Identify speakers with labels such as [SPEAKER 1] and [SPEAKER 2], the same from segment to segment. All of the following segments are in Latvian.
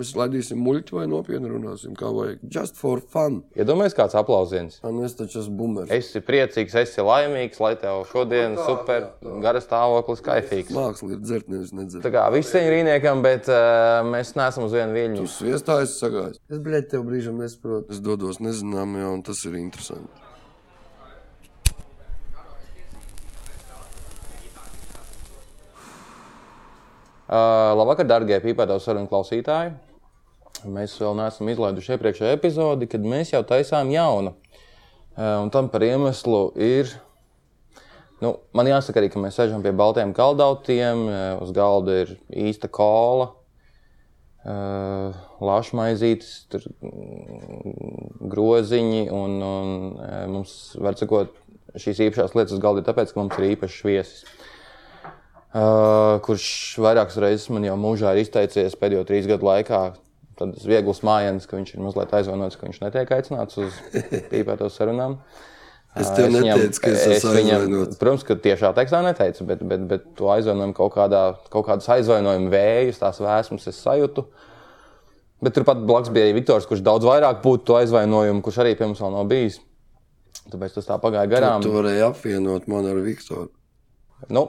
[SPEAKER 1] Mēs laidīsim muļķi vai nopietni runāsim, kā vajag. Just for fun.
[SPEAKER 2] Iedomājieties, kāds aplausiens.
[SPEAKER 1] Man es taču esmu bumeris.
[SPEAKER 2] Esi priecīgs, esi laimīgs, lai tev šodien
[SPEAKER 1] Tā,
[SPEAKER 2] super
[SPEAKER 1] jā, tā.
[SPEAKER 2] gara stāvoklis, kaifīgs.
[SPEAKER 1] Māksla ir dzert, nevis nedzert.
[SPEAKER 2] Tā kā visiem rīniekam, bet uh, mēs neesam uz vienu viļņu.
[SPEAKER 1] Uz sviestā es sagāju. Es blēķi tev brīžam nesaprotu. Es dodos nezināmajā, un tas ir interesanti.
[SPEAKER 2] Uh, labvakar, darbie pīpētāju sarunu klausītāji. Mēs vēl neesam izlaiduši iepriekšējo epizodi, kad mēs jau taisām jaunu. Uh, un tam par iemeslu ir. Nu, man jāsaka, arī, ka mēs sēžam pie baltajiem kaldautiem. eh, Uz galda ir īsta kola, uh, lašmaizītes, tur, mm, groziņi. Un, un eh, mums, var sakot, šīs īpašās lietas uz galda ir tāpēc, ka mums ir īpašs viesis. Uh, kurš vairākas reizes man jau mūžā ir izteicies pēdējo trīs gadu laikā. Tādas vieglas mājienas, ka viņš ir mazliet aizvainots, ka viņš netiek aicināts uz pīpēto sarunām.
[SPEAKER 1] Es tev
[SPEAKER 2] Es viņam-
[SPEAKER 1] neteicu, ka es esmu
[SPEAKER 2] viņam-
[SPEAKER 1] aizvainots.
[SPEAKER 2] Protams, ka tiešā tekstā neteicu, bet, bet, bet to aizvainojumu kaut, kādā, kaut kādus aizvainojumu vējus, tās vēsmas es sajūtu. Bet turpat blakus bija arī Viktors, kurš daudz vairāk būtu to aizvainojumu, kurš arī pie mums vēl nav bijis. Tāpēc tas tā pagāja garām.
[SPEAKER 1] Tu varēji apvienot mani ar Viktoru.
[SPEAKER 2] Nu,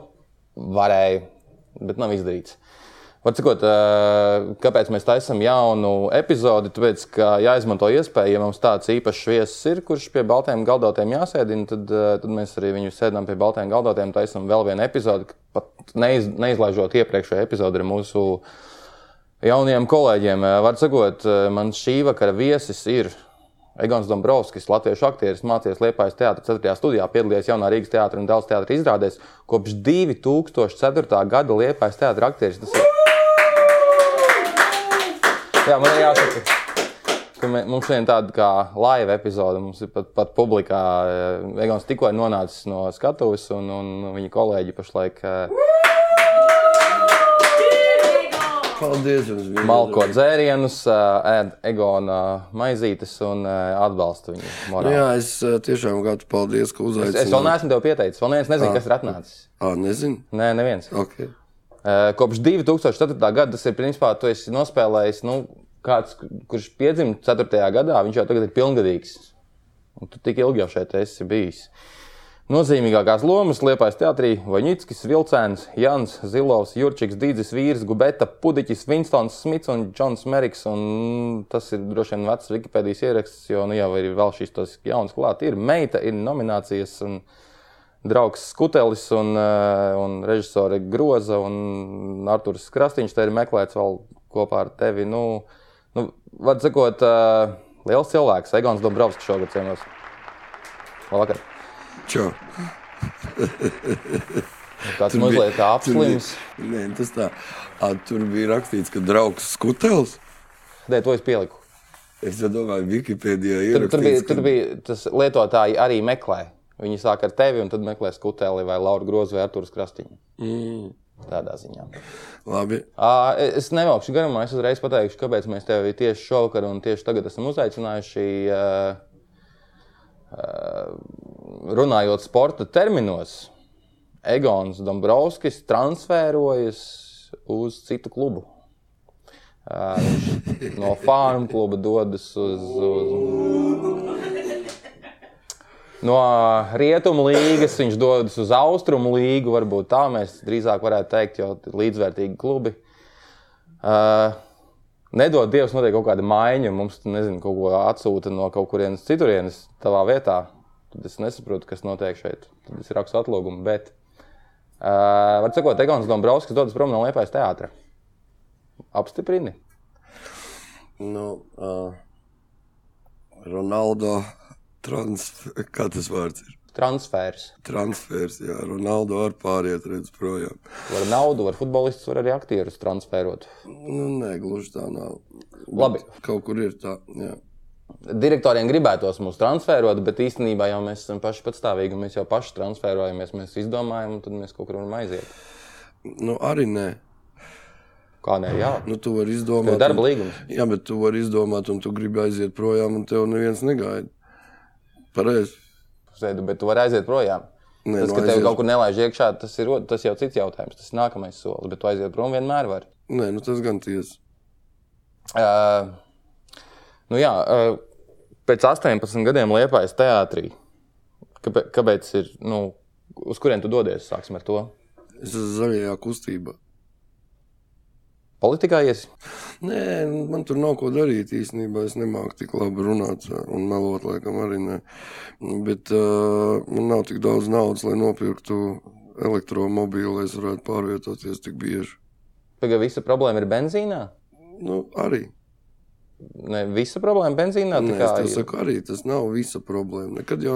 [SPEAKER 2] varēja, bet nav izdarīts. Var Cikot, ā, kāpēc mēs taisām jaunu epizodi? Tāpēc, ka jāizmanto iespēja, ja mums tāds īpašs viesis ir, kurš pie baltajiem galdotiem jāsēdina, tad, ā, tad mēs arī viņu sēdām pie baltajiem galdotiem, taisām vēl vienu epizodi, ka pat neiz, neizlaižot iepriekšējo epizodi ar mūsu jaunajiem kolēģiem. Ā, Var sakot, ā, man šī vakara viesis ir Egons Dombrovskis, latviešu aktieris, mācījies Liepājas teātris 4. studijā, piedalījies Jaunā Rīgas teātris un daudz teātris izrādēs. Kopš 2004. gada Liepājas teātris aktieris. Tas ir. Jā, man ir jāsaka. ka mē- Mums šodien tāda kā live epizode, mums ir pat, pat publikā. eh, Egons tikko ir nonācis no skatuves, un, un viņa kolēģi pašlaik eh,
[SPEAKER 1] Paldies jums! vienmēr.
[SPEAKER 2] malko dzērienus, eh, ēd Egona maizītes un eh, atbalsta viņu morāli.
[SPEAKER 1] Jā, es eh, tiešām gadu paldies, ka
[SPEAKER 2] Es, es vēl
[SPEAKER 1] uzaicināju.
[SPEAKER 2] neesmu tevi pieteicis. Vēl viens nezina, kas ir atnācis.
[SPEAKER 1] Ā, nezinu.
[SPEAKER 2] Nē, neviens.
[SPEAKER 1] Okay.
[SPEAKER 2] Eh, Kopš 2004. gada tas ir principā, tu esi nospēlējis. Nu, kāds, kurš piedzima 4. gadā, viņš jau tagad ir pilngadīgs. Un tu tik ilgi jau šeit esi bijis. Nozīmīgākās lomas liepais teātrī - Vaņģiskis, Vilcēns, Jans, Zilovs, Jurčiks, Dīdzis, Vīrs, Gubeta, Pudiķis, Vinstons, Smits un Džons Meriks. Un tas ir droši vien vecs Wikipēdijas ieraksts, jo nu, jau ir vēl šīs tas jaunas klāt. Ir meita, ir nominācijas. Un, draugs Skutelis un, eh, un režisore Groza un Arthurs Krastīņš. Te ir meklēts vēl kopā ar tevi. Nu, nu, Var sakot, eh, liels cilvēks, Egons Dombrovskis šogad ciemos. Labvakar.
[SPEAKER 1] Čau!
[SPEAKER 2] Tāds mazliet kā apslims.
[SPEAKER 1] Tur bija, nē, tas tā. Ā, tur bija rakstīts, ka draugs Skutels.
[SPEAKER 2] Nē, to es pieliku.
[SPEAKER 1] Es jau domāju, Wikipēdijā
[SPEAKER 2] Tur,
[SPEAKER 1] ir
[SPEAKER 2] tur, bija, tur bija tas lietotāji arī meklē. Viņi sāk ar tevi un tad meklē Skuteli vai Lauru Grozu vai Arthurs Krastīņu.
[SPEAKER 1] Mm,
[SPEAKER 2] Tādā ziņā.
[SPEAKER 1] labi.
[SPEAKER 2] Ā, e, Es nevelkšu garumā, es uzreiz pateikšu, kāpēc mēs tevi tieši šovakar un tieši tagad esam uzaicinājuši. ā, ā, Runājot sporta terminos, Egons Dombrovskis transferojas uz citu klubu. Ā, Viņš no farmu kluba dodas uz, uz no rietumu līnijas, viņš dodas uz austrumu līniju. Varbūt tā mēs drīzāk varētu teikt, jo ir līdzvērtīgi klubi. Uh, nedod Dievs, notiek kaut kāda maiņa, un mums tur, nezinu, kaut ko atsūta no kaut kurienes citurienes, tavā vietā. Tad es nesaprotu, kas notiek šeit. Tad es rakstu atlūgumu. Bet, uh, var teikt, Egons Dombrovskis dodas prom no Lietuvas teātra. Apstiprini.
[SPEAKER 1] Nu, uh, Ronaldo transfer, kā tas vārds ir?
[SPEAKER 2] Transfers.
[SPEAKER 1] Transfers, jā, Ronaldo var pāriet, redz, projām.
[SPEAKER 2] Var naudu, var futbolistus, var arī aktierus transferot.
[SPEAKER 1] Nu, nē, gluži tā nav.
[SPEAKER 2] Labi.
[SPEAKER 1] Kaut kur ir tā, jā.
[SPEAKER 2] direktoriem gribētos mūs transferot, bet īstenībā jau mēs esam paši patstāvīgi. un Mēs jau paši transferojamies, mēs izdomājam, un tad mēs kaut kur varam aiziet.
[SPEAKER 1] Nu, arī nē.
[SPEAKER 2] Kā nē, jā.
[SPEAKER 1] Nu, tu vari izdomāt.
[SPEAKER 2] Ir darba
[SPEAKER 1] un-
[SPEAKER 2] līgums.
[SPEAKER 1] Jā, bet tu vari izdomāt, un tu gribi aiziet projām, un tev neviens negaida. Pareizi.
[SPEAKER 2] Sēdu, bet tu vari aiziet projām.
[SPEAKER 1] Nē,
[SPEAKER 2] Tas,
[SPEAKER 1] nu,
[SPEAKER 2] ka tev
[SPEAKER 1] aiziet-
[SPEAKER 2] kaut kur nelaiž iekšā, tas ir, o- tas jau cits jautājums. Tas ir nākamais solis, bet tu aiziet prom vienmēr var.
[SPEAKER 1] Nē, nu tas gan tiesa.
[SPEAKER 2] Uh, nu jā, uh, pēc 18 gadiem liepais teātrī. Kāpēc, kāpēc ir, nu, uz kurien tu dodies? Sāksim ar to.
[SPEAKER 1] Es esmu zaļajā kustībā.
[SPEAKER 2] Politikā iesi?
[SPEAKER 1] Nē, nu, man tur nav ko darīt īstenībā. Es nemāku tik labi runāt un melot, laikam, arī ne. Bet uh, man nav tik daudz naudas, lai nopirktu elektromobīlu, lai es varētu pārvietoties tik bieži.
[SPEAKER 2] Pagaidām, visa problēma ir benzīnā.
[SPEAKER 1] Nu, arī.
[SPEAKER 2] Ne, visa problēma benzīnā
[SPEAKER 1] Nē,
[SPEAKER 2] tā
[SPEAKER 1] es
[SPEAKER 2] kā
[SPEAKER 1] tev
[SPEAKER 2] ir.
[SPEAKER 1] saku, arī tas nav visa problēma. Nekad jau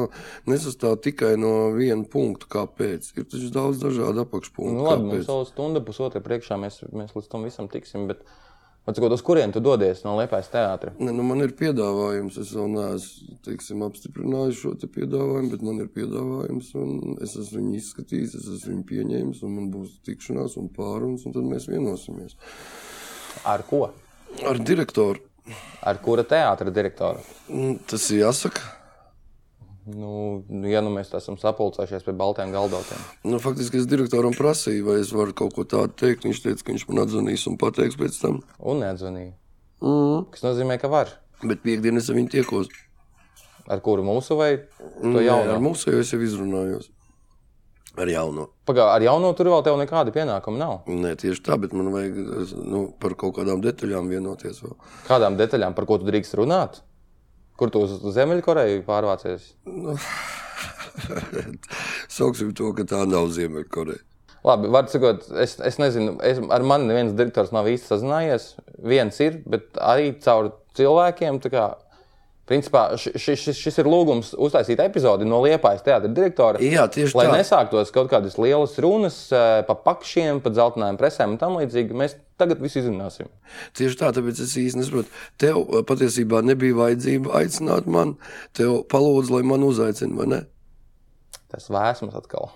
[SPEAKER 1] nesastāv tikai no viena punkta, kāpēc. Ir taču daudz dažādu apakšpunktu.
[SPEAKER 2] Nu, labi, mums
[SPEAKER 1] kāpēc.
[SPEAKER 2] vēl stunda, pusotra priekšā mēs, mēs līdz tam visam tiksim. Bet, atsakot, uz kurien tu dodies no Liepājas teātra?
[SPEAKER 1] Ne, nu, man ir piedāvājums. Es vēl neesmu teiksim, apstiprinājis šo te piedāvājumu, bet man ir piedāvājums. un Es esmu viņu izskatījis, es esmu viņu pieņēmis, un man būs tikšanās un pārunas, un tad mēs vienosimies.
[SPEAKER 2] Ar ko?
[SPEAKER 1] Ar direktoru
[SPEAKER 2] Ar kura teātra direktoru?
[SPEAKER 1] mm, tas ir jāsaka.
[SPEAKER 2] Nu, nu, ja nu mēs tā esam sapulcējušies pie baltajiem galdotiem.
[SPEAKER 1] Nu, faktiski es direktoram prasīju, vai es varu kaut ko tādu teikt. Viņš teica, ka viņš man atzvanīs un pateiks pēc tam.
[SPEAKER 2] Un neatzvanīja.
[SPEAKER 1] Mm.
[SPEAKER 2] Kas nozīmē, ka var.
[SPEAKER 1] Bet piekdienā es ar viņu tiekos.
[SPEAKER 2] Ar kuru mūsu vai to
[SPEAKER 1] Nē,
[SPEAKER 2] jaunu?
[SPEAKER 1] Ar mūsu jau es jau izrunājos. Ar jauno.
[SPEAKER 2] Pagā, ar jauno tur vēl tev nekāda pienākuma nav.
[SPEAKER 1] Nē, tieši tā, bet man vajag es, nu, par kaut kādām detaļām vienoties. Vēl.
[SPEAKER 2] Kādām detaļām, par ko tu drīkst runāt? Kur tu uz uz Ziemeļkoreju pārvācies?
[SPEAKER 1] Sauksim to, ka tā nav Ziemeļkoreja.
[SPEAKER 2] Labi, var teikt, es, es nezinu, es, ar mani neviens direktors nav īsti sazinājies. Viens ir, bet arī caur cilvēkiem. tā Kā, principā ši- ši- šis, šis ir lūgums uztaisīt epizodi no Liepājas teātra direktora.
[SPEAKER 1] Jā, tieši
[SPEAKER 2] Lai
[SPEAKER 1] tā.
[SPEAKER 2] nesāktos kaut kādas lielas runas eh, pa pakšiem, pa dzeltenām presēm un tam līdzīgi, mēs tagad visu izrunāsim.
[SPEAKER 1] Tieši tā, tāpēc es īsti nesaprotu. Tev eh, patiesībā nebija vajadzība aicināt mani. Tev palūdz, lai man uzaicina, vai ne?
[SPEAKER 2] Tas vēsmas atkal.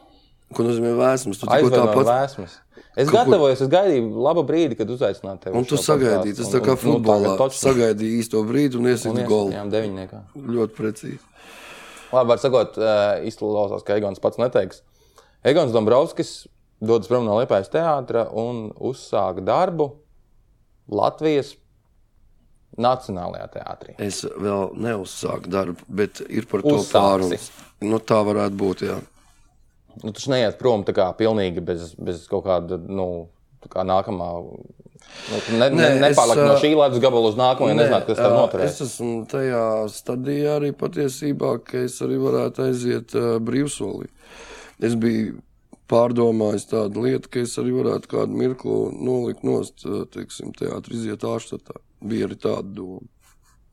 [SPEAKER 1] Ko nozīmē vēsmas? Tu tikko
[SPEAKER 2] Aizvēlēt
[SPEAKER 1] tāpat.
[SPEAKER 2] vēsmas. Es
[SPEAKER 1] Kaut kur-
[SPEAKER 2] gatavojos, es gaidīju labu brīdi, kad uzaicinātu tevi.
[SPEAKER 1] Un
[SPEAKER 2] uz
[SPEAKER 1] tu
[SPEAKER 2] šo
[SPEAKER 1] sagaidīji,
[SPEAKER 2] podcastu.
[SPEAKER 1] tas
[SPEAKER 2] Un-
[SPEAKER 1] tā kā
[SPEAKER 2] un- nu,
[SPEAKER 1] futbolā.
[SPEAKER 2] tagad točni.
[SPEAKER 1] Sagaidīji īsto brīdi un
[SPEAKER 2] Un
[SPEAKER 1] iesit golu.
[SPEAKER 2] iesaistījām deviņniekā.
[SPEAKER 1] Ļoti precīzi.
[SPEAKER 2] Labi, var sakot, eh, izklausās, ka Egons pats neteiks. Egons Dombrovskis dodas prom no Lietuvas teātra un uzsāk darbu Latvijas Nacionālajā teātrī.
[SPEAKER 1] Es vēl neuzsāku darbu, bet ir par to
[SPEAKER 2] Uzsāksi.
[SPEAKER 1] pārunas. Nu, tā varētu būt. Jā.
[SPEAKER 2] Nu, taču neiet prom tā kā pilnīgi bez, bez kaut kāda nu, tā kā nākamā. Nu, ne, ne,
[SPEAKER 1] Nē, es,
[SPEAKER 2] nepalikt no
[SPEAKER 1] eh,
[SPEAKER 2] šī ledus gabala uz nākamo, ja nezinātu, kas tev
[SPEAKER 1] ā,
[SPEAKER 2] noturēs.
[SPEAKER 1] Es esmu tajā stadijā arī patiesībā, ka es arī varētu aiziet ā, brīvsolī. Es biju pārdomājis tādu lietu, ka es arī varētu kādu mirkli nolikt nost, ā, teiksim, teātris, iziet ārštatā. Bija arī tāda doma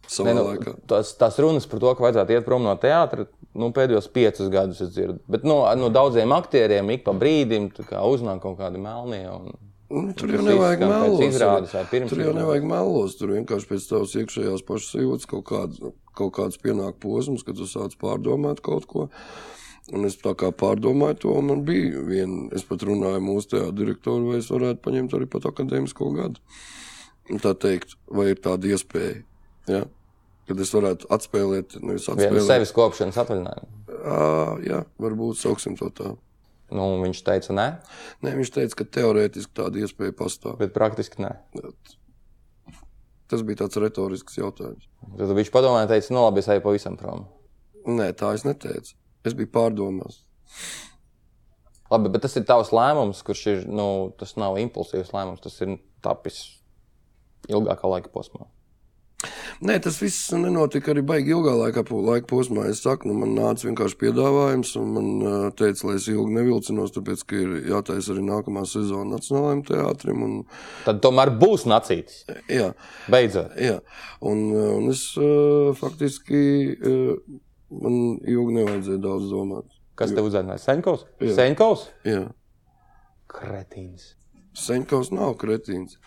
[SPEAKER 1] savā
[SPEAKER 2] Ne,
[SPEAKER 1] ne,
[SPEAKER 2] nu,
[SPEAKER 1] laikā.
[SPEAKER 2] tas, tas runas par to, ka vajadzētu iet prom no teātra, nu, pēdējos piecus gadus es dzirdu. Bet no, no daudziem aktieriem ik pa brīdim tā kā uznāk kaut kādi melnie. Un...
[SPEAKER 1] Nu, tur jau
[SPEAKER 2] tas
[SPEAKER 1] nevajag
[SPEAKER 2] izskan pēc
[SPEAKER 1] melos.
[SPEAKER 2] izrādes vai
[SPEAKER 1] arī.
[SPEAKER 2] pirms
[SPEAKER 1] Tur jau
[SPEAKER 2] izrādes.
[SPEAKER 1] nevajag melos. Tur vienkārši pēc tavas iekšējās pašsajūtas kaut, kāds- kaut kāds pienāk posms, kad tu sāc pārdomāt kaut ko. Un es tā kā pārdomāju to, un man bija viena, es pat runāju mūsu tajā direktoru, vai es varētu paņemt arī pat akadēmisko gadu. Un Tā teikt, vai ir tāda iespēja, ja? kad es varētu atspēlēt, nevis
[SPEAKER 2] Vienu
[SPEAKER 1] atspēlēt.
[SPEAKER 2] sevis kopšanas atvaļinājumu.
[SPEAKER 1] Ā, jā, varbūt sauksim to tā.
[SPEAKER 2] Nu, viņš teica, nē,
[SPEAKER 1] Nē, viņš teica, ka teorētiski tāda iespēja pastāv.
[SPEAKER 2] bet praktiski nē.
[SPEAKER 1] Tas bija tāds retorisks jautājums.
[SPEAKER 2] Tad viņš padomāja, teica, nu, labi, es eju pavisam prom.
[SPEAKER 1] Nē, tā es neteicu. Es biju pārdomās.
[SPEAKER 2] Labi, bet tas ir tavs lēmums, kurš ir, nu, tas nav impulsīvs lēmums, tas ir tapis ilgākā laika posmā.
[SPEAKER 1] Nē, tas viss nenotika arī baigi ilgā laika, po, laika posmā. Es saku, nu, man nāca vienkārši piedāvājums, un man uh, teica, lai es ilgi nevilcinos, tāpēc, ka ir jātaisa arī nākamā sezona Nacionālajiem teātrim. Un,
[SPEAKER 2] Tad tomēr būs nacītis.
[SPEAKER 1] jā,
[SPEAKER 2] Beidzot.
[SPEAKER 1] jā. Un, uh, un es uh, faktiski uh, man ilgi nevajadzēja daudz domāt.
[SPEAKER 2] Kas te uzaicināja? Senkovs?
[SPEAKER 1] Jā.
[SPEAKER 2] Senkovs?
[SPEAKER 1] Jā.
[SPEAKER 2] Kretīns.
[SPEAKER 1] Senkaus nav kretīns.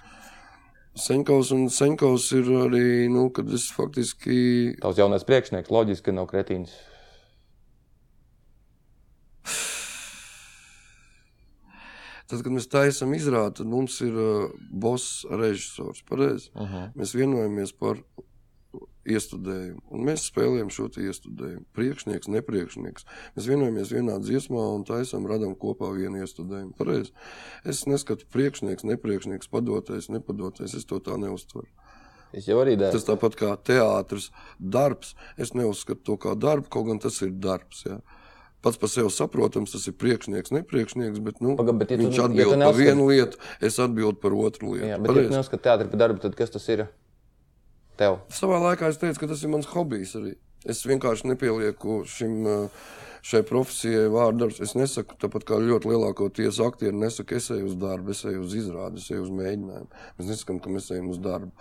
[SPEAKER 1] Senkaus un Senkaus ir arī, nu, kad es faktiski
[SPEAKER 2] Tavs jaunais priekšnieks loģiski ka nav kretīns.
[SPEAKER 1] Tad, kad mēs taisām izrādi, tad mums ir uh, boss režisors. Pareizi.
[SPEAKER 2] Uh -huh.
[SPEAKER 1] Mēs vienojamies par iestudējumu, un mēs spēlējam šo te iestudējumu. Priekšnieks, nepriekšnieks. Mēs vienojamies vienā dziesmā un taisām, radām kopā vienu iestudējumu. Pareizi. Es neskatu priekšnieks, nepriekšnieks, padotais, nepadotais. Es to tā neuztveru.
[SPEAKER 2] Es jau arī
[SPEAKER 1] Tas
[SPEAKER 2] dēļ.
[SPEAKER 1] tāpat kā teātris, darbs. Es neuzskatu to par darbu, kaut gan tas ir darbs. Jā. Pats par sevi saprotams, tas ir priekšnieks, nepriekšnieks. Bet, nu,
[SPEAKER 2] Pagad, bet ja tu-
[SPEAKER 1] viņš
[SPEAKER 2] ja tu
[SPEAKER 1] atbild par
[SPEAKER 2] neuzskati-
[SPEAKER 1] vienu lietu, es atbildu par otru lietu.
[SPEAKER 2] Jā, bet, ja
[SPEAKER 1] Pareizi.
[SPEAKER 2] tu neuzskati teātri par darbu, tad kas tas ir tev?
[SPEAKER 1] Savā laikā es teicu, ka tas ir mans hobijs. Arī. Es vienkārši nepielieku šim, uh, šai profesijai vārdu. darbs. Es nesaku, tāpat kā ļoti lielākoties aktieri, nesaku, es eju uz darbu, es eju uz izrādi, es eju uz mēģinājumu. Mēs nesakām, ka mēs ejam uz darbu.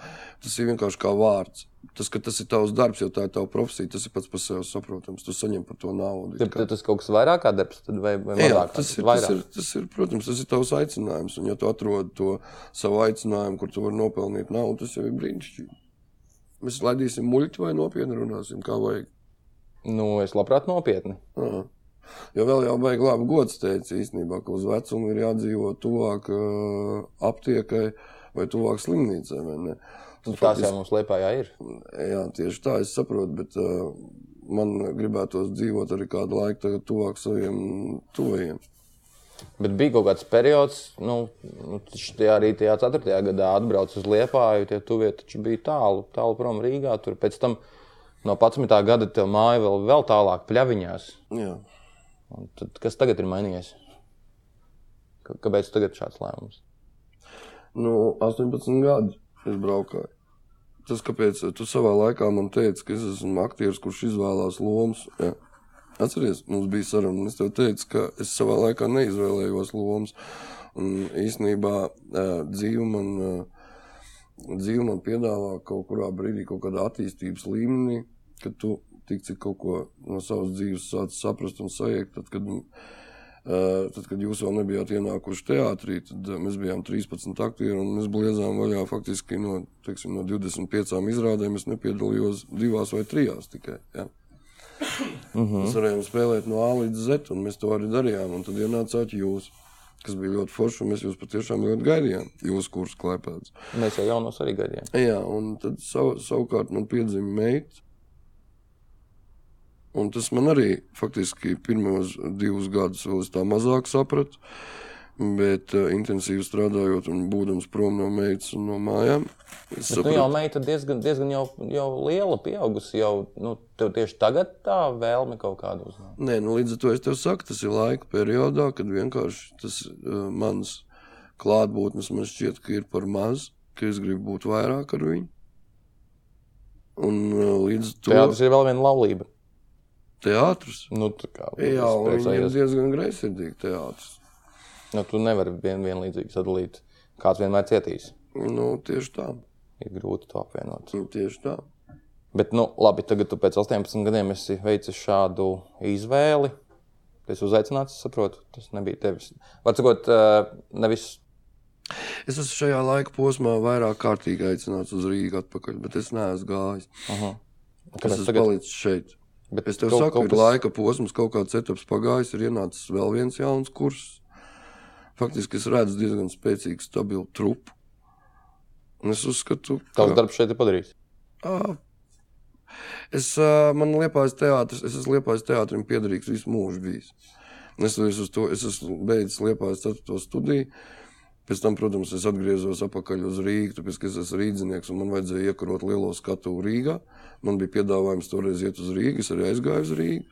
[SPEAKER 1] Tas ir vienkārši kā vārds. Tas, ka tas ir tavs darbs, jo tā ir tava profesija, tas ir pats par sevi saprotams. Tu saņem par to naudu.
[SPEAKER 2] Tad, tad tas kaut kas vairāk kā darbs, tad vai, vai
[SPEAKER 1] Jā,
[SPEAKER 2] mazāk? kā
[SPEAKER 1] tas, ir, tas,
[SPEAKER 2] vairāk.
[SPEAKER 1] ir, tas ir, protams, tas ir tavs aicinājums. Un, ja tu atrod to savu aicinājumu, kur tu vari nopelnīt naudu, tas jau ir brīnišķīgi. Mēs laidīsim muļķi vai nopietni runāsim, kā vajag.
[SPEAKER 2] Nu, es labprāt nopietni.
[SPEAKER 1] Jā. Jo vēl jau beigas labi gods teica īstenībā, ka uz vecumu ir jādzīvo tuvāk ā, aptiekai vai tuvāk slimnīcai. vai ne?
[SPEAKER 2] Nu, tās jau mums liepā ir.
[SPEAKER 1] Jā, tieši tā es saprotu, bet ā, man gribētos dzīvot arī kādu laiku tagad tuvāk saviem tuvajiem.
[SPEAKER 2] Bet bija kaut kāds periods, nu, nu, taču tajā arī tajā 4. gadā atbraucu uz Liepāju, tie tuvie taču bija tālu, tālu prom Rīgā. Tur pēc tam no 11. gada tev māja vēl, vēl tālāk pļaviņās.
[SPEAKER 1] Jā.
[SPEAKER 2] Un Tad, kas tagad ir mainījies? Ka- Kāpēc tagad šāds lēmums?
[SPEAKER 1] Nu, 18 gadi es braukāju. Tas, kāpēc tu savā laikā man teici, ka es esmu aktieris, kurš izvēlās lomas. Jā. Atceries, mums bija saruna, un es tev teicu, ka es savā laikā neizvēlējos lomas. Un īsnībā eh, dzīve man, eh, dzīve man piedāvā kaut kurā brīdī, kaut kādā attīstības līmenī, kad tu tik cik kaut ko no savas dzīves sāc saprast un sajust. Tad, kad Eh, Tad, kad jūs vēl nebijāt ienākuši teātrī, tad eh, mēs bijām 13 aktieri un mēs bliezām vaļā faktiski no, teiksim, no 25 izrādēm. Es nepiedalījos divās vai trijās tikai. Ja. Mēs varējām spēlēt no A līdz Z, un mēs to arī darījām. Un tad ienācāt jūs, kas bija ļoti forši, un mēs jūs patiešām ļoti gaidījām. Jūsu kurs klēpēts.
[SPEAKER 2] Mēs jau jaunos arī gadījām.
[SPEAKER 1] Jā, un tad sav, savukārt man piedzima meita. Un tas man arī faktiski pirmos divus gadus vēl es tā mazāk sapratu. Bet uh, intensīvi strādājot un būdams prom no meitas un no mājām, es
[SPEAKER 2] Nu, jau
[SPEAKER 1] sapratu,
[SPEAKER 2] meita diezgan, diezgan jau, jau liela, pieaugusi jau, nu, tev tieši tagad tā vēlme kaut kāda uznāk.
[SPEAKER 1] Nē, nu, līdz ar to es tev saku, tas ir laika periodā, kad vienkārši tas uh, mans klātbūtnes man šķiet, ka ir par maz, ka es gribu būt vairāk ar viņu. Un uh, līdz ar to
[SPEAKER 2] Jā, tas ir vēl viena laulība.
[SPEAKER 1] teātris.
[SPEAKER 2] Nu, tā kā,
[SPEAKER 1] Jā,
[SPEAKER 2] es
[SPEAKER 1] un viņi ir
[SPEAKER 2] priecājos.
[SPEAKER 1] diezgan greizsirdīgi teātris.
[SPEAKER 2] Nu, tu nevari vien, vienlīdzīgi sadalīt. Kāds vienmēr cietīs.
[SPEAKER 1] Nu, tieši tā.
[SPEAKER 2] Ir grūti to apvienot.
[SPEAKER 1] Nu, Tieši tā.
[SPEAKER 2] Bet, nu, labi, tagad tu pēc 18 gadiem esi veicis šādu izvēli. Tu esi uzaicināts, es saprotu, tas nebija tevis. Varbūt, nevis
[SPEAKER 1] Es esmu šajā laika posmā vairāk kārtīgi aicināts uz Rīgā atpakaļ, bet es neesmu gājis. Es
[SPEAKER 2] kāpēc
[SPEAKER 1] esmu
[SPEAKER 2] tagad.
[SPEAKER 1] palicis šeit.
[SPEAKER 2] Bet
[SPEAKER 1] Es tev
[SPEAKER 2] kaut-
[SPEAKER 1] saku,
[SPEAKER 2] kaut
[SPEAKER 1] ir
[SPEAKER 2] kas-
[SPEAKER 1] laika posms, kaut kāds etaps pagājis, ir ienācis vēl viens jauns kurs. Faktiski es redzu diezgan spēcīgu, stabilu trupu. Un es uzskatu, ka
[SPEAKER 2] Tavs darbs šeit ir padarīts.
[SPEAKER 1] Ā, Ah. Es, ā, man liepais teātris, es esmu liepais teātrim piederīgs visu mūžu bijis. Un Es, es, to, es esmu beidzis liepais 4. studiju. Pēc tam, protams, es atgriezos atpakaļ uz Rīgā, tāpēc, ka es esmu rīznieks un man vajadzēja iekarot lielo skatu Rīgā. Man bija piedāvājums toreiz iet uz Rīgā, es arī aizgāju uz Rīgā.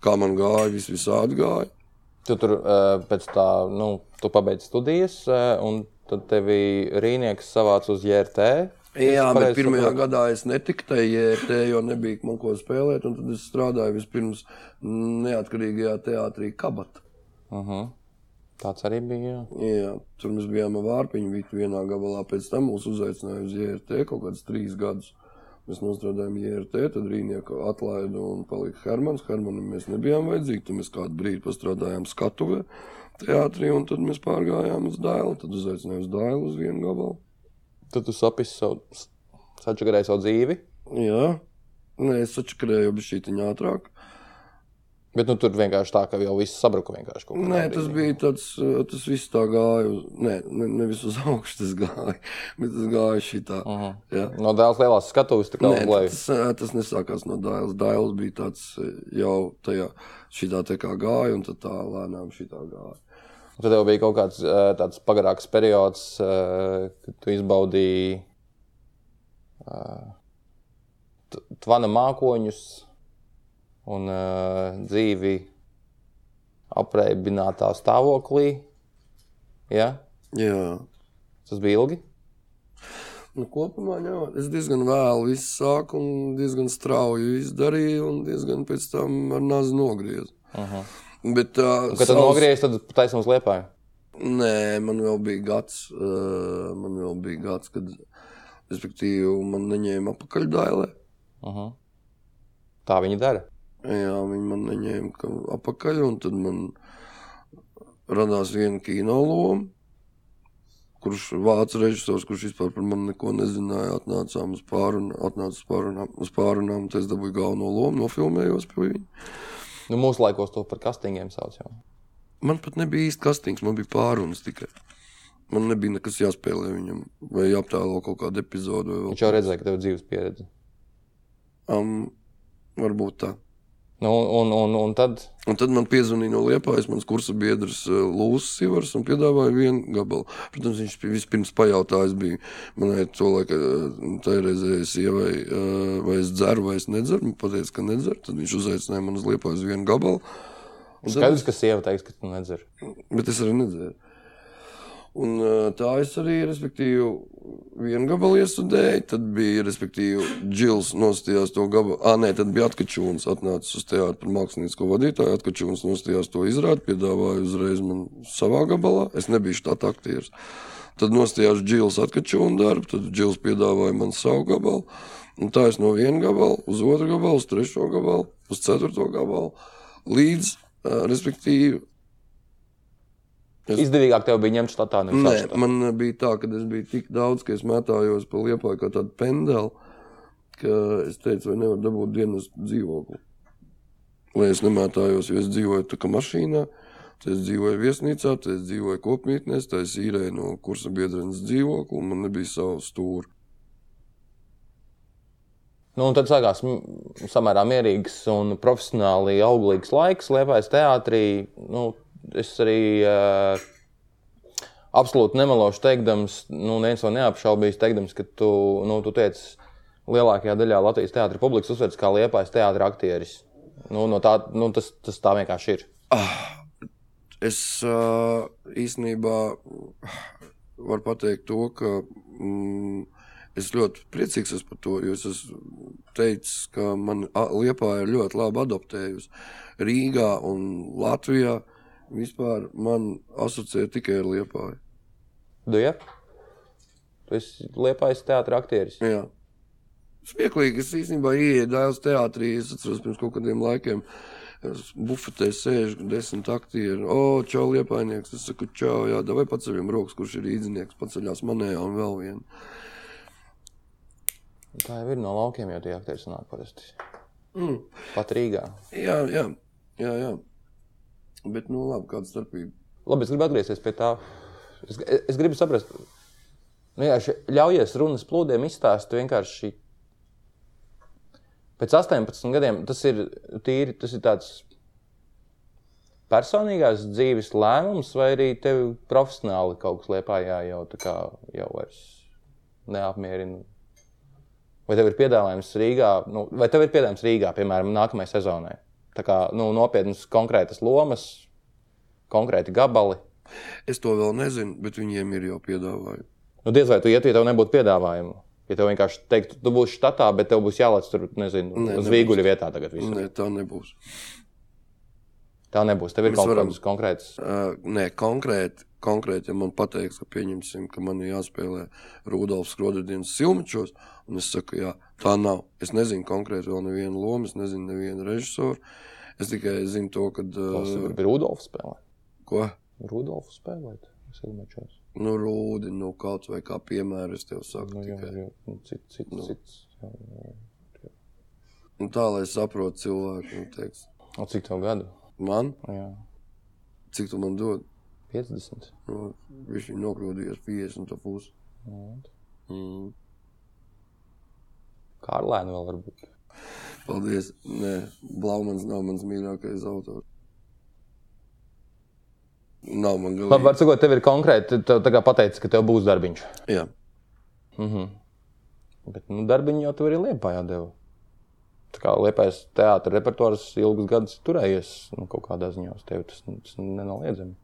[SPEAKER 1] Kā man gāja, viss visādi gāja.
[SPEAKER 2] Tu tur eh, pēc tā, nu, tu pabeidz studijas, eh, un tad tevi Rīnieks savāca uz JRT.
[SPEAKER 1] Jā,
[SPEAKER 2] Es
[SPEAKER 1] bet
[SPEAKER 2] pareizi
[SPEAKER 1] pirmajā
[SPEAKER 2] saprotu?
[SPEAKER 1] gadā es netiku tajā ērtē, jo nebija man ko spēlēt. un Tad es strādāju vispirms neatkarīgajā teātrī Kabata.
[SPEAKER 2] Tāds arī bija. jā.
[SPEAKER 1] Jā, tur mēs bijām ar vārpiņu vitu vienā gabalā. Pēc tam mūs uzaicināja uz JRT kaut kādus trīs gadus. Mēs nostrādājām JRT, tad Rīgnieku atlaida un palika Hermans. Hermanam mēs nebijām vajadzīgi. Tad mēs kādu brīdi pastrādājām skatuvē, teātrī, un tad mēs pārgājām uz Dālu. Tad uzaicināja uz Dālu uz vienu gabalu.
[SPEAKER 2] Tad tu sapisi savu, sačakarēji savu dzīvi.
[SPEAKER 1] Jā, Nē, es sačakarēju bez šī tiņa ātrāk.
[SPEAKER 2] Bet nu, tur vienkārši tā, ka jau viss sabruka. vienkārši kaut kādā
[SPEAKER 1] Nē, tas
[SPEAKER 2] brīdī.
[SPEAKER 1] bija tāds, uh, tas viss tā gāja. uz- Nē, ne, nevis uz augšu tas gāja, bet tas gāja šitā.
[SPEAKER 2] Aha.
[SPEAKER 1] Jā.
[SPEAKER 2] Mhm. No dēls lielās skatuves, tā kā
[SPEAKER 1] Nē,
[SPEAKER 2] uz leju.
[SPEAKER 1] tas, ā, tas nesākās no Dāvidas. Dāvidas bija tāds ā, jau tajā šitā tā kā gāja, un tad tā lēnām šitā gāja.
[SPEAKER 2] Tad jau bija kaut kāds eh, tāds pagarāks periods, eh, kad tu izbaudīji t- tvana mākoņus un uh, dzīvi apreibinātā stāvoklī. Ja?
[SPEAKER 1] Jā.
[SPEAKER 2] Tas bija ilgi.
[SPEAKER 1] Nu, kopumā jā, es diezgan vēlu visu sāku, un diezgan strauji izdarīju, un diezgan pēc tam ar nāzi nogriezu.
[SPEAKER 2] Uh -huh.
[SPEAKER 1] Bet, uh,
[SPEAKER 2] Kad tad nogriezīs, tad taisnums liepā.
[SPEAKER 1] Nē, man vēl bija gads, uh, man vēl bija gads kad respektīvi, man neņēma apakaļdailē.
[SPEAKER 2] Uh -huh. Tā viņi dara.
[SPEAKER 1] Jā, viņi man neņēma ka- apakaļ, un tad man radās viena kino loma. Kurš vācu režisors, kurš vispār par mani neko nezināja, atnācām uz pārunām, atnāca uz pārunām, uz pārunām, tad es dabūju galveno lomu, nofilmējos pie viņa.
[SPEAKER 2] Nu, mūsu laikos to par kastingiem sauc. Jau.
[SPEAKER 1] Man pat nebija īsti kastings, man bija pārunas tikai. Man nebija nekas jāspēlē viņam, vai jāaptēlo kaut kādu epizodu. Vai vēl
[SPEAKER 2] Viņš jau redzēja, ka tev ir dzīves pieredze.
[SPEAKER 1] Um, varbūt tā.
[SPEAKER 2] Nu, un, un, un, un tad
[SPEAKER 1] Un tad man piezvanīja no Lietuvas, mans kursa biedrs eh, Lūsis Sivars, un piedāvāja vienu gabalu. Protams, viņš bija vispirms pajautājis, bija manai to eh, laikai, taireizējai sievai, eh, vai es dzeru, vai es nedzeru. Viņa pateica, ka nedzeru. Tad viņš uzaicināja man uz Lietuvas vienu gabalu. Un tad-
[SPEAKER 2] skaidrs, ka sieva teiks, ka tu nedzer.
[SPEAKER 1] Bet es arī nedzēru. Un, eh, tā es arī, respektīvi, vienu gabalu iestudēju. Tad bija, respektīvi, Džils nostājās to gabalu. Ah, nē, tad bija atkačūns. Atnācis uz teātru par māksliniecko vadītāju. Atkačūns nostājās to izrādi, piedāvāja uzreiz man savā gabalā. Es nebiju tāds aktieris. Tad nostājās Džils atkačūna darbu, tad Džils piedāvāja man savu gabalu. Un tā es no viena gabala uz otru gabalu, uz trešo gabalu, uz ceturto gabalu. Līdz, eh, respektīvi, Es-
[SPEAKER 2] Izdevīgāk tev bija ņemt štatā, nevis
[SPEAKER 1] Nē,
[SPEAKER 2] atšķirtā.
[SPEAKER 1] man eh, bija tā, ka es biju tik daudz, ka es mētājos pa liepa kā tāda pendela, ka es teicu, vai nevaru dabūt dienas dzīvokli. Lai es nemētājos, jo es dzīvoju tā kā mašīnā, tad es dzīvoju viesnīcā, tad es dzīvoju kopmītnēs, tad es īrēju no kursa biedrenes dzīvokli, un man nebija savu stūri.
[SPEAKER 2] Nu, un tad sākās mm, samērā mierīgs un profesionāli auglīgs laiks Lietuvas teātrī. Nu, es arī uh, absolūti nemelošu teikdams, nu, neviens to neapšaubīs, teikdams, ka tu, nu, tu teici, lielākajā daļā Latvijas teātris publikas uzvedas kā Lietuvas teātris aktieris. Nu, no tā, nu, tas, tas tā vienkārši ir.
[SPEAKER 1] Ah, Es uh, īstenībā varu pateikt to, ka mm, es ļoti priecīgs esmu par to, jo es esmu teicis, ka man Liepa ir ļoti labi adaptējusi Rīgā un Latvijā. Vispār man asociē tikai ar Liepa.
[SPEAKER 2] Tu, ja? tu esi Lietuvas teātris aktieris.
[SPEAKER 1] Jā. Smieklīgi, es īstenībā ienāku Dāvidas teātrī. Es atceros, pirms kaut kādiem laikiem es bufetē sēžu desmit aktieri. O, čau, liepainieks. Es saku, čau, jā, vai paceļam rokas, kurš ir īdzinieks, paceļās manējā un vēl vienā.
[SPEAKER 2] Tā jau ir no laukiem, jo tie aktieri nāk parasti.
[SPEAKER 1] Mm.
[SPEAKER 2] Pat Rīgā.
[SPEAKER 1] Jā, jā, jā, jā. Bet, nu, labi, kāda starpība.
[SPEAKER 2] Labi, es gribu atgriezties pie tā. Es, es gribu saprast, nu, jā, ļaujies runas plūdiem izstāstīt vienkārši. Pēc 18 gadiem tas ir tīri, tas ir tāds personīgās dzīves lēmums, vai arī tev profesionāli kaut kas liepā jau tā kā jau vairs neapmierina. Vai tev ir piedāvājums Rīgā, nu, vai tev ir piedāvājums Rīgā, piemēram, nākamajai sezonai? Tā kā nu, nopietnas konkrētas lomas, konkrēti gabali.
[SPEAKER 1] Es to vēl nezinu, bet viņiem ir jau piedāvājumi.
[SPEAKER 2] Nu, diez vai tu ietu, ja tev nebūtu piedāvājumu. Ja tev vienkārši teiktu, tu būsi štatā, bet tev būs jālaic tur, nezinu,
[SPEAKER 1] Nē,
[SPEAKER 2] ne, uz
[SPEAKER 1] nebūs.
[SPEAKER 2] vīguļa vietā tagad. Visu.
[SPEAKER 1] Nē, tā nebūs.
[SPEAKER 2] Tā nebūs. Tev ir
[SPEAKER 1] Mēs
[SPEAKER 2] kaut
[SPEAKER 1] varam-
[SPEAKER 2] kāds konkrēts.
[SPEAKER 1] Uh, nē, konkrēti, konkrēti, ja man pateiks, ka, pieņemsim, ka man ir jāspēlē Rudolfs Krodadienas silmačos, un es saku, jā, tā nav. Es nezinu konkrēti vēl nevienu lomu, es nezinu nevienu režisoru. Es tikai zinu to, ka.
[SPEAKER 2] Tas
[SPEAKER 1] Uh,
[SPEAKER 2] ir Rudolfs spēlē.
[SPEAKER 1] ko?
[SPEAKER 2] Rudolfs spēlēt. Silmačos.
[SPEAKER 1] Nu, Rūdi, nu, kaut vai kā piemēra es tev saku.
[SPEAKER 2] Nu, jā,
[SPEAKER 1] tikai.
[SPEAKER 2] jā, nu, cits, cits, cits. jā, jā.
[SPEAKER 1] Nu, tā, lai saprotu cilvēku, nu, teiks,
[SPEAKER 2] Nu, Cik tev gadu?
[SPEAKER 1] man,
[SPEAKER 2] Jā,
[SPEAKER 1] cik tu man dod,
[SPEAKER 2] 50.
[SPEAKER 1] nu, viņš ir nokļūdījies 50 pusi.
[SPEAKER 2] Nu,
[SPEAKER 1] Mm.
[SPEAKER 2] Kārlēna vēl varbūt.
[SPEAKER 1] Paldies. Nē, Blaumans nav mans mīļākais autors. Nav man
[SPEAKER 2] Labi,
[SPEAKER 1] galīgi.
[SPEAKER 2] var sakot, tev ir konkrēti, tev tagad pateicis, ka tev būs darbiņš.
[SPEAKER 1] Jā,
[SPEAKER 2] Mhm. Bet nu, darbiņu jau tur arī liepā jādeva. Tā kā liepais teātris repertuārs ilgus gadus turējies nu, kaut kādā ziņā uz tevi, tas, tas nenoliedzami.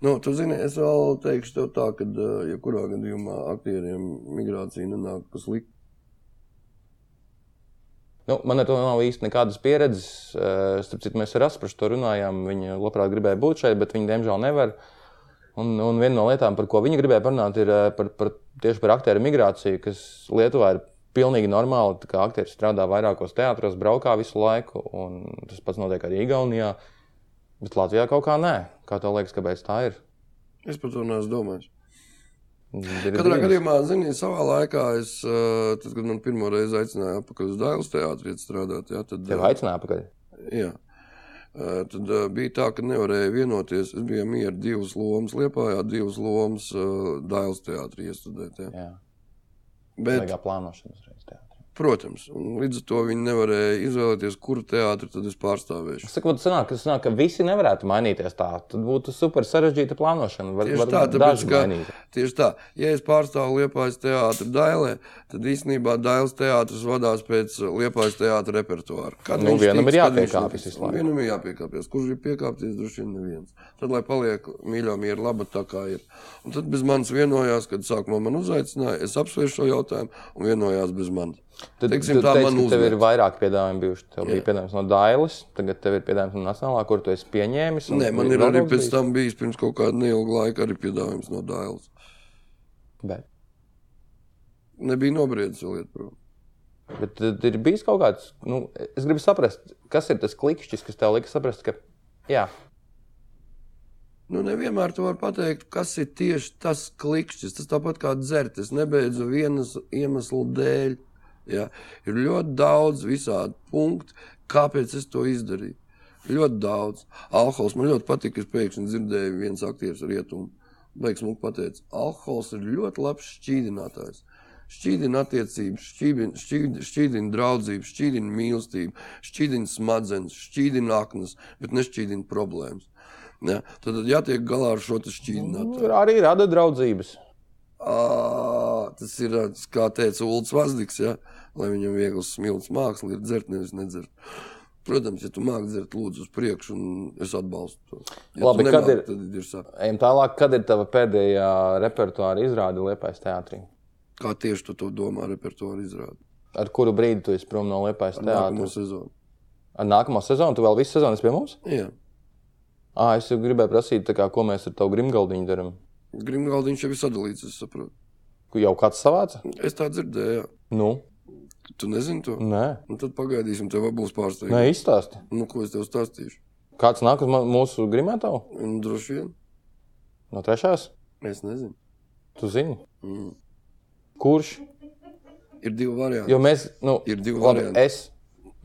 [SPEAKER 1] Nu, tu zini, es vēl teikšu tev tā, ka, ja kurā gadījumā aktieriem migrācija nenāk pa sliktu,
[SPEAKER 2] Nu, man ar to nav īsti nekādas pieredzes. Eh, Starp citu, mēs ar Asprānu par to runājām. Viņa labprāt gribēja būt šeit, bet viņa diemžēl nevar. Un, un viena no lietām, par ko viņa gribēja parunāt, ir eh, par, par, tieši par aktieru migrāciju, kas Lietuvā ir pilnīgi normāla. tā kā Aktieri strādā vairākos teātros, braukā visu laiku, un tas pats notiek arī Igaunijā. Bet Latvijā kaut kā nē. Kā tev liekas, kāpēc tā ir?
[SPEAKER 1] es par to neesmu domājis.
[SPEAKER 2] ir
[SPEAKER 1] Katrā
[SPEAKER 2] brīnums.
[SPEAKER 1] gadījumā, zini, savā laikā, es, ā, tad, kad man pirmo reizi aicināja atpakaļ uz Dāvidas teātri iet strādāt, jā, tad,
[SPEAKER 2] tev
[SPEAKER 1] ā,
[SPEAKER 2] aicināja pakaļ.
[SPEAKER 1] jā, Ā, tad ā, bija tā, ka nevarēja vienoties. Es biju mieru divas lomas, liepājā divas lomas eh, Dāvidas teātri iestudēt. Jā.
[SPEAKER 2] Jā,
[SPEAKER 1] Bet,
[SPEAKER 2] tā kā plānošanas reizē.
[SPEAKER 1] protams, un līdz ar to viņi nevarēja izvēlēties, kuru teātri tad es pārstāvēšu.
[SPEAKER 2] Saku, tas sanāk, tas sanāk, ka visi nevarētu mainīties tā. Tad būtu super sarežģīta plānošana. Var,
[SPEAKER 1] Tieši
[SPEAKER 2] var
[SPEAKER 1] tā, tāpēc,
[SPEAKER 2] daži
[SPEAKER 1] ka,
[SPEAKER 2] mainīt.
[SPEAKER 1] tieši tā, ja es pārstāvu Liepājas teātri Dailē, tad īstenībā Dailas teātris vadās pēc Liepājas teātra repertuāra. Kad
[SPEAKER 2] Nu,
[SPEAKER 1] viņš
[SPEAKER 2] vienam
[SPEAKER 1] tiks,
[SPEAKER 2] ir
[SPEAKER 1] kad viņš
[SPEAKER 2] jāpiekāpjas
[SPEAKER 1] netiks.
[SPEAKER 2] visu laiku.
[SPEAKER 1] Vienam ir jāpiekāpjas. Kurš ir piekāpties, droši vien neviens. Tad, lai paliek mīļā, miera, laba tā kā ir. Un tad bez manis vienojās, kad sākumā man uzaicināja, es apsvēršu šo jautājumu un vienojās bez manis.
[SPEAKER 2] Tad,
[SPEAKER 1] Teiksim
[SPEAKER 2] tu
[SPEAKER 1] tā,
[SPEAKER 2] teici,
[SPEAKER 1] man
[SPEAKER 2] ka tev ir
[SPEAKER 1] uzmet.
[SPEAKER 2] vairāk piedāvājumu bijuši. Tev bija piedāvājums no Dailas, tagad tev ir piedāvājums no Nacionālā, kur tu esi pieņēmis. un
[SPEAKER 1] Nē, man
[SPEAKER 2] Nu,
[SPEAKER 1] ir
[SPEAKER 2] ir vēl
[SPEAKER 1] arī
[SPEAKER 2] kāds
[SPEAKER 1] pēc
[SPEAKER 2] bijis?
[SPEAKER 1] tam bijis pirms kaut kāda neilga laika arī piedāvājums no Dailas.
[SPEAKER 2] Bet,
[SPEAKER 1] Nebija nobriedzis vēl iet prom.
[SPEAKER 2] bet tad ir bijis kaut kāds, nu, es gribu saprast, kas ir tas klikšķis, kas tev liekas saprast, ka jā,
[SPEAKER 1] Nu, nevienmēr tu vari pateikt, kas ir tieši tas klikšķis. Tas tāpat kā dzert, es nebeidzu vienas iemesla dēļ. Ja? Ir ļoti daudz visādi punktu, kāpēc es to izdarīju. Ļoti daudz. Alkohols man ļoti patīk, ka es pēkšņi dzirdēju, viens aktieris rietumu. Beigas mums pateica, alkohols ir ļoti labs šķīdinātājs. Šķīdina attiecības, šķīdina, šķīdina, šķīdina draudzību, šķīdina mīlestību, šķīdina smadzenes, šķīdina aknas, bet nešķīdina problēmas. Ja? Tad, tad jātiek galā ar šo te šķīdinātāju.
[SPEAKER 2] tur nu, arī rada draudzības.
[SPEAKER 1] Ā, Tas ir, ā, tas, kā teica Ulrichs Vazdiks, ja? lai viņam viegli smilts māksla ir dzert, nevis nedzert. Protams, ja tu māki dzert, lūdzu, uz priekšu, un es atbalstu to. Ja tu
[SPEAKER 2] Labi, kad
[SPEAKER 1] nemāki,
[SPEAKER 2] ir-
[SPEAKER 1] Tad ir sāk.
[SPEAKER 2] Ejam tālāk, kad ir tava pēdējā repertuāra izrāde Liepais teātrī?
[SPEAKER 1] Kā tieši tu to domā, repertuāra izrādi?
[SPEAKER 2] Ar kuru brīdi tu esi prom no Liepais teātra?
[SPEAKER 1] Nākamā sezona.
[SPEAKER 2] Ar nākamo sezonu, tu vēl visu sezonu esi pie mums?
[SPEAKER 1] Jā.
[SPEAKER 2] À, es jau gribēju prasīt, tā kā, ko mēs ar tavu grimgaldiņu darām.
[SPEAKER 1] Grimgaldiņš jau ir sadalīts, es saprotu.
[SPEAKER 2] Jau kāds savāca?
[SPEAKER 1] Es tā dzirdēju, jā.
[SPEAKER 2] Nu,
[SPEAKER 1] Tu nezini to?
[SPEAKER 2] nē,
[SPEAKER 1] Nu, tad pagaidīsim, tev būs pārsteigums.
[SPEAKER 2] nē izstāsti.
[SPEAKER 1] Nu, ko es tev stāstīšu?
[SPEAKER 2] Kāds nāk uz ma- mūsu grimētavu?
[SPEAKER 1] Nu, droši vien.
[SPEAKER 2] No trešās?
[SPEAKER 1] Es nezinu.
[SPEAKER 2] Tu zini?
[SPEAKER 1] Mm.
[SPEAKER 2] Kurš?
[SPEAKER 1] Ir divi varianti.
[SPEAKER 2] Jo mēs, nu,
[SPEAKER 1] Ir divi
[SPEAKER 2] labi,
[SPEAKER 1] varianti.
[SPEAKER 2] es.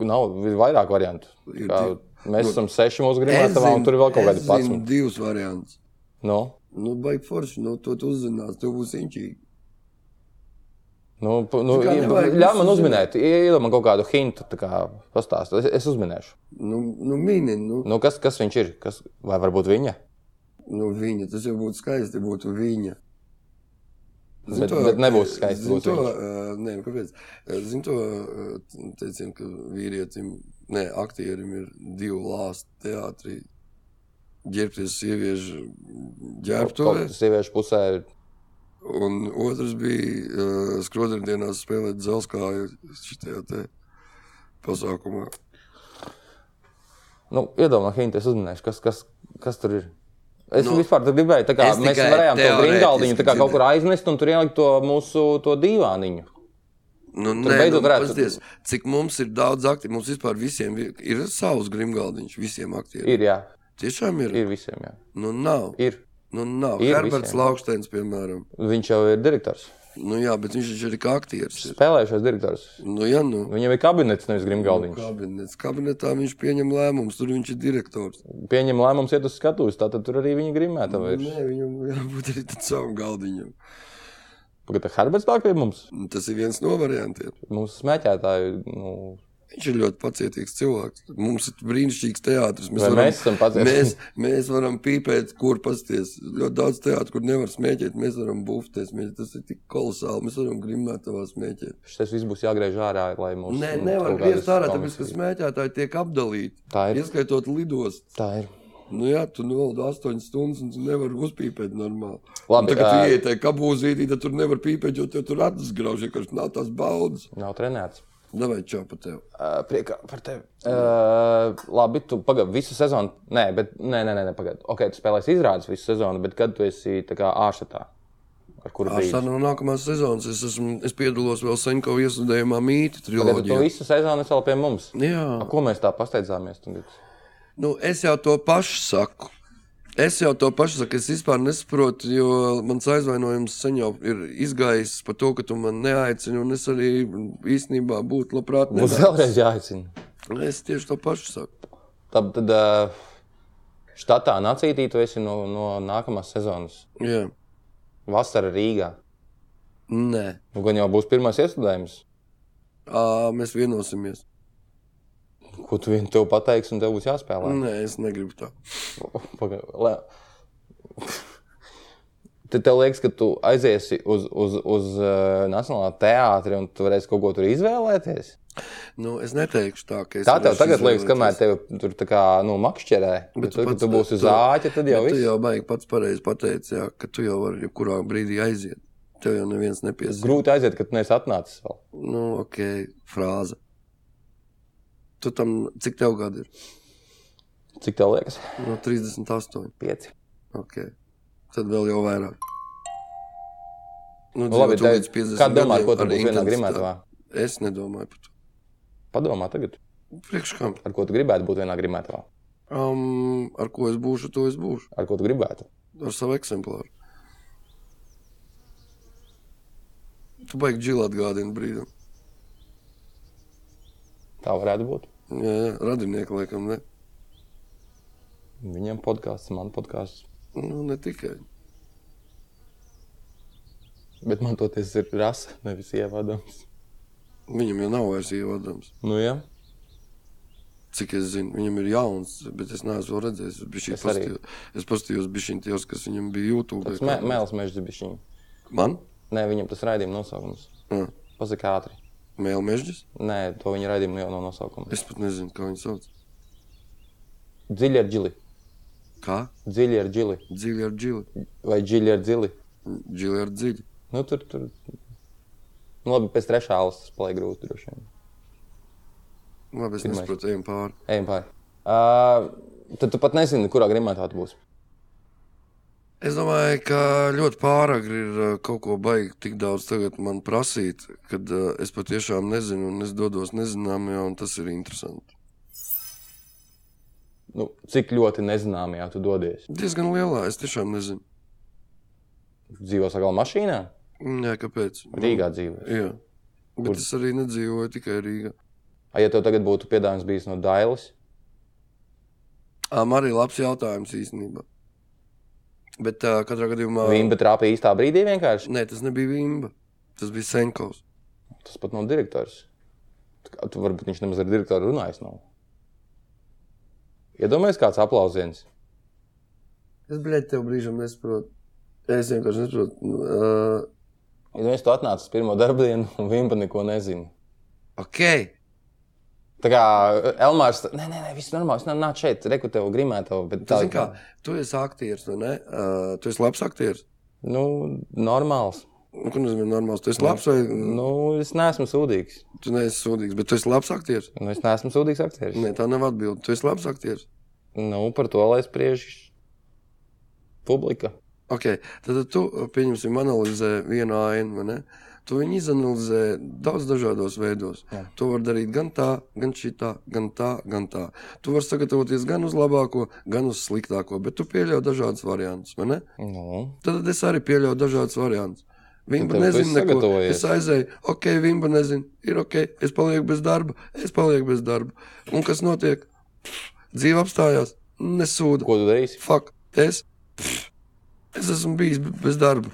[SPEAKER 2] Nav ir vairāk variantu.
[SPEAKER 1] Ir
[SPEAKER 2] Kā,
[SPEAKER 1] divi. Nu,
[SPEAKER 2] mēs esam seši
[SPEAKER 1] Es
[SPEAKER 2] mūsu grimētavā, un tur ir vēl kaut
[SPEAKER 1] es
[SPEAKER 2] kādi pats.
[SPEAKER 1] zinu Divus variantus.
[SPEAKER 2] Nu,
[SPEAKER 1] Nu, baigi forši, no to tu uzzināsi, tev būs inčīgi.
[SPEAKER 2] nu, p- nu,
[SPEAKER 1] kā nevajag
[SPEAKER 2] ļauj man
[SPEAKER 1] visu
[SPEAKER 2] uzminēt, iedod man kaut kādu hintu, tā kā pastāst. Es, es uzminēšu.
[SPEAKER 1] Nu, nu mini, nu,
[SPEAKER 2] Nu, kas, kas viņš ir? Kas, vai varbūt viņa?
[SPEAKER 1] nu viņa, tas jau būtu skaisti, ja būtu viņa. Zini
[SPEAKER 2] Bet- bet nebūs skaisti,
[SPEAKER 1] Zini
[SPEAKER 2] būs
[SPEAKER 1] to, uh, nē, kāpēc? Uh, Zini to, uh, teicien, ka vīrietim, nē, aktierim ir divi lāsti teātrī. Ģērbties sieviešu ģērbtuvē.
[SPEAKER 2] Kaut sieviešu pusē ir
[SPEAKER 1] Un otrs bija uh, skrodarbdienās spēlēt dzelzkāju šajā te pasākumā.
[SPEAKER 2] Nu, Iedomājieties, Hinti, es uzminēšu, kas, kas, kas tur ir. Es
[SPEAKER 1] Nu,
[SPEAKER 2] nu, vispār tā gribēju, tā kā
[SPEAKER 1] es
[SPEAKER 2] mēs
[SPEAKER 1] tikai
[SPEAKER 2] varējām to
[SPEAKER 1] teorētiski
[SPEAKER 2] brīngaldiņu tā kā kaut
[SPEAKER 1] dzirdēju.
[SPEAKER 2] kur aiznest un tur ielikt to mūsu to divāniņu.
[SPEAKER 1] Nu, nē, nu,
[SPEAKER 2] beidzot varētu-
[SPEAKER 1] pasties, cik mums ir daudz aktieru, mums vispār visiem vi- ir savs grimgaldiņš, visiem aktieriem.
[SPEAKER 2] Ir, jā,
[SPEAKER 1] Tiešām ir?
[SPEAKER 2] ir visiem, jā.
[SPEAKER 1] Nu, nav.
[SPEAKER 2] Ir.
[SPEAKER 1] Nu, nav.
[SPEAKER 2] Ir
[SPEAKER 1] Herberts
[SPEAKER 2] visiem.
[SPEAKER 1] Lauksteins, piemēram.
[SPEAKER 2] Viņš jau ir direktors,
[SPEAKER 1] Nu, jā, bet viņš taču ir kā aktieris. ir.
[SPEAKER 2] spēlējušais direktors.
[SPEAKER 1] Nu, jā, nu.
[SPEAKER 2] Viņam ir kabinets, nevis grimgaldiņš.
[SPEAKER 1] Kabinets. Kabinetā viņš pieņem lēmumus, tur viņš ir direktors.
[SPEAKER 2] Pieņem lēmumus, iet uz skatuves, tātad tur arī viņa grimēta vai ir.
[SPEAKER 1] Nē, viņam jābūt arī tad savam galdiņam. Nu,
[SPEAKER 2] Pagaidā, Herberts nāk pie mums,
[SPEAKER 1] Un Tas ir viens no variantiem.
[SPEAKER 2] mūsu smēķētāju, nu,
[SPEAKER 1] Viņš ir ļoti pacietīgs cilvēks. Mums ir brīnišķīgs teātris. Mēs,
[SPEAKER 2] Vai mēs esam pacietīgi?
[SPEAKER 1] mēs, mēs varam pīpēt, kur pasties. Ļoti daudz teātris, kur nevar smēķēt, mēs varam bufties. Mēs, tas ir tik kolosāli. Mēs varam grimnāt tavā smēķēt.
[SPEAKER 2] Tas viss būs jāgriež ārā, lai mums
[SPEAKER 1] Nē,
[SPEAKER 2] nu,
[SPEAKER 1] nevar
[SPEAKER 2] kaut kādas
[SPEAKER 1] griezt ārā, tāpēc,
[SPEAKER 2] komisijas-
[SPEAKER 1] ka smēķētāji tiek apdalīti.
[SPEAKER 2] Tā ir.
[SPEAKER 1] Ieskaitot lidostu.
[SPEAKER 2] Tā ir.
[SPEAKER 1] Nu jā, tu nolaidu 8 stundas un tu nevari uzpīpēt normāli.
[SPEAKER 2] Labi,
[SPEAKER 1] Labi, tagad
[SPEAKER 2] ā,
[SPEAKER 1] tu ieej tajā kabūzītī, tad tur nevar pīpēt, jo tev tur acis grauž, ja kas nav tās baudas.
[SPEAKER 2] Nav trenēts.
[SPEAKER 1] Davai čau pa tev.
[SPEAKER 2] Uh, priekā par tevi. Uh, labi, tu pagaidi visu sezonu. Nē, bet nē, nē, nē, nē pagaidi. Ok, tu spēlēsi izrādes visu sezonu, bet kad tu esi tā kā ārštatā? Ar kuru
[SPEAKER 1] Ar
[SPEAKER 2] brīdi?
[SPEAKER 1] tā no nākamās sezonas es, esmu, es piedalos vēl Senko iesūdzējumā mītī
[SPEAKER 2] Tagad tu to
[SPEAKER 1] triloģijā.
[SPEAKER 2] visu sezonu esi vēl pie mums.
[SPEAKER 1] Jā,
[SPEAKER 2] Ar ko mēs tā pasteidzāmies? tagad?
[SPEAKER 1] nu, es jau to pašu saku. Es jau to pašu saku, es vispār nesaprotu, jo mans aizvainojums sen jau ir izgājis par to, ka tu man neaicini, un es arī īstenībā būtu labprāt.
[SPEAKER 2] Mums
[SPEAKER 1] nedēļ.
[SPEAKER 2] vēlreiz jāicina.
[SPEAKER 1] Es tieši to pašu saku.
[SPEAKER 2] Tad, tad uh, štatā nacītī tu esi no, no nākamās sezonas.
[SPEAKER 1] Jā,
[SPEAKER 2] Vasara Rīgā.
[SPEAKER 1] nē.
[SPEAKER 2] Nu, gan jau būs pirmais iestudējums.
[SPEAKER 1] Ā, mēs vienosimies.
[SPEAKER 2] Ko tu vien tev pateiksi, un tev būs jāspēlē?
[SPEAKER 1] Nē, es negribu tā.
[SPEAKER 2] Paga- lē- Tad tev liekas, ka tu aiziesi uz, uz, uz uh, Nacionālā teātri un tu varēsi kaut ko tur izvēlēties.
[SPEAKER 1] Nu, es neteikšu tā, ka es.
[SPEAKER 2] Tā tev
[SPEAKER 1] varēšu
[SPEAKER 2] tagad liekas,
[SPEAKER 1] izvēlēties.
[SPEAKER 2] kamēr tev tur tā kā nu, makšķerē. Bet, bet tu, kad
[SPEAKER 1] pats-
[SPEAKER 2] tu būsi uz
[SPEAKER 1] tu-
[SPEAKER 2] āķa, tad jau
[SPEAKER 1] bet Tu
[SPEAKER 2] viss.
[SPEAKER 1] jau baigi pats pareizi pateici, jā, ka tu jau vari jebkurā brīdī aiziet. Tev jau neviens nepiesaka.
[SPEAKER 2] Grūti aiziet, kad tu neesi atnācis vēl.
[SPEAKER 1] Nu, ok, frāze. Tu tam, cik tev gadi ir?
[SPEAKER 2] Cik tev liekas?
[SPEAKER 1] No 38.
[SPEAKER 2] Pieci.
[SPEAKER 1] Ok. Tad vēl jau vairāk.
[SPEAKER 2] Nu, labi,
[SPEAKER 1] dzīvo tu līdz
[SPEAKER 2] tev,
[SPEAKER 1] 50
[SPEAKER 2] kā domā,
[SPEAKER 1] gadiem
[SPEAKER 2] ko tu
[SPEAKER 1] ar
[SPEAKER 2] būsi vienā
[SPEAKER 1] intensitāti.
[SPEAKER 2] grimētavā?
[SPEAKER 1] Es nedomāju par to.
[SPEAKER 2] Padomā tagad,
[SPEAKER 1] Priekš kam?
[SPEAKER 2] ar ko tu gribētu būt vienā grimētavā.
[SPEAKER 1] Um, ar ko es būšu, to es būšu.
[SPEAKER 2] Ar ko tu gribētu?
[SPEAKER 1] ar savu eksemplāru. Tu baigi džilā atgādini brīdim.
[SPEAKER 2] Tā varētu būt.
[SPEAKER 1] Jā, jā radinieki laikam ne.
[SPEAKER 2] Viņam podkāsts, man podkāsts.
[SPEAKER 1] Nu, ne tikai.
[SPEAKER 2] Bet man toties ir rasa, nevis ievadams.
[SPEAKER 1] Viņam jau nav vairs ievadams.
[SPEAKER 2] Nu, jā.
[SPEAKER 1] Cik es zinu, viņam ir jauns, bet es neesmu vēl redzējis. Es bišķiņ
[SPEAKER 2] Es arī.
[SPEAKER 1] paskatījos- Es paskatījos bišķiņ tajos, kas viņam bija YouTube.
[SPEAKER 2] Tas
[SPEAKER 1] kā-
[SPEAKER 2] mēls mežs bija.
[SPEAKER 1] Man?
[SPEAKER 2] Nē, viņam tas raidījuma nosaukums.
[SPEAKER 1] Mm.
[SPEAKER 2] Pasaka ātri.
[SPEAKER 1] Mēl mežģis?
[SPEAKER 2] Nē, to viņa raidījuma jau nav nosaukuma.
[SPEAKER 1] Es pat nezinu, kā viņu sauc.
[SPEAKER 2] Dziļi ar džili.
[SPEAKER 1] Kā?
[SPEAKER 2] Dziļi ar džili.
[SPEAKER 1] Dzīvi ar džili.
[SPEAKER 2] Vai džili ar džili.
[SPEAKER 1] Džili ar dziļi.
[SPEAKER 2] Nu, tur, tur. Nu, labi, pēc trešā alas tas paliek grūti droši vien.
[SPEAKER 1] Labi, es
[SPEAKER 2] Pirmais.
[SPEAKER 1] nesaprotu, ejam pāri.
[SPEAKER 2] Ejam pāri. Uh, tad tu pat nezini, kurā grimā tā būs.
[SPEAKER 1] Es domāju, ka ļoti pārāk ir uh, kaut ko baigi tik daudz tagad man prasīt, kad uh, es patiešām nezinu, un es dodos nezināmajā, un tas ir interesanti.
[SPEAKER 2] Nu, cik ļoti nezināmajā tu dodies?
[SPEAKER 1] Diezgan lielā, es tiešām nezinu.
[SPEAKER 2] Dzīvo savā mašīnā,
[SPEAKER 1] Jā, kāpēc? Nu,
[SPEAKER 2] Rīgā dzīvo.
[SPEAKER 1] Jā. Bet
[SPEAKER 2] Kur?
[SPEAKER 1] Kur? es arī nedzīvoju tikai Rīgā.
[SPEAKER 2] Ai, ja tev tagad būtu piedāvājums bijis no Dailas,
[SPEAKER 1] Ām Um, arī labs jautājums īstenībā. Bet uh, katrā gadījumā
[SPEAKER 2] viņa trāpīja īstā brīdī vienkārši.
[SPEAKER 1] Nē, tas nebija Vimba. Tas bija Senkovs.
[SPEAKER 2] Tas pat nav direktors. Tā kā Tu, varbūt viņš nemaz ar direktoru runājis. Nav. Iedomājieties, kāds aplausiens.
[SPEAKER 1] Es blēdi tev brīžam nesaprotu. Es vienkārši nesaprotu. Uh,
[SPEAKER 2] Iedomājieties, nu tu atnācis pirmo darbu dienu un viņš pat neko nezina.
[SPEAKER 1] ok.
[SPEAKER 2] Tā kā Elmārs, nē, nē, nē viss normāli. Es nāku šeit, reku tev grimēto. bet
[SPEAKER 1] Tu, zini kā, tu esi aktieris, vai ne? Uh, tu esi labs aktieris.
[SPEAKER 2] Nu, normāls.
[SPEAKER 1] Nu, Ko nozīmē normāls? Tu esi labs vai
[SPEAKER 2] Nu, es neesmu sūdīgs.
[SPEAKER 1] tu neesi sūdīgs, bet tu esi labs aktieris.
[SPEAKER 2] Nu, es neesmu sūdīgs aktieris.
[SPEAKER 1] Nē, tā nav atbilde. Tu esi labs aktieris.
[SPEAKER 2] Nu, par to, lai spriež publika.
[SPEAKER 1] Okay. Tad tu, eh, pieņemsim, analizē vienu ainu, vai ne? Tu viņu izanalizē daudz dažādos veidos. Jā. To var darīt gan tā, gan šitā, gan tā, gan tā. Tu vari sagatavoties gan uz labāko, gan uz sliktāko, bet tu pieļauj dažādas variantus, vai ne?
[SPEAKER 2] Nu,
[SPEAKER 1] Tad es arī pieļauju dažādas variantus. Viņa
[SPEAKER 2] Tad tev tu
[SPEAKER 1] nezina,
[SPEAKER 2] esi
[SPEAKER 1] ko
[SPEAKER 2] sagatavojies.
[SPEAKER 1] es aizēju. Ok, viņa nezina, ir ok, es palieku bez darba, es palieku bez darba. Un kas notiek? Dzīve apstājās, nesūda.
[SPEAKER 2] ko tu darīsi?
[SPEAKER 1] Fuck, es, pff, es esmu bijis be- bez darba.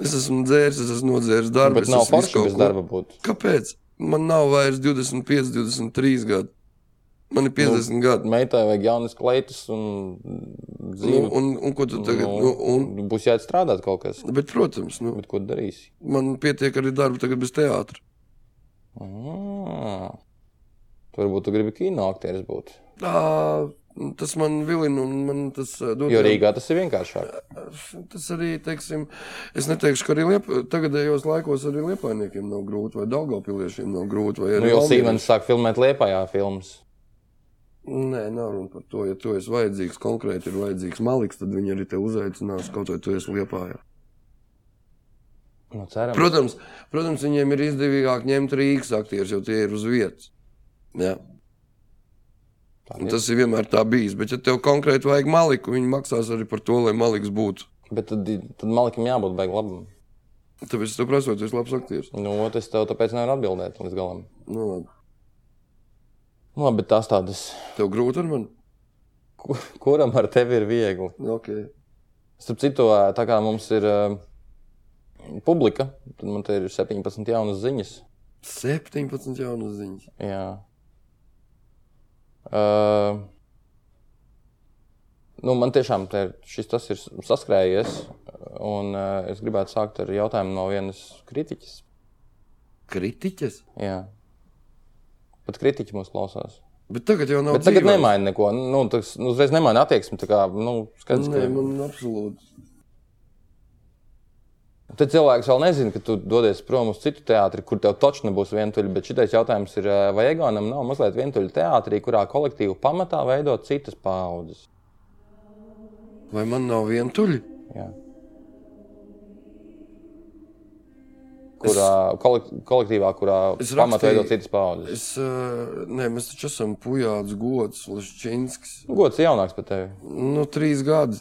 [SPEAKER 1] Es esmu dzēris, es esmu nodzēris darbu.
[SPEAKER 2] Bet nav forši bez darba būt.
[SPEAKER 1] Kāpēc? man nav vairs 25, 23 gadi. Man ir 50 nu, gadi.
[SPEAKER 2] Meitai vajag jaunas kleitas un
[SPEAKER 1] Nu,
[SPEAKER 2] dzīvi.
[SPEAKER 1] un, Nu, un ko tu tagad? Nu, un,
[SPEAKER 2] Būs jāatstrādāt kaut kas.
[SPEAKER 1] bet, protams, nu,
[SPEAKER 2] Bet ko darīsi?
[SPEAKER 1] man pietiek arī darba tagad bez teātra.
[SPEAKER 2] Ah. Tu varbūt tu gribi kino aktieris būt.
[SPEAKER 1] Tā, tas man vilina un man tas eh, dod.
[SPEAKER 2] Jo Rīgā tas ir vienkāršāk.
[SPEAKER 1] Tas arī, teiksim, es neteikšu, ka arī liep, tagadējos laikos arī liepainiekiem nav grūti, vai daudzopiliešiem nav grūti. Vai
[SPEAKER 2] Nu,
[SPEAKER 1] arī
[SPEAKER 2] jau
[SPEAKER 1] Valmieriem.
[SPEAKER 2] Sīmenis sāk filmēt Liepājā filmas.
[SPEAKER 1] Nē, nav runa par to. Ja tu esi vajadzīgs konkrēti, ir vajadzīgs maliks, tad viņi arī te uzaicinās kaut vai tu esi liepājā.
[SPEAKER 2] Nu, ceram.
[SPEAKER 1] Protams, protams, viņiem ir izdevīgāk ņemt Rīgas aktierus, jo tie ir uz vietas. Jā. Un tas ir vienmēr tā bijis. Bet, ja tev konkrēti vajag maliku, viņi maksās arī par to, lai maliks būtu.
[SPEAKER 2] Bet tad, tad malikam jābūt baigi labam.
[SPEAKER 1] Tāpēc es tev prasu, vai tu esi labs aktieris.
[SPEAKER 2] Nu, ot, es tev tāpēc nevaru atbildēt līdz galam.
[SPEAKER 1] Nu, labi.
[SPEAKER 2] Nu, labi, bet tās tādas,
[SPEAKER 1] tev grūti ar mani? Nu,
[SPEAKER 2] ku- kuram ar tevi ir viegli.
[SPEAKER 1] Okay.
[SPEAKER 2] Starp citu, ā, tā kā mums ir ā, publika, tad man te ir 17 jaunas ziņas.
[SPEAKER 1] 17 jaunas ziņas.
[SPEAKER 2] Jā. Uh, nu, man tiešām te ir- šis tas ir saskrējies. Un, uh, es gribētu sākt ar jautājumu no vienas kritiķes.
[SPEAKER 1] Kritiķis?
[SPEAKER 2] Jā. Pat kritiķi mūs klausās.
[SPEAKER 1] Bet tagad jau nav.
[SPEAKER 2] Bet tagad
[SPEAKER 1] dzīvais.
[SPEAKER 2] nemaina neko. Nu, tas nu, uzreiz nemaina attieksmi. tā Kā, nu, skaidrs,
[SPEAKER 1] Nē,
[SPEAKER 2] ka...
[SPEAKER 1] man absolūti.
[SPEAKER 2] Tad cilvēks vēl nezina, ka tu dodies prom uz citu teātri, kur tev taču nebūs vientuļi. Bet šitais jautājums ir, ā, vai Egonam nav mazliet vientuļa teātrī, kurā kolektīvu pamatā veido citas paudzes?
[SPEAKER 1] Vai man nav vientuļi?
[SPEAKER 2] Jā. Kurā kolek kolektīvā, kurā
[SPEAKER 1] Es
[SPEAKER 2] pamatā
[SPEAKER 1] rakstīju-
[SPEAKER 2] veido citas paudzes?
[SPEAKER 1] Es, uh, nē, mēs taču esam pujāts, gods, Laščinskis.
[SPEAKER 2] Nu, Gods ir jaunāks par tevi.
[SPEAKER 1] Nu, trīs gadi,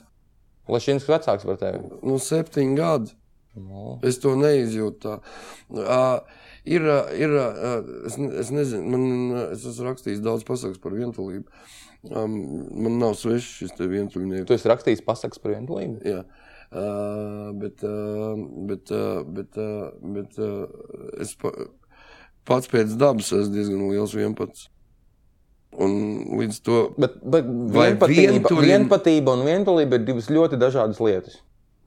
[SPEAKER 2] Lešins ir vecāks par tevi.
[SPEAKER 1] nu, septiņi gadi.
[SPEAKER 2] Nu,
[SPEAKER 1] Es to neizjūtu. Tā. Uh, ir, uh, ir, uh, es, ne- es nezinu, man, uh, es esmu rakstījis daudz pasakas par vientulību. Um, man nav svešs šis te vientuļnieks.
[SPEAKER 2] tu esi rakstījis pasakas par vientulību.
[SPEAKER 1] Jā. Uh, bet uh, bet, uh, bet, uh, bet uh, es pa, pats pēc dabas esmu diezgan liels vienpats. Un līdz to
[SPEAKER 2] Bet, bet
[SPEAKER 1] Vai
[SPEAKER 2] vienpatība,
[SPEAKER 1] vientuļi-
[SPEAKER 2] vienpatība un vientulība ir divas ļoti dažādas lietas.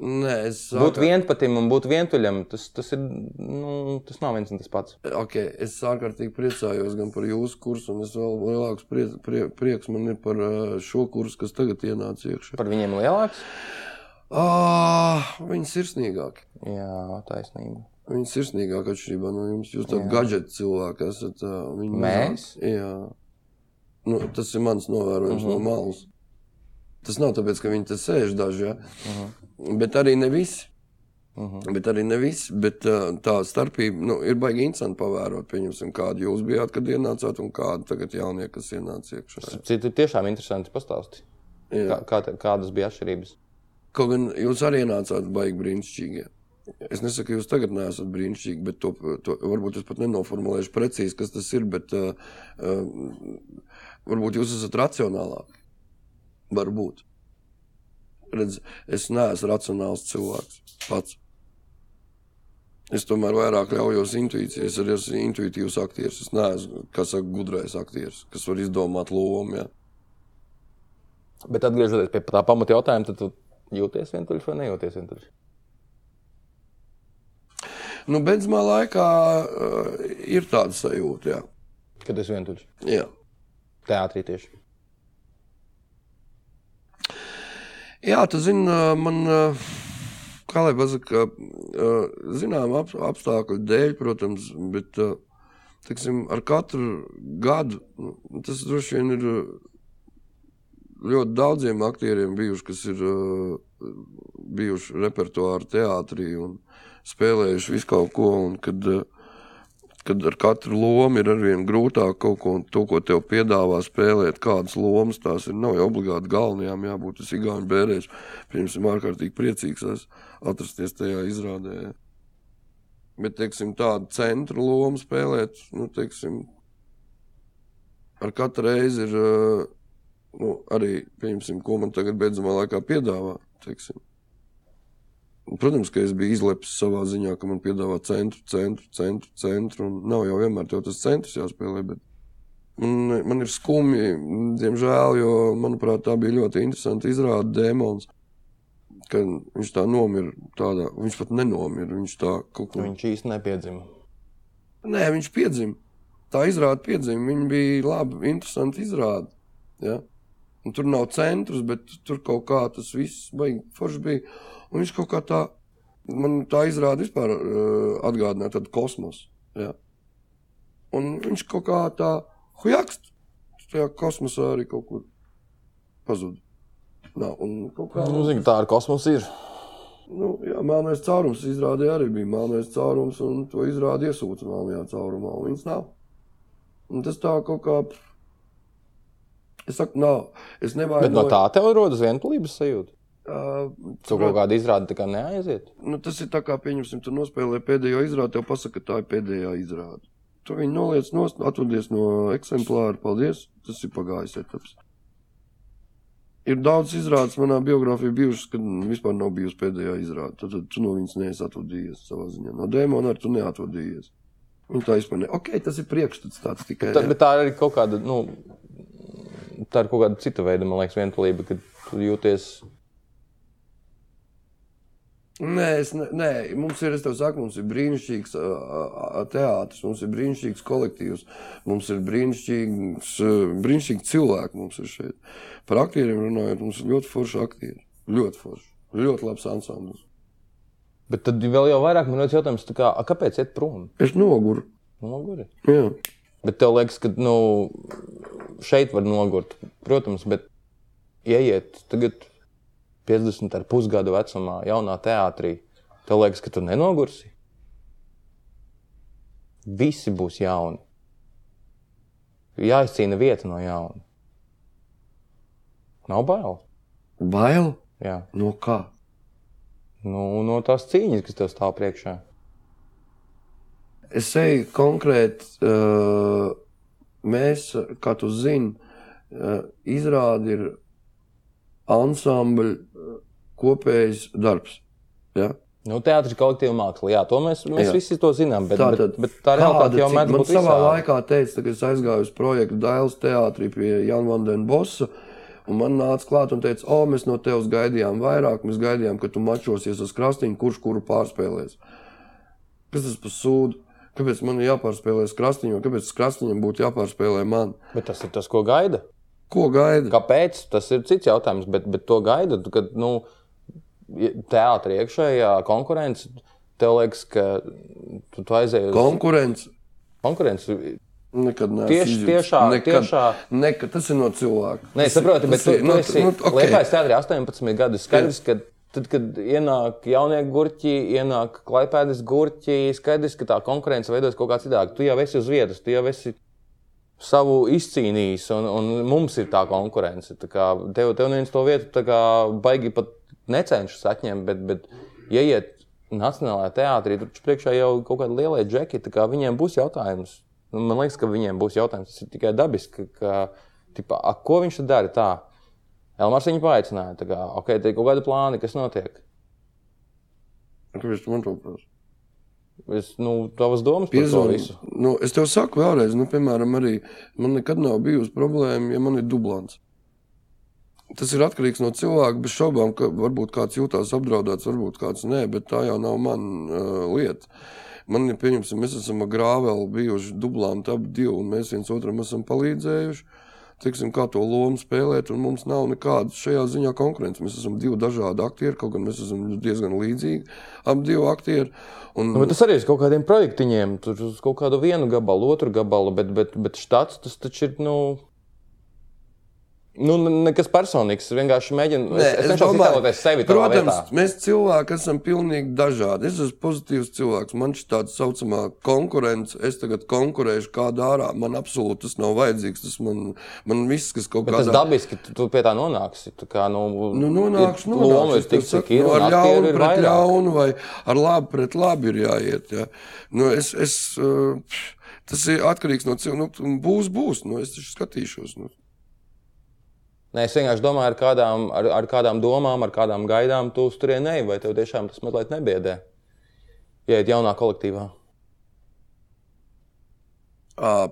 [SPEAKER 1] nē, es
[SPEAKER 2] Būt
[SPEAKER 1] sāku.
[SPEAKER 2] vienpatim un būt vientuļam, tas, tas, ir, nu, tas nav viens un tas pats.
[SPEAKER 1] Okay, es ārkārtīgi priecājos gan par jūsu kursu, un es vēl lielāks prie, prie, prieks man ir par uh, šo kursu, kas tagad ienāca iekšā.
[SPEAKER 2] Par viņiem lielāks?
[SPEAKER 1] Ah, viņi sirsnīgāki.
[SPEAKER 2] Jā, taisnība.
[SPEAKER 1] Viņi sirsnīgāk atšķirībā no jums. Jūs tādi gadžeti cilvēki esat. ā, Viņi
[SPEAKER 2] Mēs?
[SPEAKER 1] Jā. Nu, tas ir mans novērojums uh -huh. no malas. Tas nav tāpēc, ka viņi te sēž daži, ja? uh -huh. bet arī ne visi. Uh -huh. Bet arī ne visi. Bet, ā, tā starpība nu, ir baigi interesanti pavērot. Pieņemsim, kādu jūs bijāt, kad ienācāt, un kādu tagad jaunie, kas ienāca iekšā.
[SPEAKER 2] Citu tiešām interesanti pastāstīt.
[SPEAKER 1] Jā.
[SPEAKER 2] Kā, kā te- kādas bija atšķirības?
[SPEAKER 1] Kaut gan jūs arī ienācāt baigi brīnišķīgi. Es nesaku, ka jūs tagad neesat brīnišķīgi, bet to, to varbūt es pat nenoformulēšu precīzi, kas tas ir. Bet, uh, uh, varbūt jūs esat racionālāk. Varbūt. Redz, es neesmu racionāls cilvēks pats. Es tomēr vairāk ļaujos intuīcijai. Es arī esmu intuitīvs aktieris. Es neesmu, kā saka, gudrais aktieris, kas var izdomāt lomu. Ja.
[SPEAKER 2] Bet atgriežoties pie tā pamata jautājuma, tad tu jūties vientuļš vai nejūties vientuļš?
[SPEAKER 1] Nu, Benzmā laikā uh, ir tāda sajūta. Jā.
[SPEAKER 2] Kad es vientuļš.
[SPEAKER 1] Jā.
[SPEAKER 2] Teātrī tieši.
[SPEAKER 1] Jā, tu zini, ā, man, ā, kā lai pasakā, zinām, ap, apstākļu dēļ, protams, bet ā, tiksim, ar katru gadu nu, tas droši vien ir ā, ļoti daudziem aktieriem bijuši, kas ir ā, bijuši repertuāra teātrī un spēlējuši visu kaut ko. un Kad, ā, kad ar katru lomu ir arvien grūtāk kaut ko to, ko tev piedāvā spēlēt, kādas lomas tās ir. Nav jau obligāti galvenajām jābūt. Es īstenībā bērēs, pirms tam ārkārtīgi priecīgs esmu atrasties tajā izrādē. Bet, teiksim, tādu centra lomu spēlēt, nu, teiksim, ar katru reizi ir ā, nu, arī, pieņemsim, ko man tagad beidzamā laikā piedāvā. Teiksim. Un, Protams, ka es biju izlepis savā ziņā, ka man piedāvā centru, centru, centru, centru. un Nav jau vienmēr tev tas centrs jāspēlē, bet man, man ir skumji, diemžēl, jo, manuprāt, tā bija ļoti interesanta izrāde demons. ka Viņš tā nomira. Tādā, viņš pat nenomira. Viņš tā kaut kur
[SPEAKER 2] Nu, Viņš īsti nepiedzima.
[SPEAKER 1] Nē, viņš piedzima. Tā izrāda piedzima. Viņa bija laba, interesanta izrāde. Ja? Un Tur nav centrs, bet tur kaut kā tas viss baigi forši bija forši. Viņš kaut kā tā, man tā izrāda vispār uh, atgādināja tādu kosmosu. Ja? Un viņš kaut kā tā hujakst, tajā kosmosā arī kaut kur pazuda. Nā, un kaut kā
[SPEAKER 2] Nu, zinu, tā ar kosmosu ir.
[SPEAKER 1] Nu, jā, melnais caurums izrādē arī bija melnais caurums, un to izrādīja iesūta melnajā caurumā. un Viņas nav. Un tas tā kaut kā. pff, Es saku, nav. Es
[SPEAKER 2] Bet no
[SPEAKER 1] nevainoju.
[SPEAKER 2] tā tev rodas vienotības sajūta.
[SPEAKER 1] Uh,
[SPEAKER 2] Tu kaut kāda izrāda tā kā neaiziet.
[SPEAKER 1] nu, tas ir tā kā, pieņemsim, tu nospēlē pēdējo izrādi, tev pasaka, ka tā ir pēdējā izrāde. Tu viņu noliec no, atvadies no eksemplāra, paldies, tas ir pagājis etaps. Ir daudz izrādes manā biogrāfijā bijušas, kad vispār nav bijusi pēdējā izrāde. Tad, tad tu no viņas neesi atvadījies savā ziņā. No dēmona arī tu neatvadījies. Viņa tā izpētē. Ok, tas ir priekšstats tāds tikai.
[SPEAKER 2] Tā, bet tā ir arī kaut kāda, nu, tā ir kaut kāda cita veida, man liekas, vienotība, kad tu jūties.
[SPEAKER 1] Nē, es ne, nē, mums ir, es tev saku, mums ir brīnišķīgs ā, ā, teātris, mums ir brīnišķīgs kolektīvs, mums ir brīnišķīgs, ā, brīnišķīgi cilvēki mums ir šeit. Par aktieriem runājot, mums ir ļoti forši aktieri. Ļoti forši. Ļoti labs ansamblis.
[SPEAKER 2] Bet tad vēl jau vairāk man rodas jautājums, tā kā, a, kāpēc iet prom? Nu,
[SPEAKER 1] Es noguru.
[SPEAKER 2] Noguri.
[SPEAKER 1] Jā.
[SPEAKER 2] Bet tev liekas, ka nu, šeit var nogurt. Protams, bet ieiet tagad 50 ar pusgadu vecumā, jaunā teātrī. Tev liekas, ka tu nenogursi. Visi būs jauni. Jāizcīna vieta no jauna. Nav bail.
[SPEAKER 1] Bail?
[SPEAKER 2] Jā.
[SPEAKER 1] No kā?
[SPEAKER 2] Nu, no tās cīņas, kas tev stāv priekšā.
[SPEAKER 1] Es eju konkrēti, uh, mēs, kā tu zini, uh, izrādi ir ansambļa uh, kopējs darbs. Ja?
[SPEAKER 2] Nu, teātris ir kolektīva māksla. Jā, to mēs, mēs
[SPEAKER 1] Jā.
[SPEAKER 2] visi to zinām. Bet,
[SPEAKER 1] Tātad,
[SPEAKER 2] bet, bet tā realitāte jau mēdz
[SPEAKER 1] man
[SPEAKER 2] būt
[SPEAKER 1] savā
[SPEAKER 2] visāda.
[SPEAKER 1] laikā teica, ka es aizgāju uz projektu Dāles teātrī pie Jana Vandena Bosa. Un man nāca klāt un teica, o, mēs no tevis gaidījām vairāk, mēs gaidījām, ka tu mačosies uz krastiņu, kurš kuru pārspēlēs. Kas tas par sūdu? Kāpēc man ir jāpārspēlē krastiņš, kāpēc krastiņam būtu jāpārspēlē man?
[SPEAKER 2] Bet tas ir tas, ko gaida.
[SPEAKER 1] Ko gaida?
[SPEAKER 2] Kāpēc? Tas ir cits jautājums, bet, bet to gaida. tu, Kad nu, teātrī iekšējā konkurence, tev liekas, ka tu, tu aizēji uz
[SPEAKER 1] Konkurence
[SPEAKER 2] konkurenci.
[SPEAKER 1] nekad nav.
[SPEAKER 2] Tieši tiešā-
[SPEAKER 1] nekad,
[SPEAKER 2] tiešā-
[SPEAKER 1] nekad tas ir no cilvēka.
[SPEAKER 2] Nē, es saprotu, bet tu,
[SPEAKER 1] tas ir-
[SPEAKER 2] tu esi
[SPEAKER 1] nu, ok.
[SPEAKER 2] Lietuvas teātrī 18 gadus. Skaidrs, ka tad, kad ienāk jaunie gurķi, ienāk klaipēdas gurķi, skaidrs, ka tā konkurence veidojas kaut kā citādi. Tu jau esi uz vietas, tu jau esi savu izcīnījis, un, un mums ir tā konkurence. Tā kā tev, tev neviens to vietu tā kā baigi pat necenšas atņemt, bet, bet ieiet Nacionālajā teātrī, tur taču priekšā jau kaut kāda liela džeki, tā kā viņiem būs jautājums. Nu, Man liekas, ka viņiem būs jautājums. Tas ir tikai dabiski, ka, tipā, a, ko viņš tad dara tā? Elmars viņu paaicināja, tā kā, ok, te ir kaut kādi plāni, kas notiek.
[SPEAKER 1] Kāpēc tu man to prasa?
[SPEAKER 2] Es, nu, tavas domas par to
[SPEAKER 1] Piezvani.
[SPEAKER 2] visu.
[SPEAKER 1] Nu, es tev saku vēlreiz, nu, piemēram, arī man nekad nav bijusi problēma, ja man ir dublants. Tas ir atkarīgs no cilvēka. Bez šaubām, ka varbūt kāds jūtas apdraudēts, varbūt kāds nē, bet tā jau nav mana uh, lieta. Man ir pieņemts, mēs esam ar grāveli bijuši dublanti ap divi, un mēs viens otram esam palīdzējuši. Tiksim, kā to lomu spēlēt, un mums nav nekādas šajā ziņā konkurences. Mēs esam divi dažādi aktieri, kaut gan mēs esam diezgan līdzīgi. Ap divi aktieri. Un,
[SPEAKER 2] Nu, bet tas arī ir uz kaut kādiem projektiņiem, tur uz kaut kādu vienu gabalu, otru gabalu, bet, bet, bet štats tas taču ir. Nu... Nu, ne- nekas personīgs. Es vienkārši mēģinu. Es, es, es domāju, ka tas ir sevi. tavā
[SPEAKER 1] Protams,
[SPEAKER 2] vietā.
[SPEAKER 1] mēs cilvēki esam pilnīgi dažādi. Es esmu pozitīvs cilvēks. Man šī tā saucamā konkurence, es tagad konkurēšu kādā ārā. Man absolūti tas nav vajadzīgs. Tas man, man viss, kas kaut
[SPEAKER 2] Bet tas
[SPEAKER 1] kādā
[SPEAKER 2] dabiski, ka tu, tu pie tā nonāksi. Tu kā, nu,
[SPEAKER 1] Nu, nonākšu,
[SPEAKER 2] ir,
[SPEAKER 1] nonākšu.
[SPEAKER 2] Loma ir
[SPEAKER 1] Es tev
[SPEAKER 2] tik,
[SPEAKER 1] saku,
[SPEAKER 2] cik ir.
[SPEAKER 1] nu,
[SPEAKER 2] un
[SPEAKER 1] ar
[SPEAKER 2] aktieru
[SPEAKER 1] ļaunu
[SPEAKER 2] ir
[SPEAKER 1] pret
[SPEAKER 2] vairāk.
[SPEAKER 1] ļaunu vai ar labu pret labu ir jāiet. Ja? Nu, es, es, uh, pff, tas ir atkarīgs no cilvēka. Nu, būs, būs. Nu, es taču skatīšos. Nu.
[SPEAKER 2] Nē, es vienkārši domāju, ar kādām, ar, ar kādām domām, ar kādām gaidām tu uz turieni ej, vai tev tiešām tas mazliet nebiedē. Iet jaunā kolektīvā.
[SPEAKER 1] Ā,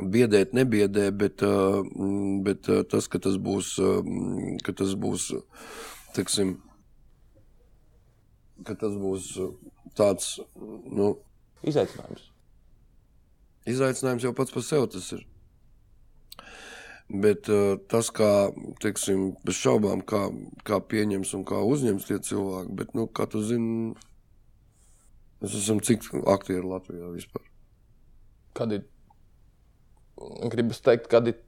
[SPEAKER 1] biedēt, nebiedē, bet, ā, mm, bet ā, tas, ka tas būs, ā, mm, ka tas būs, teiksim, ka tas būs ā, tāds, nu,
[SPEAKER 2] Izaicinājums.
[SPEAKER 1] Izaicinājums jau pats par sevi tas ir. Bet eh, tas, kā, teiksim, bez šaubām, kā, kā pieņems un kā uzņems tie cilvēki, bet, nu, kā tu zini, mēs esam cik aktieri Latvijā vispār.
[SPEAKER 2] Kad ir, gribas teikt, kad ir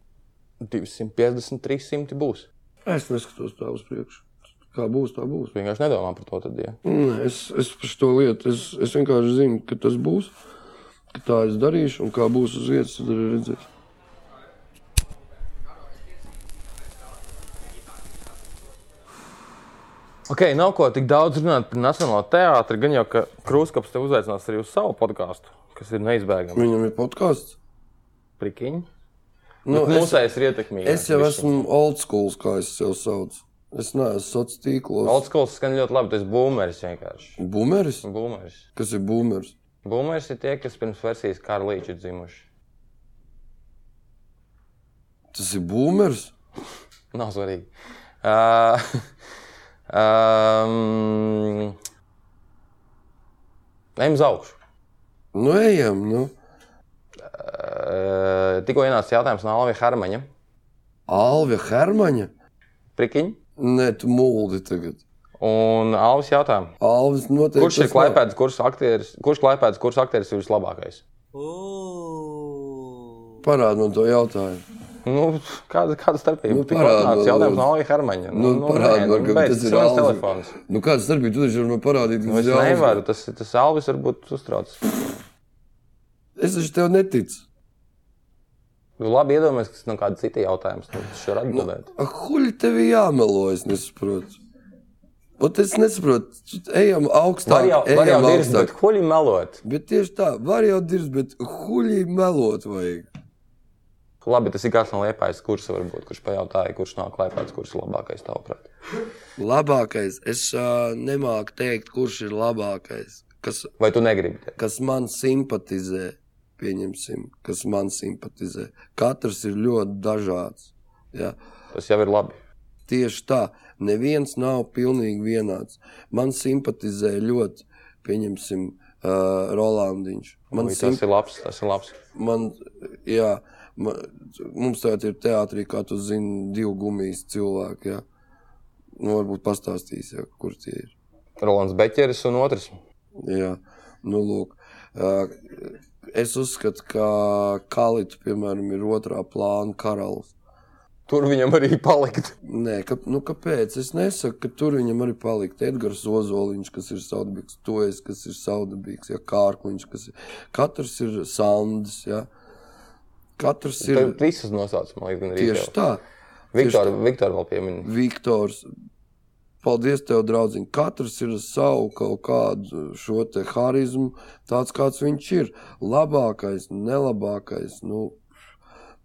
[SPEAKER 2] 250, 300 būs.
[SPEAKER 1] Es neskatos tā uz priekšu. Kā būs, tā būs.
[SPEAKER 2] Vienkārši nedomā par to. Tad, ja.
[SPEAKER 1] Nu, Nē, Es, es par šo lietu, es, es vienkārši zinu, ka tas būs, ka tā es darīšu, un kā būs uz vietas, tad arī redzēs.
[SPEAKER 2] okay, nav ko tik daudz runāt par Nacionālo teātri. Gan jau, ka Krūskaps te uzaicinās arī uz savu podkāstu, kas ir neizbēgami.
[SPEAKER 1] Viņam ir podkāsts.
[SPEAKER 2] Prikiņi.
[SPEAKER 1] Nu, es-
[SPEAKER 2] Mūsējais ir ietekmīgs.
[SPEAKER 1] Es jau esmu old school, kā es sev saucu. Es neesmu sociālos tīklos.
[SPEAKER 2] Oldskols skan ļoti labi. Tas ir boomeris vienkārši.
[SPEAKER 1] Boomeris?
[SPEAKER 2] Boomeris.
[SPEAKER 1] Kas ir boomers?
[SPEAKER 2] Boomeris ir tie, kas pirms versijas Karlīča ir dzimuši.
[SPEAKER 1] Tas ir boomers.
[SPEAKER 2] Nav svarīgi. Uh, um, Ejam uz augšu.
[SPEAKER 1] Nu, ejam, nu.
[SPEAKER 2] Uh, tikko ienāca jautājums no Alvija Harmaņa.
[SPEAKER 1] Alvija Hermaņa.
[SPEAKER 2] Prikiņ.
[SPEAKER 1] Nē, tu mūldi tagad.
[SPEAKER 2] Un Alvis jautā,
[SPEAKER 1] Alvis noteikti.
[SPEAKER 2] kurš ir
[SPEAKER 1] tas nav.
[SPEAKER 2] klaipēdas kursa aktieris, kurš klaipēdas kursa aktieris ir vislabākais?
[SPEAKER 1] Parādi man to jautājumu.
[SPEAKER 2] Nu, kāda, kāda starpība?
[SPEAKER 1] Nu,
[SPEAKER 2] Nu, tikko
[SPEAKER 1] parādi,
[SPEAKER 2] ienāca
[SPEAKER 1] nu,
[SPEAKER 2] jautājums
[SPEAKER 1] lūdzu.
[SPEAKER 2] no Alvija Harmaņa.
[SPEAKER 1] Nu, nu, parādi man, ka
[SPEAKER 2] beidz,
[SPEAKER 1] tas ir
[SPEAKER 2] mans
[SPEAKER 1] Alvis.
[SPEAKER 2] telefons.
[SPEAKER 1] Nu, kāds darbs tu taču vari man parādīt? ka
[SPEAKER 2] Nu,
[SPEAKER 1] tas
[SPEAKER 2] Es
[SPEAKER 1] ir Alvis?
[SPEAKER 2] nevaru, tas, tas Alvis varbūt uztrauc.
[SPEAKER 1] Es taču tev neticu.
[SPEAKER 2] Nu, labi, iedomājieties, kas no kāda cita jautājuma tas var atbildēt.
[SPEAKER 1] Ah, Huļi tev ir jāmelo, es nesaprotu. Ot, es nesaprotu. Ejam augstāk.
[SPEAKER 2] Var jau, var jau
[SPEAKER 1] ejam
[SPEAKER 2] dirzt, bet huļi melot.
[SPEAKER 1] Bet tieši tā, var jau dirzt, bet huļi melot vajag.
[SPEAKER 2] Labi, tas ir kāds no liepājas kursa, varbūt, kurš pajautāja, kurš no klājpēdas, kurš ir labākais tavuprāt.
[SPEAKER 1] Labākais, es uh, nemāku teikt, kurš ir labākais, kas,
[SPEAKER 2] Vai tu negribi? teikt?
[SPEAKER 1] kas man simpatizē. Pieņemsim, kas man simpatizē. Katrs ir ļoti dažāds. Ja?
[SPEAKER 2] Tas jau ir labi.
[SPEAKER 1] Tieši tā, neviens nav pilnīgi vienāds. Man simpatizē ļoti, pieņemsim, uh, Rolandiņš. Man
[SPEAKER 2] Ui, Nu, tas ir labs, tas ir labs.
[SPEAKER 1] man, jā, man, mums tādā ir teātrī, kā tu zini, divu gumijas cilvēki. Jā. Nu, varbūt pastāstīs, jā, kur tie ir.
[SPEAKER 2] Rolands Beķeris un otrs.
[SPEAKER 1] Jā. Nu, lūk, ā, es uzskatu, ka Kalita, piemēram, ir otrā plāna karalis.
[SPEAKER 2] Tur viņam arī palikt.
[SPEAKER 1] Nē, ka, nu, kāpēc? Es nesaku, ka tur viņam arī palika Edgars Ozoliņš, kas ir saudabīgs, to es, kas ir saudabīgs, ja Kārkliņš, kas ir. Katrs ir Sandis, jā. Katrs ir
[SPEAKER 2] Tad visas nosauc, man liekas, gandrīz.
[SPEAKER 1] tieši tā.
[SPEAKER 2] Viktor, Viktor vēl pieminēja.
[SPEAKER 1] Viktors. Paldies, tev, draugs. Katrs ir ar savu kaut kādu šo te harizmu, tāds kāds viņš ir. Labākais, nelabākais, nu,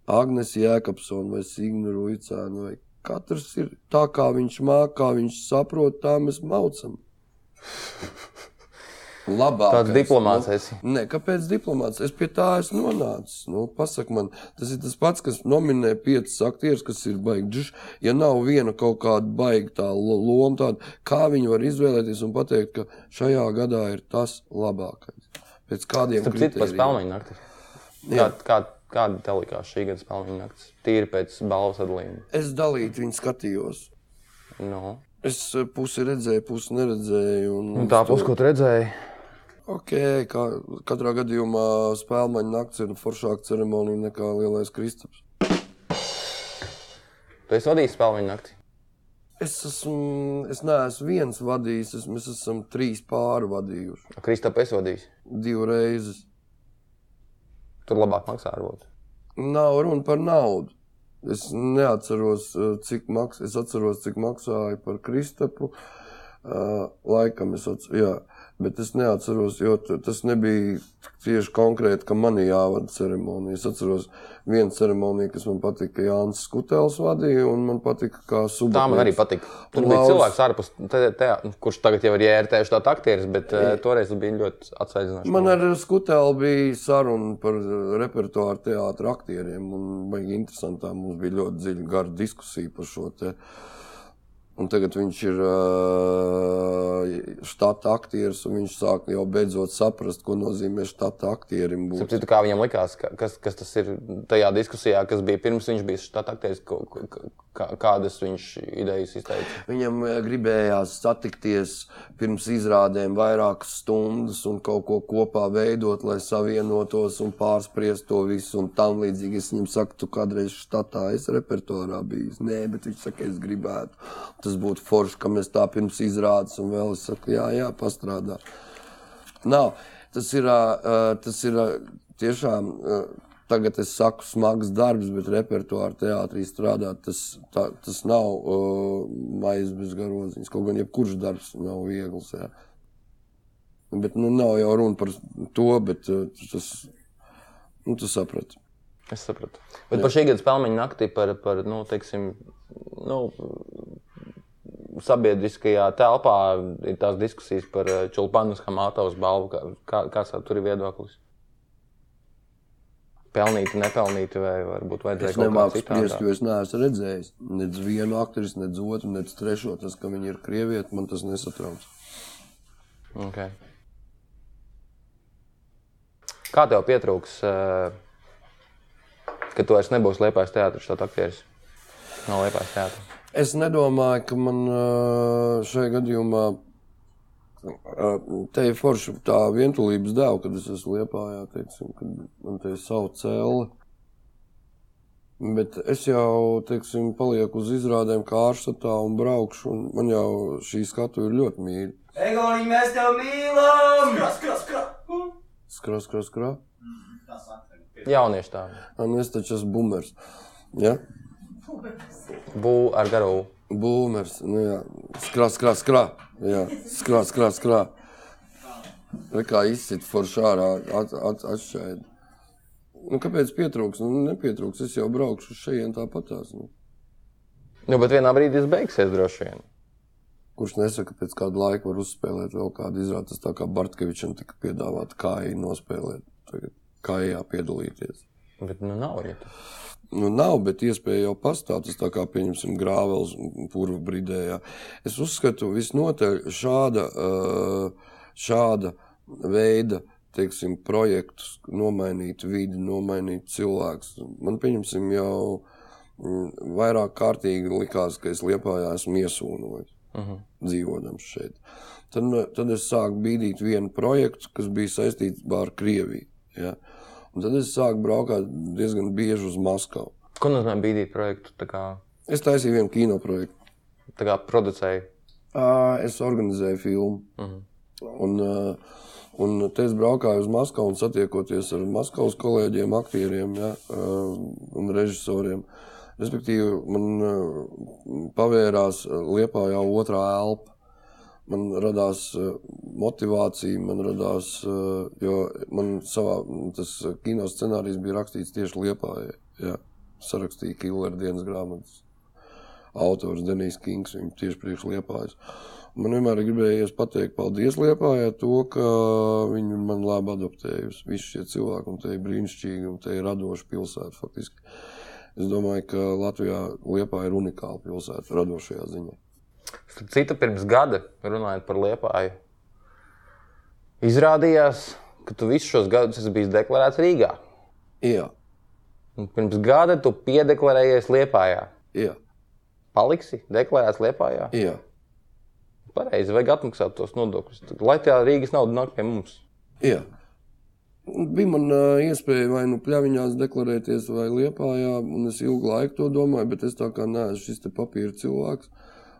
[SPEAKER 1] Agnēs Jēkabsons vai Signa Ruicēna. Vai katrs ir tā, kā viņš māca, kā viņš saprot, tā mēs maucam. Labāk.
[SPEAKER 2] Tāds
[SPEAKER 1] nu.
[SPEAKER 2] diplomāts esi.
[SPEAKER 1] Nē, kāpēc diplomāts? Es pie tā esmu nonācis. Nu, pasak man, tas ir tas pats, kas nominē piecus aktierus, kas ir baigts. Ja nav viena kaut kāda baigta loma, tāda, kā viņi var izvēlēties un pateikt, ka šajā gadā ir tas labākais. Pēc kādiem
[SPEAKER 2] Tur citur pēc
[SPEAKER 1] kritērijiem?
[SPEAKER 2] pelnījuma naktis. Kā, kā, kāda tev likās šī gada pelnījuma naktis? Tīri pēc balvas atlīmes.
[SPEAKER 1] Es dalīju, viņi skatījos.
[SPEAKER 2] No.
[SPEAKER 1] Es eh, pusi redzēju, pusi neredzēju. Un,
[SPEAKER 2] Tā puse, ko tu redzēji,
[SPEAKER 1] okay, kā, katrā gadījumā spēlmaņa nakts ir foršāka ceremonija nekā Lielais Kristaps.
[SPEAKER 2] tu esi vadījis pelnījuma naktis.
[SPEAKER 1] Es esmu, es neesmu viens vadījis, es, mēs esam trīs pārvadījuši.
[SPEAKER 2] Kristap, es vadīju.
[SPEAKER 1] Divas reizes.
[SPEAKER 2] Tur labāk maksā ar būtu.
[SPEAKER 1] Nav runa par naudu. Es neatceros, eh, cik maksāja. Es atceros, cik maksāja par Kristapu. eh, Laikam es atceros, jā. Bet es neatceros, jo t- tas nebija tieši konkrēti, ka man jāvada ceremonija. Es atceros vienu ceremoniju, kas man patika, ka Jānis Skutēls vadīja, un man patika, kā subjekts.
[SPEAKER 2] Tā man arī patīk. Tur bija
[SPEAKER 1] Lauris.
[SPEAKER 2] cilvēks ārpus, te, te, nu, kurš tagad jau ir ierētējuši tā aktieris, bet eh, toreiz bija ļoti atsaicināts.
[SPEAKER 1] Man ar Skutēlu bija saruna par eh, repertuāru teātriem, aktieriem. Un bija interesantā. Mums bija ļoti dziļa gara diskusija par šo te. Un tagad viņš ir eh, štata aktieris, un viņš sāk jau beidzot saprast, ko nozīmē štata aktierim būt.
[SPEAKER 2] Citu, kā viņam likās, ka- kas, kas tas ir tajā diskusijā, kas bija pirms viņš bija štata aktieris, ko- ko- kā, kādas viņš idejas izteica?
[SPEAKER 1] Viņam eh, gribējās satikties pirms izrādēm vairākas stundas un kaut ko kopā veidot, lai savienotos un pārspriest to visu. Un tam līdzīgi es viņam saku, tu kādreiz štatā esi repertuārā bijis. Nē, bet viņš saka, es gribētu. Tas būtu forši, ka mēs tā pirms izrādes un vēl es saku, jā, jā, pastrādā. Nav. Tas ir, ā, ā, tas ir ā, tiešām, ā, tagad es saku, smags darbs, bet repertuāra teātrī strādāt, tas, tā, tas nav ā, maizes bez garoziņas. Kaut gan jebkurš darbs nav viegls. Jā. Bet nu, nav jau runa par to, bet ā, tas, nu, tu saprati.
[SPEAKER 2] Es sapratu. Bet par šī gada spēļu naktī, par, par nu, teiksim, nu, sabiedriskajā telpā ir tās diskusijas par eh, Čulpanas Hamatovas balvu. Kā, kā, kāds tev tur ir viedoklis? Pelnīti, nepelnīti, vai varbūt vajadzēja
[SPEAKER 1] Es
[SPEAKER 2] kaut kā
[SPEAKER 1] nemāku spriest,
[SPEAKER 2] citādi.
[SPEAKER 1] jo es neesmu redzējis nec vienu aktrisu, nec otru, nec trešo. Tas, ka viņi ir krievieti, man tas nesatrauc.
[SPEAKER 2] Okay. Kā tev pietrūks, eh, ka tu vairs nebūsi liepais teātris, tā aktieris? No liepais teātris.
[SPEAKER 1] Es nedomāju, ka man ā, šajā gadījumā ā, te ir forši tā vientulības dēļ, kad es esmu liepā, kad man te ir savu cēlu. Bet es jau, teiksim, palieku uz izrādēm kā ārštatā un braukšu, un man jau šī skatu ir ļoti mīļa.
[SPEAKER 3] Egoni, mēs tev mīlam! Skras, skras, skras!
[SPEAKER 1] Skrā, skrā, skrā.
[SPEAKER 2] Jaunieši tā.
[SPEAKER 1] Un es taču esmu bumers. Ja?
[SPEAKER 2] Būvā ar garu.
[SPEAKER 1] Boomers, nu jā, skrā, skrā, skrā. Jā, skrā, skrā, skrā. Tā kā izsit forši ārā, at, at, atšķaid. Nu, kāpēc pietrūks? Nu, nepietrūks, es jau braukšu šajien tāpatās. Nu.
[SPEAKER 2] Nu, bet vienā brīdī tas beigsies droši vien.
[SPEAKER 1] Kurš nesaka, pēc kāda laika var uzspēlēt vēl kādu izrādes, tā kā Bartkevičam tika piedāvāt kājai nospēlēt, tagad kājā piedalīties.
[SPEAKER 2] Bet nu, nav viņa. tā.
[SPEAKER 1] Nu, nav, bet iespēja jau pastāv. Tas tā kā pieņemsim grāvels un purva bridējā. Es uzskatu, visnotaļ šāda, ā, šāda veida. Teiksim, projektus, nomainīt vidi, nomainīt cilvēkus. Man, pieņemsim, jau mm, vairāk kārtīgi likās, ka es liepājā esmu iesūnojis dzīvojams šeit. Tad, me- tad es sāku bīdīt vienu projektu, kas bija saistīts ar Krieviju. Ja? Un Tad es sāku braukt diezgan bieži uz Maskavu.
[SPEAKER 2] Ko nozīmē bīdīt projektu? Tā kā,
[SPEAKER 1] Es taisīju vienu kino projektu.
[SPEAKER 2] tā kā producēju.
[SPEAKER 1] Ā, Es organizēju filmu. Uh -huh. Un, ā, un te es braucu uz Maskavu un satiekoties ar Maskavas kolēģiem, aktieriem ja, ā, un režisoriem. Respektīvi, man ā, pavērās liepā jau otrā elpa. man radās eh, motivācija, man radās, eh, jo man savā tas eh, kino scenārijs bija rakstīts tieši Liepā. Jā, sarakstīja Killera dienas grāmatas. Autors Denijs Kings, viņa tieši priekš liepājas. Man vienmēr ir gribējies pateikt, paldies Liepājai, to, ka viņi man labi adaptējusi. Visi šie cilvēki, un te ir brīnišķīgi, un te ir radoša pilsēta faktiski. Es domāju, ka Latvijā Liepā ir unikāla pilsēta radošajā ziņā.
[SPEAKER 2] Starp citu, pirms gada runājot par liepāju, izrādījās, ka tu visus šos gadus esi bijis deklarēts Rīgā.
[SPEAKER 1] Jā,
[SPEAKER 2] Un pirms gada tu piedeklarējies liepājā.
[SPEAKER 1] jā,
[SPEAKER 2] Paliksi deklarēts liepājā.
[SPEAKER 1] jā.
[SPEAKER 2] Pareizi, vajag atmaksāt tos nodokļus. Lai tā Rīgas nauda nāk pie mums.
[SPEAKER 1] Jā. Un Bija man ā, iespēja vai nu pļaviņās deklarēties, vai liepā, un es ilgu laiku to domāju, bet es tā kā neesmu šis te papīra cilvēks.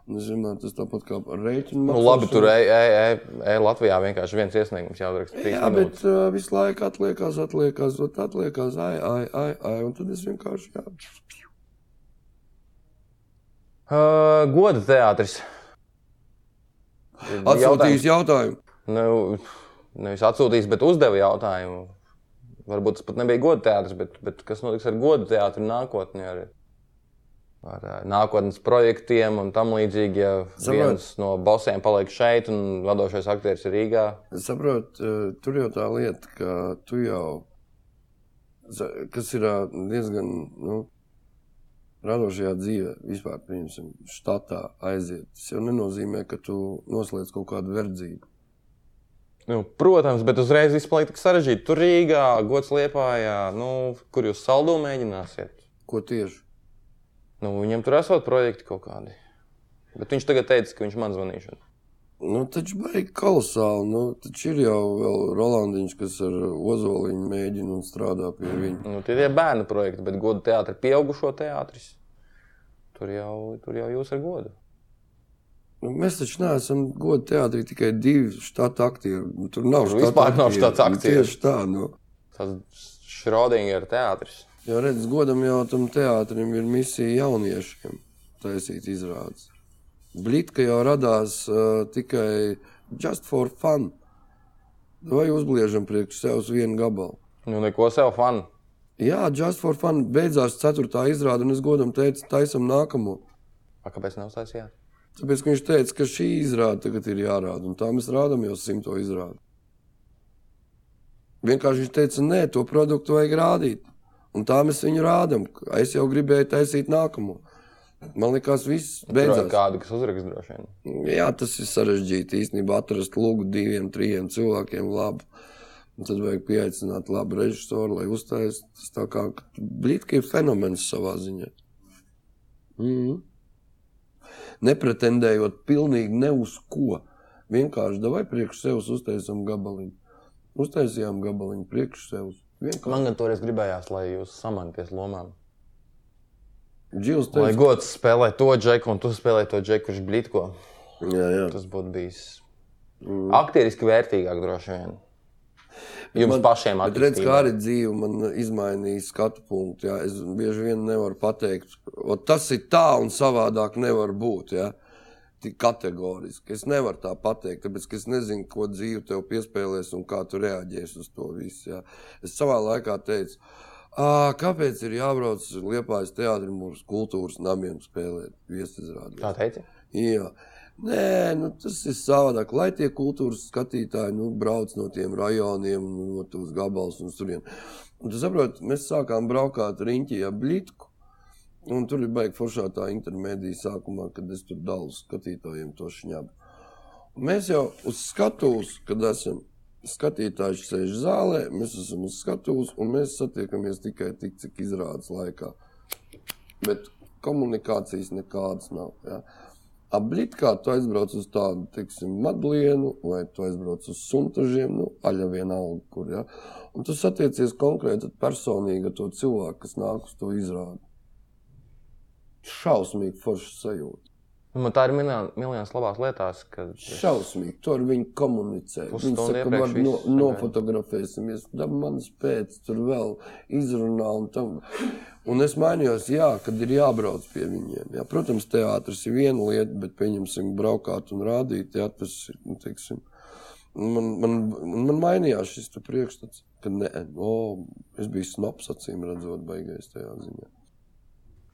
[SPEAKER 1] Un es vienmēr tas tāpat kā ar rēķinu
[SPEAKER 2] Nu,
[SPEAKER 1] maksāšanu.
[SPEAKER 2] labi, tur ej, ej, ej, ej, Latvijā vienkārši viens iesniegums jāuzraksta. trīs
[SPEAKER 1] Jā,
[SPEAKER 2] minūtes.
[SPEAKER 1] bet uh, visu laiku atliekās, atliekās, ot, atliekās, ai, ai, ai, ai, un tad es vienkārši, jā,
[SPEAKER 2] Uh, goda teātris.
[SPEAKER 1] atsūtīju jautājumu.
[SPEAKER 2] Nu, nevis atsūtīs, bet uzdeva jautājumu. Varbūt tas pat nebija godu teātris, bet, bet kas notiks ar godu teātru nākotnē? Ar, ar ā, nākotnes projektiem un tam līdzīgi, ja
[SPEAKER 1] Saprot.
[SPEAKER 2] viens no balsēm paliek šeit un vadošais aktieris ir Rīgā.
[SPEAKER 1] Es saprotu, eh, tur jau tā lieta, ka tu jau, za- kas ir ā, diezgan nu, radošajā dzīvē, vispār, piemēram, štatā aiziet. Tas jau nenozīmē, ka tu noslēdz kaut kādu verdzību.
[SPEAKER 2] Nu, protams, bet uzreiz viss paliek tik sarežģīti. Tur Rīgā, gods liepājā, nu, kur jūs saldumu mēģināsiet.
[SPEAKER 1] Ko tieši?
[SPEAKER 2] Nu, viņam tur esot projekti kaut kādi. Bet viņš tagad teica, ka viņš man zvanīs.
[SPEAKER 1] Nu, taču baigi kolosāli. Nu, taču ir jau vēl Rolandiņš, kas ar ozoliņu mēģina un strādā pie viņa.
[SPEAKER 2] Nu, tie ir bērnu projekti, bet godu teātris, pieaugušo teātris. Tur jau, tur jau jūs ar godu.
[SPEAKER 1] Nu, mēs taču neesam godi teātrī tikai divi štata aktieri. Nu, Tur nav
[SPEAKER 2] Tur vispār nav
[SPEAKER 1] aktieri.
[SPEAKER 2] štata
[SPEAKER 1] Nu,
[SPEAKER 2] aktieru.
[SPEAKER 1] Tieši tā. Nu.
[SPEAKER 2] Tas Šrodingera teātris.
[SPEAKER 1] Jo redz, godam jau tam teātrim ir misija jauniešiem taisīt izrādes. Blitka jau radās uh, tikai just for fun. Vai uzliežam priekš sevis vienu gabalu?
[SPEAKER 2] Nu, neko sev fanu.
[SPEAKER 1] Jā, just for fun. Beidzās ceturtā izrāde, un es godam teicu, taisam nākamo.
[SPEAKER 2] A, Kāpēc nav taisījāt?
[SPEAKER 1] Tāpēc ka viņš teica, ka šī izrāde tagad ir jārāda, un tā mēs rādām jau simto izrādi. Vienkārši viņš teica, nē, to produktu vajag rādīt. Un tā mēs viņu rādām. Es jau gribēju taisīt nākamo. Man liekas, viss
[SPEAKER 2] Tur ir
[SPEAKER 1] beidzās.
[SPEAKER 2] kāda, kas uzrakst droši vien.
[SPEAKER 1] Jā, tas ir sarežģīti īstenībā atrast lūgu diviem, trim cilvēkiem labu. Un tad vajag pieaicināt labu režisoru, lai uztaisītu. Tas tā kā brīdī ir fenomens savā ziņā. Mm -hmm. Nepretendējot pilnīgi ne uz ko. Vienkārši davai priekš sevis uztaisām gabaliņu. Uztaisījām gabaliņu priekš sevis. Vienkārši.
[SPEAKER 2] Man gan toreiz gribējās, lai jūs samanties lomām.
[SPEAKER 1] Džils
[SPEAKER 2] Lai
[SPEAKER 1] teica,
[SPEAKER 2] gods spēlē to džeku, un tu spēlē to džeku, kurš blīdko.
[SPEAKER 1] jā, jā.
[SPEAKER 2] Tas būtu bijis aktieriski vērtīgāk droši vien. Jums man, pašiem
[SPEAKER 1] Mm. Bet redz, kā
[SPEAKER 2] attīstībā.
[SPEAKER 1] arī dzīve man izmainīja skatu punktu. Jā. Es bieži vien nevaru pateikt, "O, tas ir tā un savādāk nevar būt. Jā. Tik kategoriski. Es nevaru tā pateikt, tāpēc ka es nezinu, ko dzīve tev piespēlēs un kā tu reaģēsi uz to visu. Jā. Es savā laikā teicu, "Ā, kāpēc ir jābrauc uz Liepājas teātrim uz kultūras namiem spēlēt viesizrādi?
[SPEAKER 2] Tā teica.
[SPEAKER 1] Jā. Nē, nu, tas ir savādāk. Lai tie kultūras skatītāji nu, brauc no tiem rajoniem, nu, no tās gabalus un turien. Un Tu saproti, mēs sākām braukāt riņķī ar blītku. Un tur ir baigta foršā tā intermedija sākumā, kad es tur dalu skatītājiem to šņabu. Un Mēs jau uz skatuves, kad esam skatītāji, sēž zālē, mēs esam uz skatuves un mēs satiekamies tikai tik, cik izrādes laikā. Bet komunikācijas nekādas nav. Ja? Ablitkā tu aizbrauc uz tādu, teiksim, madlienu, vai tu aizbrauc uz suntažiem, nu, aļa vienalga, kur, ja. Un tu satiecies konkrēti ar personīgi ar to cilvēku, kas nāk uz to izrādi. Šausmīgi forša sajūta.
[SPEAKER 2] Nu, man tā ir miljonā- miljonās labās lietās, kad
[SPEAKER 1] Šausmīgi. Tu ar viņu komunicē. Viņš
[SPEAKER 2] Pusstundu
[SPEAKER 1] saka,
[SPEAKER 2] iepriekš
[SPEAKER 1] var no,
[SPEAKER 2] viss,
[SPEAKER 1] nofotografēsimies, tad manas pēc tur vēl izrunā un tam. Un es mainījos, jā, kad ir jābrauc pie viņiem. Jā. Protams, teātris ir viena lieta, bet pieņemsim braukāt un rādīt, jā, tas ir, nu, teiksim, man, man, man, man mainījās šis te priekšstats, ka ne, no, es biju snaps acīm redzot baigais tajā ziņā.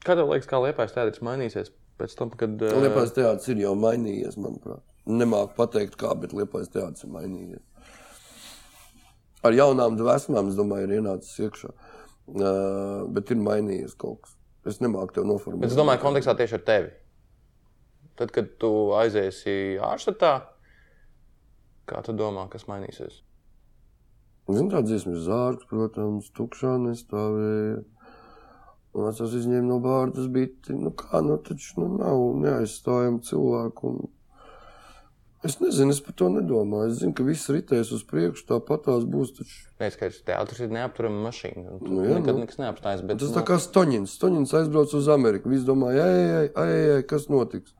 [SPEAKER 2] Kā tev liekas, kā liepais teātris mainīsies pēc tam, kad. eh, ā,
[SPEAKER 1] Liepais teātris ir jau mainījies, manuprāt. Nemāku pateikt, kā, bet liepais teātris ir mainījies. Ar jaunām dvēsmām, es domāju, ir ienācis iekšā. Uh, bet ir mainījies kaut kas. Es nemāku to noformulēt.
[SPEAKER 2] Bet es domāju, kontekstā tieši ar tevi. Tad, kad tu aiziesi ārštatā, kā tu domā, kas mainīsies?
[SPEAKER 1] Zinu, tā dziesma ir zārks, protams, tukšā nestāvēja. Un es esmu izņēmis no bārdas biti. Nu kā, nu taču nu nav neaizstājama cilvēku. Un... Es nezinu, es par to nedomāju. Es zinu, ka viss ritēs uz priekšu, tāpat tās būs. Taču...
[SPEAKER 2] Neskaidrs, teātris ir neapturama mašīna. un Tu
[SPEAKER 1] Nu
[SPEAKER 2] nu,
[SPEAKER 1] jā,
[SPEAKER 2] jā, nekad
[SPEAKER 1] nu.
[SPEAKER 2] nu. nekas neapstājas. Bet,
[SPEAKER 1] Tas tā kā Stoņins. Stoņins aizbrauc uz Ameriku. Viņš domāja, ej, ej, ej, ej, ej, kas notiks.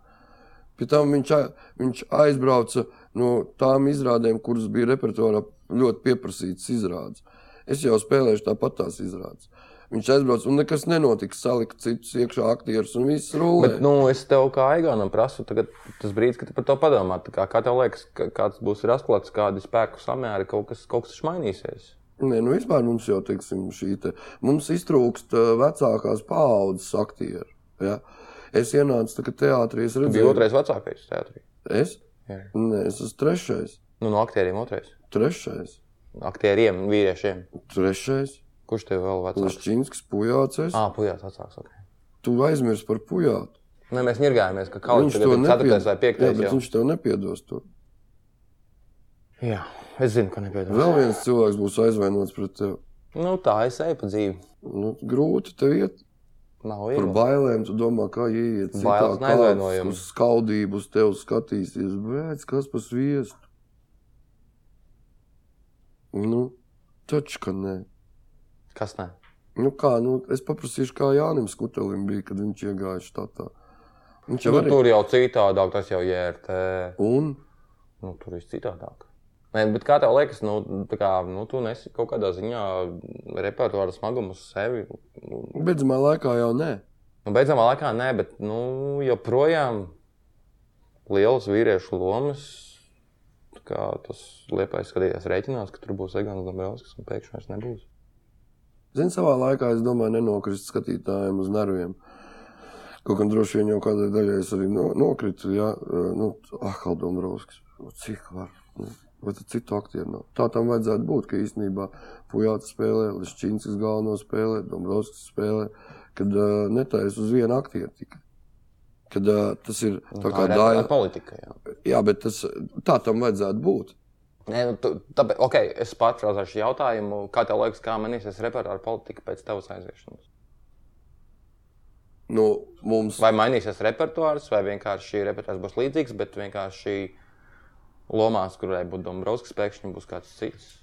[SPEAKER 1] Pēc tam viņš, a- viņš aizbrauca no tām izrādēm, kuras bija repertuārā ļoti pieprasītas izrādes. Es jau spēlēju tāpat tās izrādes. Viņš aizbrauc, un nekas nenotika. Salika citus iekšā aktierus un viss rulē.
[SPEAKER 2] Bet, nu, es tev kā Aiganam prasu, tagad tas brīdis, kad tu par to padomā. tā Kā, kā tev liekas, ka- kāds būs ir atklāts, kādi spēku samēri, kaut kas, kaut kas taču mainīsies?
[SPEAKER 1] Nē, nu vispār mums jau teiksim, šī te, mums iztrūkst ā, vecākās paaudzes aktieru. Ja? Es ienācu tagad teātrī, es
[SPEAKER 2] Tu biji
[SPEAKER 1] redzēju,
[SPEAKER 2] otrais vecākais teātrī.
[SPEAKER 1] es?
[SPEAKER 2] Jā.
[SPEAKER 1] Nē, es esmu trešais,
[SPEAKER 2] Nu, no aktieriem otrais.
[SPEAKER 1] trešais,
[SPEAKER 2] Aktieriem, vīriešiem.
[SPEAKER 1] trešais,
[SPEAKER 2] Kurš tev vēl vecāks?
[SPEAKER 1] Lušķīnskis, pujācis.
[SPEAKER 2] Ah, pujās vecāks. Okay.
[SPEAKER 1] Tu aizmirsti par pujātu.
[SPEAKER 2] Nē, mēs nirgājāmies, ka kaut
[SPEAKER 1] viņš
[SPEAKER 2] kas
[SPEAKER 1] to
[SPEAKER 2] tāds - 4. vai
[SPEAKER 1] nepiedos. Jā,
[SPEAKER 2] 5.
[SPEAKER 1] bet
[SPEAKER 2] Jā,
[SPEAKER 1] viņš tev nepiedos to.
[SPEAKER 2] jā, es zinu, ka nepiedodas.
[SPEAKER 1] Vēl viens cilvēks būs aizvainots pret tevi.
[SPEAKER 2] Nu, tā es eju pa dzīvi.
[SPEAKER 1] Nu, grūti tev iet
[SPEAKER 2] Nav
[SPEAKER 1] par
[SPEAKER 2] viegli.
[SPEAKER 1] bailēm. Tu domā, kā ieiet
[SPEAKER 2] Bailes neaizvainojam.
[SPEAKER 1] uz skaudību, uz tevi skatīsies. Bēc, kas pa sviestu? Nu, taču, ka nē.
[SPEAKER 2] Kas nē?
[SPEAKER 1] Nu, kā, nu, es paprasīšu, kā Jānis Kutelim bija, kad viņš iegāja štatā. Viņš jau
[SPEAKER 2] Nu,
[SPEAKER 1] arī
[SPEAKER 2] tur jau citādāk, tas jau jērt.
[SPEAKER 1] Un
[SPEAKER 2] Nu, tur viss citādāk. Nē, bet kā tev liekas, nu, tā kā, nu tu nesi kaut kādā ziņā repertuāra smagumu uz sevi. Nu,
[SPEAKER 1] beidzamā laikā jau nē.
[SPEAKER 2] beidzamā laikā Nu, nē, bet nu, joprojām lielas vīriešu lomas. tā Kā tas liepais skatījās, rēķinās, ka tur būs Egants Dombrovskis un pēkšņi vairs nebūs.
[SPEAKER 1] Zini, savā laikā es domāju, nenokrist skatītājiem uz nerviem. Kaut gan droši vien jau kādai daļai es arī no, nokritu. Jā, eh, nu, Ahal Dombrovskis, nu, cik var. nu, Vai tad citu aktieru nav? Tā tam vajadzētu būt, ka īstenībā Pujāts spēlē, Lišķīnskis galveno spēlē, Dombrovskis spēlē, kad uh, netais uz vienu aktieru tikai. Kad uh, tas ir
[SPEAKER 2] Nu,
[SPEAKER 1] tā kā
[SPEAKER 2] ir
[SPEAKER 1] dāja.
[SPEAKER 2] repertuāra politika. Jā.
[SPEAKER 1] Jā, bet tas, tā tam vajadzētu būt.
[SPEAKER 2] Nē, nu, tu, tāpēc, okay, es pārfrāzēšu jautājumu, kā tev liekas, kā mainīsies repertuāra politika pēc tavas aiziešanas?
[SPEAKER 1] Nu, mums
[SPEAKER 2] Vai mainīsies repertuārs, vai vienkārši repertuārs būs līdzīgs, bet vienkārši lomās, kurai būtu Dombrovskis, pēkšņi būs kāds cits.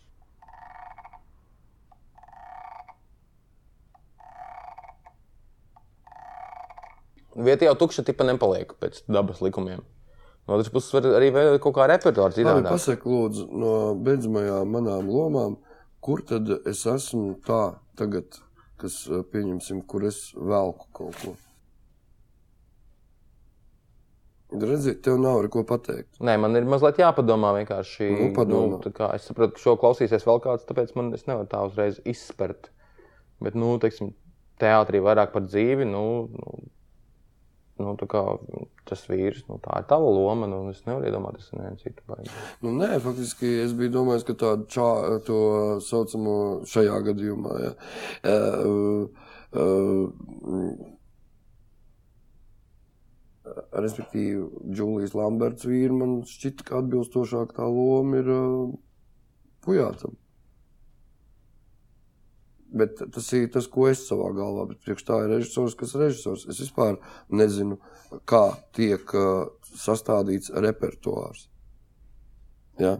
[SPEAKER 2] Vieta jau tukša, tipa nepaliek pēc dabas likumiem. No otras puses, var arī veidot kaut kā repertuāru
[SPEAKER 1] Labi,
[SPEAKER 2] citādāk.
[SPEAKER 1] pasak, lūdzu, no beidzamajām manām lomām, kur tad es esmu tā tagad, kas, eh, pieņemsim, kur es velku kaut ko? Redzi, tev nav ar ko pateikt.
[SPEAKER 2] Nē, man ir mazliet jāpadomā vienkārši.
[SPEAKER 1] Nu, padomā.
[SPEAKER 2] tā kā es saprotu, ka šo klausīsies vēl kāds, tāpēc man es nevaru tā uzreiz izspērt. Bet, nu, teiksim, teātrī vairāk par dzīvi, nu, nu, nu tā kā tas vīrs, nu, tā ir tava loma, nu, es nevaru iedomāties, ka neviens citu baigi.
[SPEAKER 1] Nu, nē, faktiski es biju domājis, ka tādu čā, to saucamo šajā gadījumā. Ja. Uh, uh, Respektīvi, Džulijas Lamberts vīri man šķita, ka atbilstošāk tā loma ir uh, pujātam. Bet tas ir tas, ko es savā galvā, bet priekš tā ir režisors, kas ir režisors. Es vispār nezinu, kā tiek uh, sastādīts repertuārs. Ja?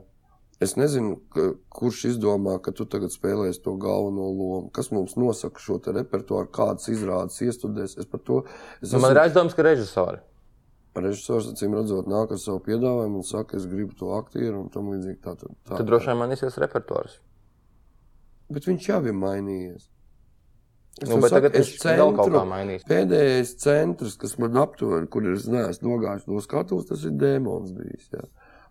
[SPEAKER 1] Es nezinu, ka, kurš izdomā, ka tu tagad spēlēsi to galveno lomu. Kas mums nosaka šo te repertuāru, kādas izrādes iestudēs? Es par to es
[SPEAKER 2] Nu, man ir aizdoms, ka režisori.
[SPEAKER 1] Režisors acīm redzot, nāk ar savu piedāvājumu un saka, es gribu to aktieru un tam līdzīgi. Tā, tā, tā.
[SPEAKER 2] Tad droši vien mainīsies repertuārs.
[SPEAKER 1] Bet viņš jau ir mainījies. Es
[SPEAKER 2] Nu,
[SPEAKER 1] tev
[SPEAKER 2] bet
[SPEAKER 1] saku,
[SPEAKER 2] tagad
[SPEAKER 1] es
[SPEAKER 2] viņš vēl kaut kā
[SPEAKER 1] centru-
[SPEAKER 2] mainīs.
[SPEAKER 1] Pēdējais centrs, kas man aptver, kur es neesmu nogājis no skatuves, tas ir demons. Bijis, jā.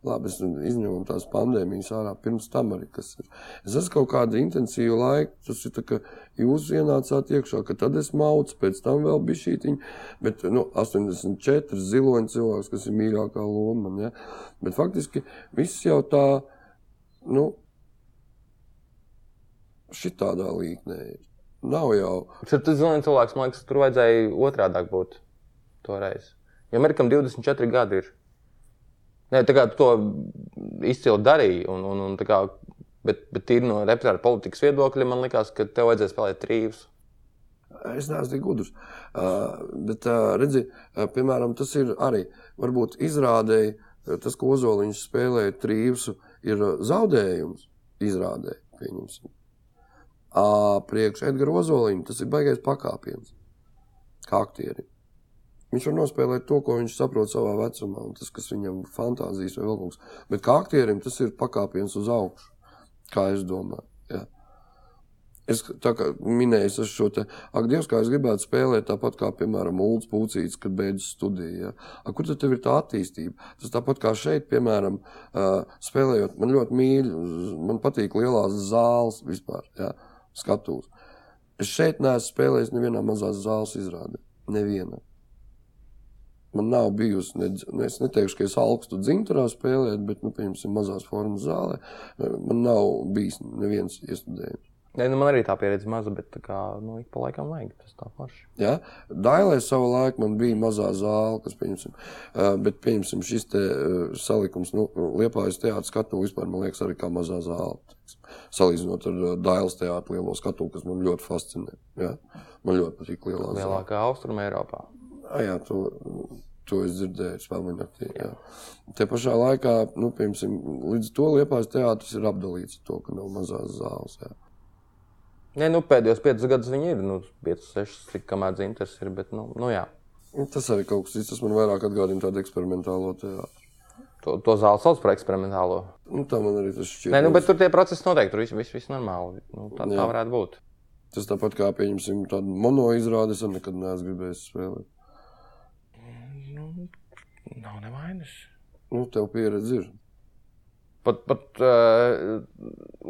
[SPEAKER 1] Labi, es izņemu tās pandēmijas ārā, pirms tam arī kas ir. Es esmu kaut kādu intensīvu laiku, tas ir tā, ka jūs ienācāt iekšā, ka tad es maucu, pēc tam vēl bija šī tiņa. Bet nu, 84 ziloņa cilvēks, kas ir mīļākā loma. Man, ja? Bet faktiski viss jau tā, nu, šitādā līknē ir. Nav jau.
[SPEAKER 2] Tur tas zināms, cilvēks, man liekas, tur vajadzēja otrādāk būt toreiz. Jo Merkam 24 gadi ir. Nē, tā kā tu to izcili darīja, un, un, un tā kā, bet, bet tīri no repertuāra politikas viedokļa man liekas, ka tev vajadzēja spēlēt trījus.
[SPEAKER 1] Eh, Es neesmu tik gudrs. Uh, bet, uh, redzi, uh, piemēram, tas ir arī varbūt izrādēji, uh, tas, ko Ozoliņš spēlēja trīvsu, ir uh, zaudējums izrādē, pieņemsim. Uh, priekš Edgara Ozoliņa tas ir baigais pakāpiens kā aktierim. Viņš var nospēlēt to, ko viņš saprot savā vecumā, un tas, kas viņam fantāzijas vai vēl kaut kas. Bet kā aktierim tas ir pakāpiens uz augšu, kā es domāju. Ja? Es tā kā minēju, es esmu šo te, ak, Dievs, kā es gribētu spēlēt, tāpat kā, piemēram, Ulus Pūcīts, kad beidzas studija. Ja? A, Kur tad tev ir tā attīstība? Tas tāpat kā šeit, piemēram, ā, spēlējot, man ļoti mīļi, z- man patīk lielās zāles vispār, ja? skatūs. Es šeit neesmu spēlējis nevienā mazās zāles izrādē. Nevienā. Man nav bijusi, ne, dz- nu, es neteikšu, ka es augstu dzimturā spēlēju, bet, nu, piemēram, mazās formas zālē, man nav bijis neviens iestudējums.
[SPEAKER 2] Nē, nu man arī tā pieredze maza, bet tā kā, nu, ik pa laikam vajag tas tā forši.
[SPEAKER 1] Ja? Dailē savā laikā man bija mazā zāle, kas, pieņemsim, eh, bet, pieņemsim, šis te, eh, salikums, nu, liepājas teātris skatu vispār, man liekas, arī kā mazā zāle. teiksim, Salīdzinot ar eh, Dailas teātru lielo skatu, kas man ļoti fascinē. Ja? Man ļoti patīk lielā zāle.
[SPEAKER 2] Lielākā austruma Eiropā.
[SPEAKER 1] Ah, jā, to, to es dzirdēju, spēlēju naktī. Jā. Te pašā laikā, nu, piemēram, līdz to liepājas teātris ir apdalīts ar to, ka nav mazās zāles. Jā.
[SPEAKER 2] Nē, nu pēdējos piecus gadus viņi ir, nu, piecus, sešus, cik kamēr dzimtas ir, bet, nu, nu jā.
[SPEAKER 1] Nu, Tas arī kaut kas cits, tas man vairāk atgādina tādu eksperimentālo teātru.
[SPEAKER 2] To, to zāli sauc par eksperimentālo.
[SPEAKER 1] Nu, tā man arī tas šķiet.
[SPEAKER 2] Nē, nu, bet tur tie procesi notiek, tur viss vis, vis normāli. Nu, tā, tā
[SPEAKER 1] Jā.
[SPEAKER 2] varētu būt.
[SPEAKER 1] Tas tāpat kā, pieņemsim, tādu mono izrādi, es arī nekad neesmu gribējis spēlēt.
[SPEAKER 2] Nav nevainas.
[SPEAKER 1] Nu, tev pieredze ir.
[SPEAKER 2] Pat, pat uh,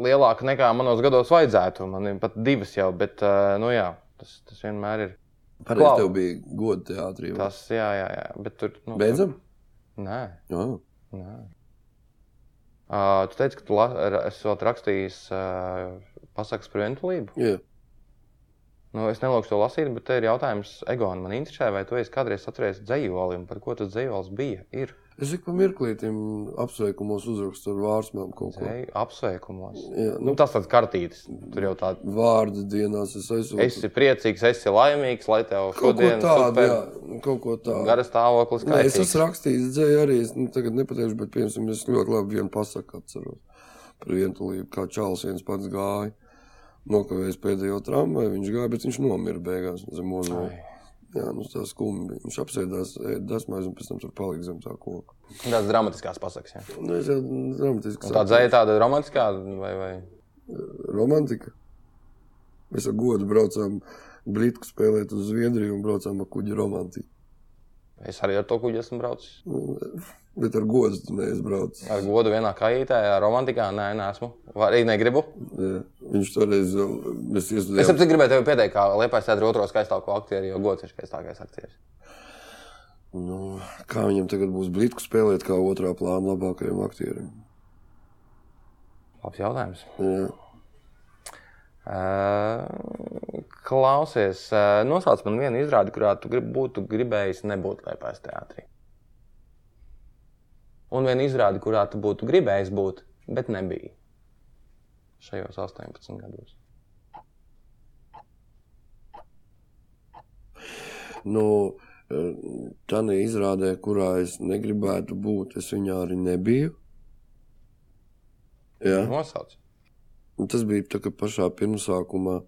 [SPEAKER 2] lielāka nekā manos gados vajadzētu. Man ir pat divas jau, bet, uh, nu jā, tas, tas vienmēr ir. Klau.
[SPEAKER 1] Pareizi, tev bija goda teātrī. vai?
[SPEAKER 2] Tas, jā, jā, jā. Bet tur, nu,
[SPEAKER 1] Beidzam?
[SPEAKER 2] Nē,
[SPEAKER 1] Jā.
[SPEAKER 2] nē. Uh, tu teici, ka tu la, ra- esot rakstījis uh, pasakas par vientulību.
[SPEAKER 1] Jā.
[SPEAKER 2] Nu, es nelūgšu to lasīt, bet te ir jautājums Egonam. Man interesē, vai tu esi kādreiz atceries dzējoli un par ko tas dzējolis bija. Ir
[SPEAKER 1] Es ik pa mirklītim apsveikumos uzrakstu ar vārsmām kaut ko.
[SPEAKER 2] dzēju apsveikumos.
[SPEAKER 1] Jā,
[SPEAKER 2] Nu,
[SPEAKER 1] nu,
[SPEAKER 2] tas tāds kartītis. Tur jau tāds
[SPEAKER 1] vārdu dienās es aizsūtu.
[SPEAKER 2] - esi priecīgs, esi laimīgs, lai tev
[SPEAKER 1] kaut ko
[SPEAKER 2] šodien
[SPEAKER 1] tādu,
[SPEAKER 2] super
[SPEAKER 1] jā, kaut ko tādu.
[SPEAKER 2] Gara stāvoklis, kā
[SPEAKER 1] Nē, es esmu rakstījis dzēju arī, es nu, tagad nepateikšu, bet, piemēram, es ļoti labi vienu pasaku atceros par vientulību, kā Čāls viens pats gāja. Nokavējis pēdējo tramvaju, viņš gāja, bet viņš nomira beigās zem ozolu. Jā, nu tā skumja bija. Viņš apsēdās, desmais un pēc tam tur palika zem tā koka.
[SPEAKER 2] Tāds dramatisks pasakas. Ja.
[SPEAKER 1] Nu, es jau dramatiski
[SPEAKER 2] Tā dzēja tāda romantiskā, vai, vai
[SPEAKER 1] romantika. Mēs ar godu braucām Britku spēlēt uz Zviedriju un braucām ar kuģi romantiku.
[SPEAKER 2] es arī ar to kuģi esmu braucis.
[SPEAKER 1] Nu, Bet ar godu tu neesi braucis.
[SPEAKER 2] Ar godu vienā kājītē, ar romantikā, nē, nesmu. Vai arī negribu.
[SPEAKER 1] Jā. Viņš toreiz, vēl- mēs
[SPEAKER 2] Es
[SPEAKER 1] iestudējām
[SPEAKER 2] saprotu, gribēju tevi pieteikt, kā liepais teātris otro skaistāko aktieru, jo gods ir skaistākais aktieris.
[SPEAKER 1] Nu, kā viņam tagad būs blīdku spēlēt, kā otrā plāna labākajam aktierim?
[SPEAKER 2] Labs jautājums.
[SPEAKER 1] Jā.
[SPEAKER 2] Ē, Klausies, ē, nosauc man vienu izrādi, kurā tu grib, būtu gribējis nebūt Lietuvas teātrī. Un vienu izrādi, kurā tu būtu gribējis būt, bet nebija šajos 18 gados.
[SPEAKER 1] Nu, tā neizrādē, kurā es negribētu būt, es viņā arī nebiju. Jā.
[SPEAKER 2] Nosauc.
[SPEAKER 1] Un Tas bija tā, ka pašā pirmsākumā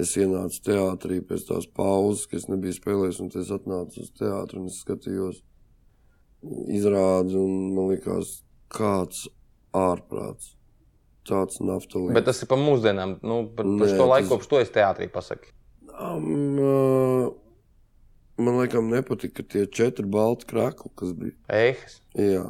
[SPEAKER 1] es ienācu teātrī pēc tās pauzes, kas nebija spēlējis, un tad es atnācu uz teātru un es skatījos izrādi, un man likās, kāds ārprāts. Tāds naftalīgs.
[SPEAKER 2] Bet tas ir par mūsdienām. Nu, par,
[SPEAKER 1] Nē,
[SPEAKER 2] par šo laiku,
[SPEAKER 1] tas-
[SPEAKER 2] kopš to es teātrī pasaku.
[SPEAKER 1] Um, uh, man liekas, nepatika tie četri balti krākli, kas bija.
[SPEAKER 2] Eihas.
[SPEAKER 1] Jā.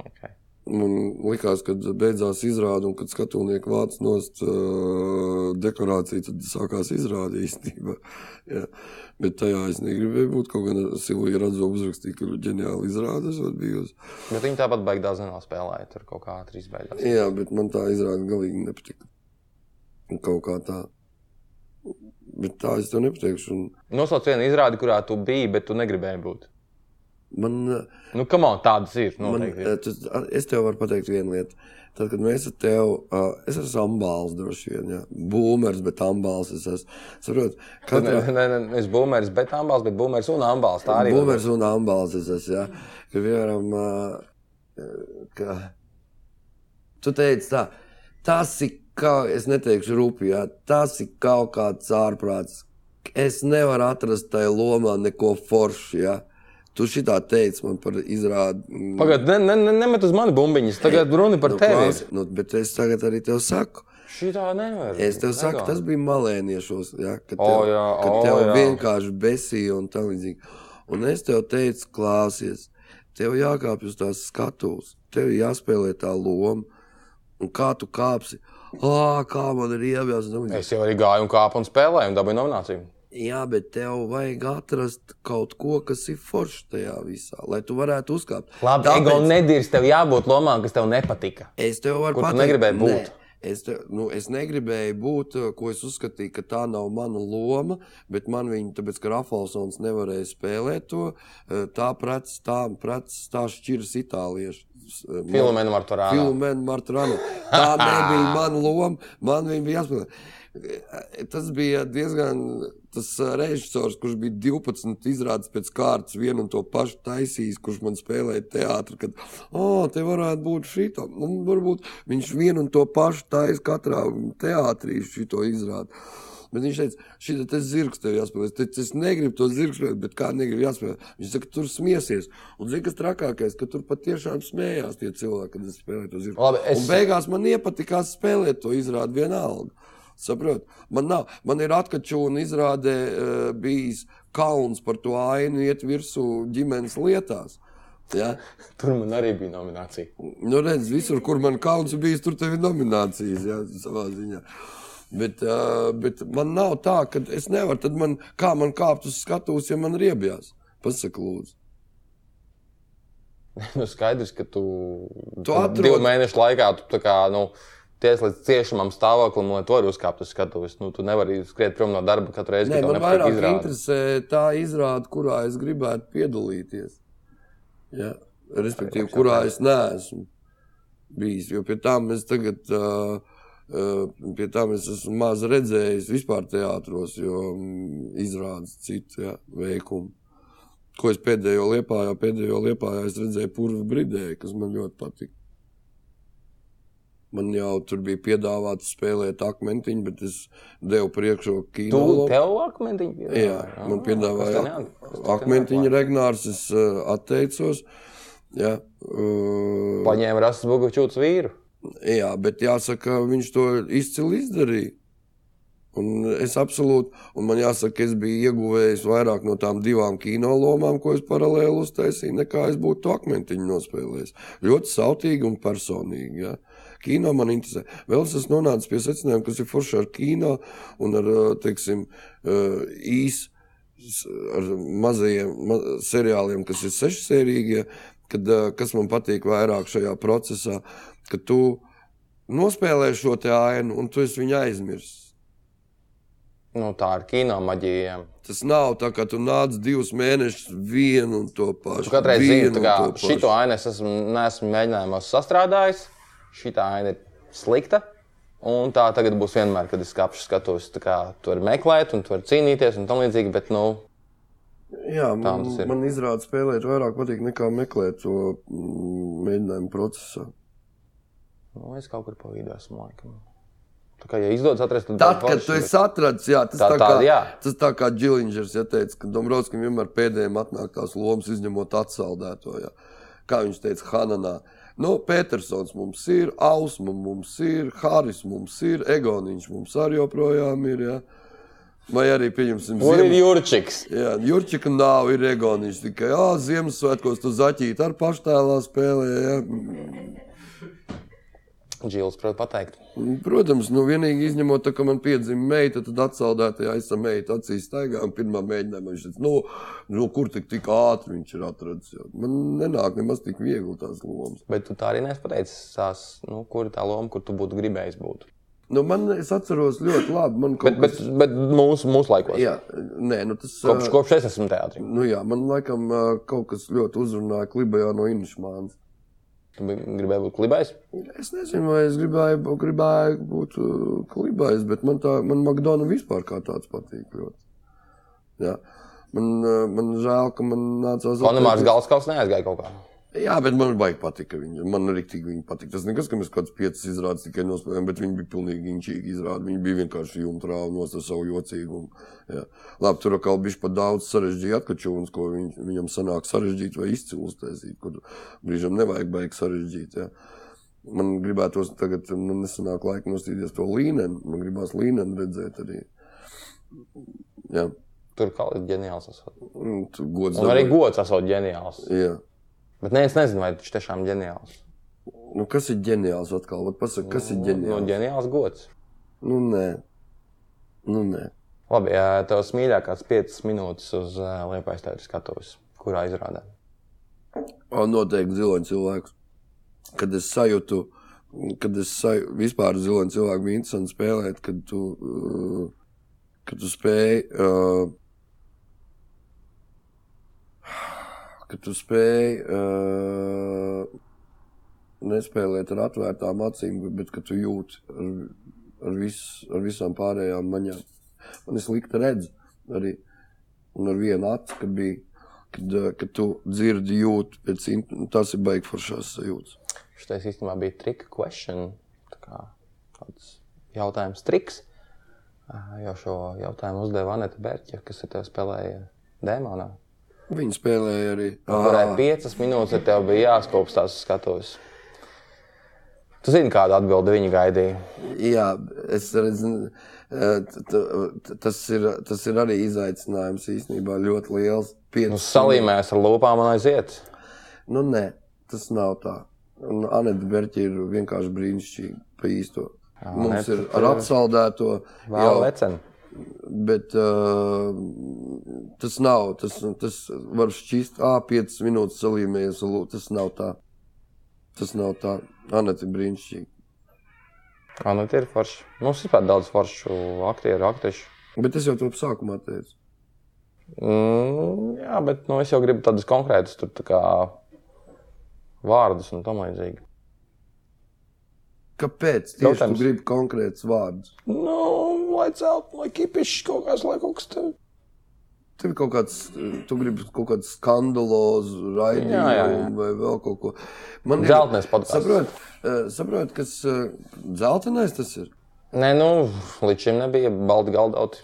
[SPEAKER 2] Okay.
[SPEAKER 1] Man liekas, kad beidzās izrāde, un kad skatuvnieki vāc no uh, dekorācijas, tad sākās izrāde īstenībā. Jā. Bet tajā es negribēju būt. Kaut gan Silvija Radzova uzrakstīja, ka ģeniāli izrāde esot bijusi.
[SPEAKER 2] Bet viņi tāpat baigi daudz nespēlēja. Tur kaut kā ātri izbeidzās.
[SPEAKER 1] Jā, bet man tā izrāde galīgi nepatika. Un Kaut kā tā. Bet tā es tev nepateikšu. un
[SPEAKER 2] Nosauc vienu izrādi, kurā tu biji, bet tu negribēji būt.
[SPEAKER 1] Man, uh,
[SPEAKER 2] Nu, kam man tādas ir?
[SPEAKER 1] Man,
[SPEAKER 2] Noteikti. ir.
[SPEAKER 1] eh, tu, a- es tev varu pateikt vienu lietu. Tad, kad mēs ar tevi, uh, es esmu ambāls, droši vien, ja. būmers, bet ambāls es esmu. Saprot, katrā,
[SPEAKER 2] Nē, nē, nē, es būmērs, bet ambāls, bet būmērs un ambāls. Tā arī būmērs.
[SPEAKER 1] būmers un ambāls es esmu, ja. Ka, piemēram, uh, ka, tu teici tā, tas ir kaut, es neteikšu rupi, ja. tas ir kaut kāds ārprāts. Es nevaru atrast tajā lomā neko foršu, ja. Tu šitā teici man par izrādi.
[SPEAKER 2] Pagaidiet, ne, ne, ne, nemet uz mani bumbiņas. Tagad runa par
[SPEAKER 1] nu,
[SPEAKER 2] tevi.
[SPEAKER 1] klausi, Nu, bet es tagad arī tev saku,
[SPEAKER 2] Šī tā nevar.
[SPEAKER 1] Es tev saku,
[SPEAKER 2] Nevar.
[SPEAKER 1] tas bija malēniešos, ja, kad
[SPEAKER 2] O,
[SPEAKER 1] tev, oh, jā,
[SPEAKER 2] jā,
[SPEAKER 1] kad
[SPEAKER 2] o,
[SPEAKER 1] tev oh,
[SPEAKER 2] jā.
[SPEAKER 1] vienkārši besīja un tā līdzīgi. Un es tev teicu, klāsies, tev jākāpj uz tās skatuves, tev jāspēlē tā loma, un kā tu kāpsi, ah, kā man ir ievies, un tā līdzīgi.
[SPEAKER 2] Es jau arī gāju un kāpu un spēlēju, un dabūju nomināciju.
[SPEAKER 1] Jā, bet tev vajag atrast kaut ko, kas ir foršs tajā visā, lai tu varētu uzkāpt.
[SPEAKER 2] Labi,
[SPEAKER 1] Tāpēc-
[SPEAKER 2] ego nedīrs, tev jābūt lomām, kas tev nepatika.
[SPEAKER 1] Es tev varu
[SPEAKER 2] Kur tu
[SPEAKER 1] pateikt,
[SPEAKER 2] negribēji būt?
[SPEAKER 1] Nē. Es, te, nu, es negribēju būt, eh, ko es uzskatīju, ka tā nav mana loma, bet man viņa, tāpēc, ka Rafalsons nevarēja spēlēt to, eh, tā prets, tā prets, tā šķiras itāliešu. s- eh,
[SPEAKER 2] Filmēnu ar to rādu.
[SPEAKER 1] Filmēna Martrana. Tā nebija mana loma. Man viņa bija jāspēlē. Tas bija diezgan. Tas eh, režisors, kurš bija 12 izrādes pēc kārtas, vienu un to pašu taisījis, kurš man spēlēja teātrī, kad, ah, te varētu būt šī tā. Un varbūt viņš vienu un to pašu taisīja katrā teātrī šo izrādi. Bet viņš teica, šī te zirgs tev jāspēlē. Es teicu, es negribu to zirgu spēlēt, bet kā negribu jāspēlē. Viņš saka, tur smieties. Un zina, kas trakākais, ka tur patiešām smējās tie cilvēki, kad es spēlēju to zirgu.
[SPEAKER 2] Labi, es-
[SPEAKER 1] Un beigās man iepatikās spēlēt to izrādi vienalga. Saprot, man nav, man ir atkačūna izrādē uh, bijis kauns par to ainu iet virsū ģimenes lietās. Ja?
[SPEAKER 2] Tur man arī bija nominācija.
[SPEAKER 1] Nu, redz, visur, kur man kauns ir bijis, tur tev ir nominācijas, jā, savā ziņā. Bet, uh, bet man nav tā, ka es nevaru, tad man, kā man kāpt uz skatuves, ja man riebjās. Pasaka, lūdzu.
[SPEAKER 2] Nu, skaidrs, ka tu,
[SPEAKER 1] Tu
[SPEAKER 2] tad
[SPEAKER 1] atrod-
[SPEAKER 2] divu mēnešu laikā tu tā kā, nu, ties līdz ciešamam stāvoklim, lai to arī uzkāptu uz skatuves. Nu, tu nevari skriet prom no darba katru reizi,
[SPEAKER 1] Nē,
[SPEAKER 2] kad tev
[SPEAKER 1] man
[SPEAKER 2] nepatīk
[SPEAKER 1] vairāk
[SPEAKER 2] izrādes.
[SPEAKER 1] interesē tā izrāde, kurā es gribētu piedalīties. Ja? Respektīvi, kurā es neesmu bijis. Jo pie tām es tagad, uh, uh, pie tām es esmu maz redzējis vispār teātros, jo mm, izrādes citu ja, veikumu. Ko es pēdējo liepā, jau pēdējo liepā redzēju, purvā brīdēji, kas man ļoti patika. Man jau tur bija piedāvāts spēlēt akmentiņu, bet es devu priekšroku
[SPEAKER 2] Tu,
[SPEAKER 1] kīnologam.
[SPEAKER 2] tev akmentiņi?
[SPEAKER 1] Jā,
[SPEAKER 2] Nu,
[SPEAKER 1] nu, man piedāvāja akmentiņu regnārs, es uh, atteicos. Jā, uh,
[SPEAKER 2] Paņēma Rasas Bogučūts vīru.
[SPEAKER 1] jā, bet jāsaka, viņš to izcili izdarīja. Un es absolūti, un man jāsaka, es biju ieguvējis vairāk no tām divām kinolomām, ko es paralēli uztaisīju, nekā es būtu to akmentiņu nospēlējis. Ļoti sautīgi un personīgi. Ja. Kino man interesē. Vēl es esmu nonācis pie secinājuma, kas ir forši ar kino un ar, eh, teiksim, eh, īs s- ar mazajiem ma seriāliem, kas ir sešsērīgie, kad, eh, kas man patīk vairāk šajā procesā, ka tu nospēlē šo te ainu un tu esi viņu aizmirsis.
[SPEAKER 2] Nu, tā ir kino maģija.
[SPEAKER 1] Tas nav tā, ka tu nāc divus mēnešus vienu un to pašu.
[SPEAKER 2] Tu katrai
[SPEAKER 1] vienu
[SPEAKER 2] ziņā,
[SPEAKER 1] un
[SPEAKER 2] ka
[SPEAKER 1] to pašu.
[SPEAKER 2] šito ainu es esmu, neesmu mēģinājumos sastrādājis. Šī aina ir slikta. Un tā tagad būs vienmēr, kad es kāpšu skatos. Tā kā tur meklēt, un tur cīnīties, un tam līdzīgi. Bet, nu,
[SPEAKER 1] Jā, man,
[SPEAKER 2] tas ir.
[SPEAKER 1] man izrādās spēlēt vairāk patīk nekā meklēt to mm, mēģinājumu procesā.
[SPEAKER 2] nu es kaut kur pa vidu esmu laikam. Tā kā, ja izdodas atrast, tad
[SPEAKER 1] Tad,
[SPEAKER 2] būs
[SPEAKER 1] kad
[SPEAKER 2] forši,
[SPEAKER 1] tu
[SPEAKER 2] bet-
[SPEAKER 1] esi atrads, jā, tas tā,
[SPEAKER 2] Tā-
[SPEAKER 1] tā, kā,
[SPEAKER 2] tā,
[SPEAKER 1] jā.
[SPEAKER 2] jā.
[SPEAKER 1] tas tā kā Džilingers ja teica, ka Dombrovskim vienmēr pēdējiem atnāk tās lomas, izņemot atsaldēto. Jā. Kā viņš teica, Hananā. Nu, Petersons mums ir, Ausma mums ir, Haris mums ir, Egoniņš mums arī joprojām ir. Jā. Vai arī, pieņemsim,
[SPEAKER 2] Kur
[SPEAKER 1] Ziema-
[SPEAKER 2] ir jūrčiks?
[SPEAKER 1] Jā, Jurčika nav ir egoņš. Tikai jā, Ziemassvētkos tu zaķīti ar paštēlā spēlē. Jā.
[SPEAKER 2] Džils, protams, pateikt.
[SPEAKER 1] Protams, nu vienīgi izņemot to, ka man piedzima meita, tad atsaldētajā aizsa meita acīs staigā un pirmā mēģinājumā viņš teica, nu, nu, kur tik, tik ātri viņš ir atrads. Jā. Man nenāk nemaz tik viegli tās lomas.
[SPEAKER 2] Bet tu tā arī nespateici, tās, nu, kur ir tā loma, kur tu būtu gribējis būt.
[SPEAKER 1] Nu, man, es atceros ļoti labi, man kaut
[SPEAKER 2] Bet, bet, bet mūsu, mūsu laikos.
[SPEAKER 1] Jā, nē, nu tas...
[SPEAKER 2] Kopš,
[SPEAKER 1] ā,
[SPEAKER 2] kopš es esmu teātrī.
[SPEAKER 1] Nu jā, man laikam ā, kaut kas ļoti uzrunāja klibajā no Inšmāns.
[SPEAKER 2] Tu bi- gribēji būt klibais.
[SPEAKER 1] Es nezinu, vai es gribēju, gribēju būt uh, klibais, bet man tā, man McDonald's vispār kā tāds patīk. Ļoti. Jā. Man, uh, man žēl, ka man nācās
[SPEAKER 2] Konomārs
[SPEAKER 1] atteikties.
[SPEAKER 2] Galskaus neaizgāja kaut kā.
[SPEAKER 1] Jā, bet man baigi patika viņa. Man arī tik viņa patika. Tas nekas, ka mēs kaut kādas piecas izrādes tikai nospēlējām, bet viņi bija pilnīgi inčīgi izrādi. Viņi bija vienkārši jumtrā un nos ar savu jocīgumu. Jā. Labi, tur atkal bija pat daudz sarežģīti atkačūnas, ko viņ, viņam sanāk sarežģīt vai izcilustēsīt, kur brīžam nevajag baigi sarežģīt. Jā. Man gribētos tagad, nu, nesenāk laika nostīties to līniju. Man gribās līniju redzēt arī. Jā,
[SPEAKER 2] Tur kā ir ģeniāls. esot.
[SPEAKER 1] Un tu gods.
[SPEAKER 2] Un arī
[SPEAKER 1] dabai.
[SPEAKER 2] gods esot ģeniāls.
[SPEAKER 1] Jā.
[SPEAKER 2] Bet nē, es nezinu, vai viņš tiešām ģeniāls.
[SPEAKER 1] Nu, kas ir ģeniāls atkal? Vat pasaka, kas ir
[SPEAKER 2] Nu,
[SPEAKER 1] ģeniāls?
[SPEAKER 2] ģeniāls gods.
[SPEAKER 1] Nu, nē. Nu, nē.
[SPEAKER 2] Labi, ja tavs mīļākās 5 minūtes uz eh, liepais teātris skatuves, kurā izrādē.
[SPEAKER 1] O, noteikti ziloņa cilvēks. Kad es sajūtu, kad es sajūtu, vispār ziloņa cilvēku bija interesanti spēlēt, kad tu, uh, kad tu spēj. Uh, Kad tu spēj uh, nespēlēt ar atvērtām acīm, bet- bet ka tu jūti ar, ar, vis, ar visām pārējām maņām. Man ir slikta redzes arī un ar vienu aci, kad bija. Kad, eh, kad tu dzirdi, jūti, pēc int- tas ir baigs par šās sajūtas.
[SPEAKER 2] Šis īstenībā bija trika question. Tā kā tāds jautājums, triks. Ā, Jo šo jautājumu uzdeva Anita Bērķa, kas ir tev spēlēja Dēmonā.
[SPEAKER 1] Viņi spēlēja arī.
[SPEAKER 2] Kurai
[SPEAKER 1] Ā,
[SPEAKER 2] piecas minūtes ar tevi bija jāskopst tās skatuves. Tu zini, kādu atbildi viņi gaidīja.
[SPEAKER 1] Jā, es redzu, eh, t- t- t- tas ir, tas ir arī izaicinājums īstenībā ļoti liels.
[SPEAKER 2] Nu,
[SPEAKER 1] Piecas
[SPEAKER 2] salīmēs ar lopām un aiziet.
[SPEAKER 1] Nu, nē, tas nav tā. Un Anita Berķa ir vienkārši brīnišķīga pa īsto. Mums ir ar atsaldēto
[SPEAKER 2] Vēl vecen.
[SPEAKER 1] Bet uh, tas nav. Tas, tas var šķist, ah, 5 minūtes salīmējies. ar lū- Tas nav tā. Tas nav tā. Anita ir brīnišķīga.
[SPEAKER 2] Jā, nu tie ir forši. Mums ir pat daudz foršu aktieru, aktrišu.
[SPEAKER 1] Bet es jau to sākumā teicu.
[SPEAKER 2] Mm, jā, bet nu, es jau gribu tādus konkrētus tur, tā kā, vārdus un tam līdzīgi.
[SPEAKER 1] Kāpēc? Tieši
[SPEAKER 2] Jautājums.
[SPEAKER 1] tu gribi konkrēts vārdus.
[SPEAKER 2] Nu, lai celtu, lai kipišķi kaut kāds, lai kaut kas tāds.
[SPEAKER 1] Tev ir kaut kāds, eh, tu gribi kaut kādu skandalozu
[SPEAKER 2] jā.
[SPEAKER 1] raidījumu vai vēl kaut ko. Man ir-
[SPEAKER 2] Zeltnais podcasts.
[SPEAKER 1] Saprot, eh, saprot, kas eh, dzeltenais tas ir?
[SPEAKER 2] Nē, nu, līdz šim nebija balti galdauti.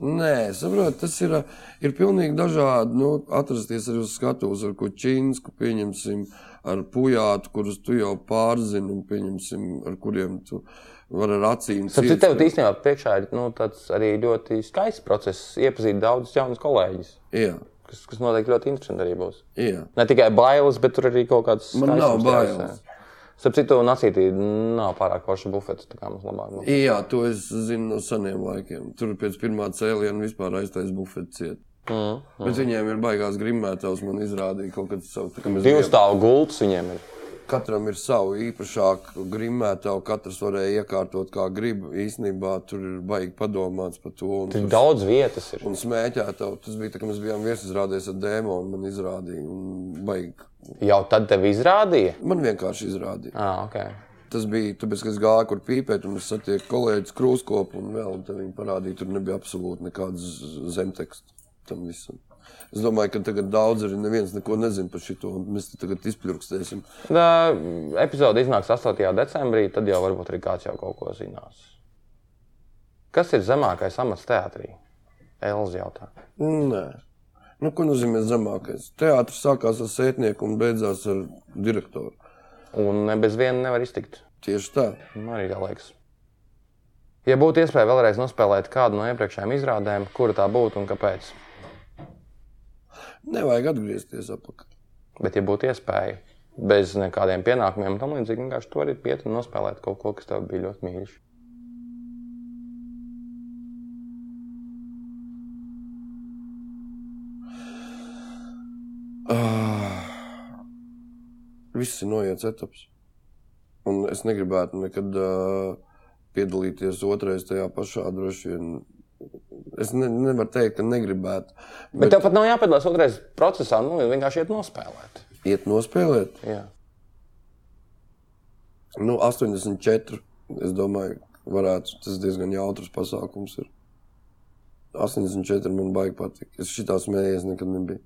[SPEAKER 1] Nē, saprotiet, tas ir, ir pilnīgi dažādi. Nu, atrasties arī uz skatuves, ar kuģiņu, pieņemsim, ar pujātu, kurus tu jau pārzini, un pieņemsim, ar kuriem tu vari ar acīm
[SPEAKER 2] Tad
[SPEAKER 1] ciest.
[SPEAKER 2] tev īstenībā priekšā ir nu, tāds arī ļoti skaists process iepazīt daudzus jaunus kolēģus,
[SPEAKER 1] Jā,
[SPEAKER 2] kas, kas noteikti ļoti interesanti arī būs.
[SPEAKER 1] jā.
[SPEAKER 2] Ne tikai bailes, bet tur arī kaut kāds.
[SPEAKER 1] Man nav
[SPEAKER 2] skaistums
[SPEAKER 1] bailes.
[SPEAKER 2] tajā. Starp citu, Nācītī nav pārāk forša bufete, tā kā mums labāk. nu. būtu.
[SPEAKER 1] jā, to es zinu no seniem laikiem. Tur pēc pirmā cēliena vispār aiztais bufets ciet.
[SPEAKER 2] Mm.
[SPEAKER 1] Bet viņiem ir baigās grimētājs, man izrādīja kaut kādu savu. tā kā mēs
[SPEAKER 2] Divu
[SPEAKER 1] bijām-
[SPEAKER 2] stāvu gultas viņiem ir.
[SPEAKER 1] Katram ir sava īpašāka grimētāja, katrs varēja iekārtot kā grib. Īsnībā tur ir baigi padomāts par to. Un,
[SPEAKER 2] Tur daudz vietas ir.
[SPEAKER 1] un smēķētāju tas bija, tā, kad mēs bijām viesizrādējies ar dēmonu, man izrādīja. Un baigi.
[SPEAKER 2] Jau tad tev izrādīja?
[SPEAKER 1] Man vienkārši izrādīja.
[SPEAKER 2] Ah, okay.
[SPEAKER 1] Tas bija, tāpēc, ka es gāju, kur pīpēt, un es satieku kolēģis Krūskopu un vēl, un tad viņi parādīja, tur nebija absolūti nekādas zemteksta tam visam. Es domāju, ka tagad daudz arī neviens neko nezina par šito, un mēs te tagad izpļurkstēsim.
[SPEAKER 2] Tā epizode iznāks 8. decembrī, tad jau varbūt arī kāds jau kaut ko zinās. Kas ir zemākais amats teātrī? Elza jautā.
[SPEAKER 1] Nē. Nu, ko nozīmē zemākais? Teātris sākās ar sētnieku un beidzās ar direktoru.
[SPEAKER 2] Un ne bez viena nevar iztikt.
[SPEAKER 1] Tieši tā.
[SPEAKER 2] Man arī tā liekas. Ja būtu iespēja vēlreiz nospēlēt kādu no iepriekšējām izrādēm, kura tā būtu un kāpēc?
[SPEAKER 1] Nevajag atgriezties atpakaļ.
[SPEAKER 2] Bet, ja būtu iespēja, bez nekādiem pienākumiem, un tam līdzīgi vienkārši tur arī piet un nospēlēt kaut ko, kas tev bija ļoti mīļš.
[SPEAKER 1] Ah. Viss ir noiets etapas. Un es negribētu nekad uh, piedalīties otrreiz tajā pašā droši vien. Es ne, nevaru teikt, ka negribētu.
[SPEAKER 2] Bet, bet tev pat nav jāpiedalās otrajā procesā, nu vienkārši iet nospēlēt.
[SPEAKER 1] iet nospēlēt,
[SPEAKER 2] Jā.
[SPEAKER 1] nu, 84. Es domāju, varētu, tas diezgan jautrs pasākums ir. 84 man baigi patīk. Es šitā smējies nekad nebiju.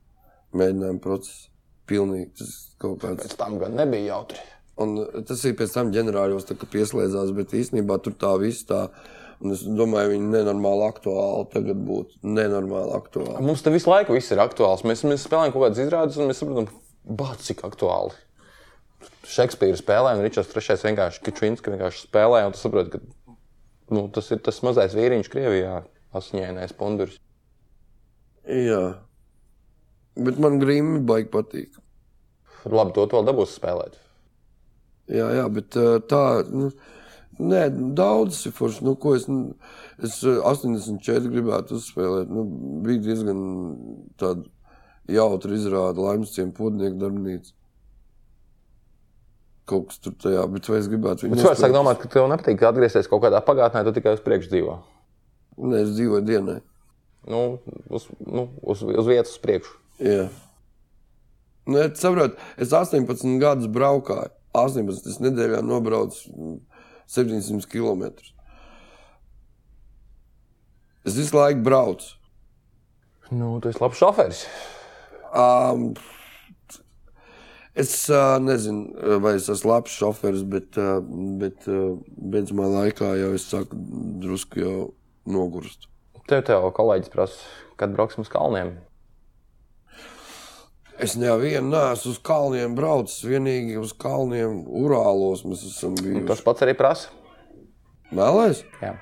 [SPEAKER 1] Mēģinājuma process. Pilnīgi tas kaut kāds.
[SPEAKER 2] Pēc tam gan nebija jautri.
[SPEAKER 1] Un uh, tas ir pēc tam ģenerāļos tā kā pieslēdzās, bet īstenībā tur tā viss tā. Un es domāju, viņi nenormāli aktuāli tagad būtu. Nenormāli aktuāli.
[SPEAKER 2] Mums te visu laiku viss ir aktuāls. Mēs, mēs spēlējam kaut kādas izrādes, un mēs saprotam, bāc, cik aktuāli. Šekspīra spēlē, un Ričards III vienkārši Kačins, ka vienkārši spēlē, un tu saproti, ka nu, tas ir tas mazais vīriņš Krievijā, asiņainais pundurs.
[SPEAKER 1] Jā. Bet man grīmi baigi patīk.
[SPEAKER 2] Labi, to tu vēl dabūs spēlēt.
[SPEAKER 1] Jā, jā bet eh, tā. Nu, Nē, daudz ir forši. Nu, ko es, nu, es eh, 84 gribētu uzspēlēt. Nu, bija diezgan tāda jautra izrāde laimīgiem pūdiņiem darbnīcā. Kaut kas tur tajā, bet vai es gribētu viņu
[SPEAKER 2] Bet cilvēks sāk domāt, ka tev nepatīk ka atgriezties kaut kādā pagātnē, tu tikai uz priekšu dzīvo.
[SPEAKER 1] Nē, es dzīvoju dienai.
[SPEAKER 2] Nu, uz, nu, uz, uz vietas uz priekšu.
[SPEAKER 1] Jā. Nu, es saprotu, es 18 gadus braukāju. 18 es nedēļā nobraucu mm, 700 km. Es visu laiku braucu.
[SPEAKER 2] Nu, tu esi labs šoferis.
[SPEAKER 1] Um, es uh, nezinu, vai es esmu labs šofers, bet, uh, bet uh, beidzamā laikā jau es saku, drusku jau nogurstu.
[SPEAKER 2] Tev, tev kolēģis prasa, kad brauksim uz kalniem.
[SPEAKER 1] Es nevienu neesmu uz kalniem braucis, vienīgi uz kalniem Urālos mēs esam bijuši.
[SPEAKER 2] Tas pats arī prasa.
[SPEAKER 1] Mēlēs?
[SPEAKER 2] Jā.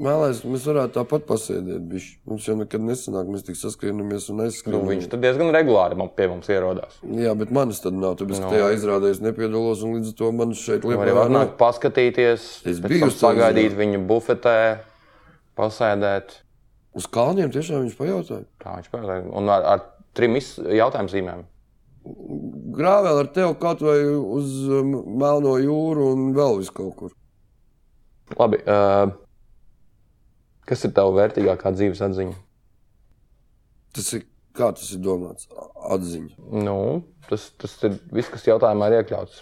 [SPEAKER 1] Mēlēs, mēs varētu tāpat pasēdēt. Bišķi. Mums jau nekad nesanāk, mēs tik saskrienimies un
[SPEAKER 2] Nu,
[SPEAKER 1] aizskrienam.
[SPEAKER 2] viņš tur diezgan regulāri man pie mums ierodās.
[SPEAKER 1] Jā, bet manis tad nav. Tāpēc, no. tajā izrādēs nepiedalos, un līdz ar to man šeit
[SPEAKER 2] Nu. Arī
[SPEAKER 1] liepā
[SPEAKER 2] var nākt paskatīties,
[SPEAKER 1] Es
[SPEAKER 2] pēc
[SPEAKER 1] biju
[SPEAKER 2] tam
[SPEAKER 1] uz to
[SPEAKER 2] sagaidīt
[SPEAKER 1] uzrunu.
[SPEAKER 2] viņu bufetē, pasēdēt.
[SPEAKER 1] Uz kalniem tiešām viņš pajautāja.
[SPEAKER 2] Tā viņš pajautāja. Un ar, ar trim iz- jautājumu zīmēm.
[SPEAKER 1] Grāvēl ar tevi kaut vai uz um, Melno jūru un vēl vis kaut kur.
[SPEAKER 2] Labi. Uh, kas ir tava vērtīgākā dzīves atziņa?
[SPEAKER 1] Tas ir, kā tas ir domāts, A- atziņa.
[SPEAKER 2] Nu, tas, tas ir viss, kas jautājumā ir iekļauts.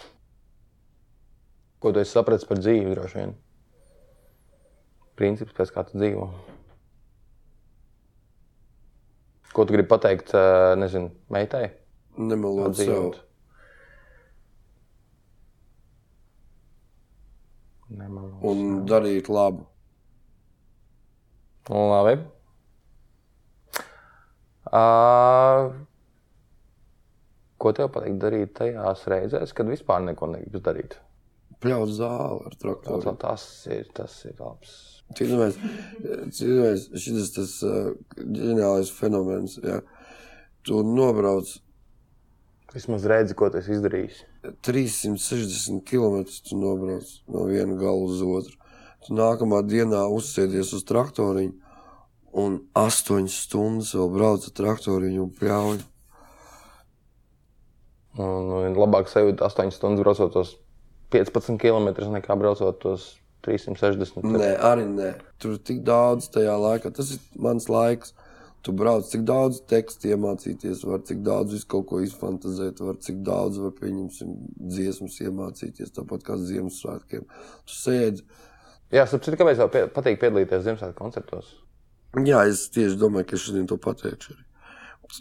[SPEAKER 2] Ko tu esi sapratis par dzīvi droši vien? Princips, pēc kā tu dzīvo. Ko tu gribi pateikt, eh, nezinu, meitai?
[SPEAKER 1] Nemelot sev.
[SPEAKER 2] Atdzīvot. Nemelot.
[SPEAKER 1] Un darīt labu.
[SPEAKER 2] Nu, Labi. Uh, ko tev patīk darīt tajās reizēs, kad vispār neko negribas darīt?
[SPEAKER 1] Pļaut zāli ar traktoru.
[SPEAKER 2] Tas, tas ir, tas ir labs.
[SPEAKER 1] Cilvēks, cilvēks, nu šis tas uh, ģeniālais fenomens, ja tu nobrauc
[SPEAKER 2] Vismaz redzi, ko tu esi izdarījis.
[SPEAKER 1] 360 km, tu nobrauc no viena gala uz otru. Tu nākamā dienā uzsēdies uz traktoriņu un 8 stundas vēl brauc ar traktoriņu un pļauju.
[SPEAKER 2] Un, un Nu, labāk sajūt 8 stundas braucot tos 15 km nekā braucot tos 360 km.
[SPEAKER 1] Nē, arī nē. Tur ir tik daudz tajā laikā. Tas ir mans laiks. Tu brauc, cik daudz tekstu iemācīties, var cik daudz visu kaut ko izfantāzēt, var cik daudz var pieņemsim dziesmas iemācīties, tāpat kā Ziemassvētkiem. Tu sēdi.
[SPEAKER 2] Jā, sapratu, kāpēc tev pie, patīk piedalīties Ziemassvētku koncertos.
[SPEAKER 1] Jā, es tieši domāju, ka šodien to pateikšu arī.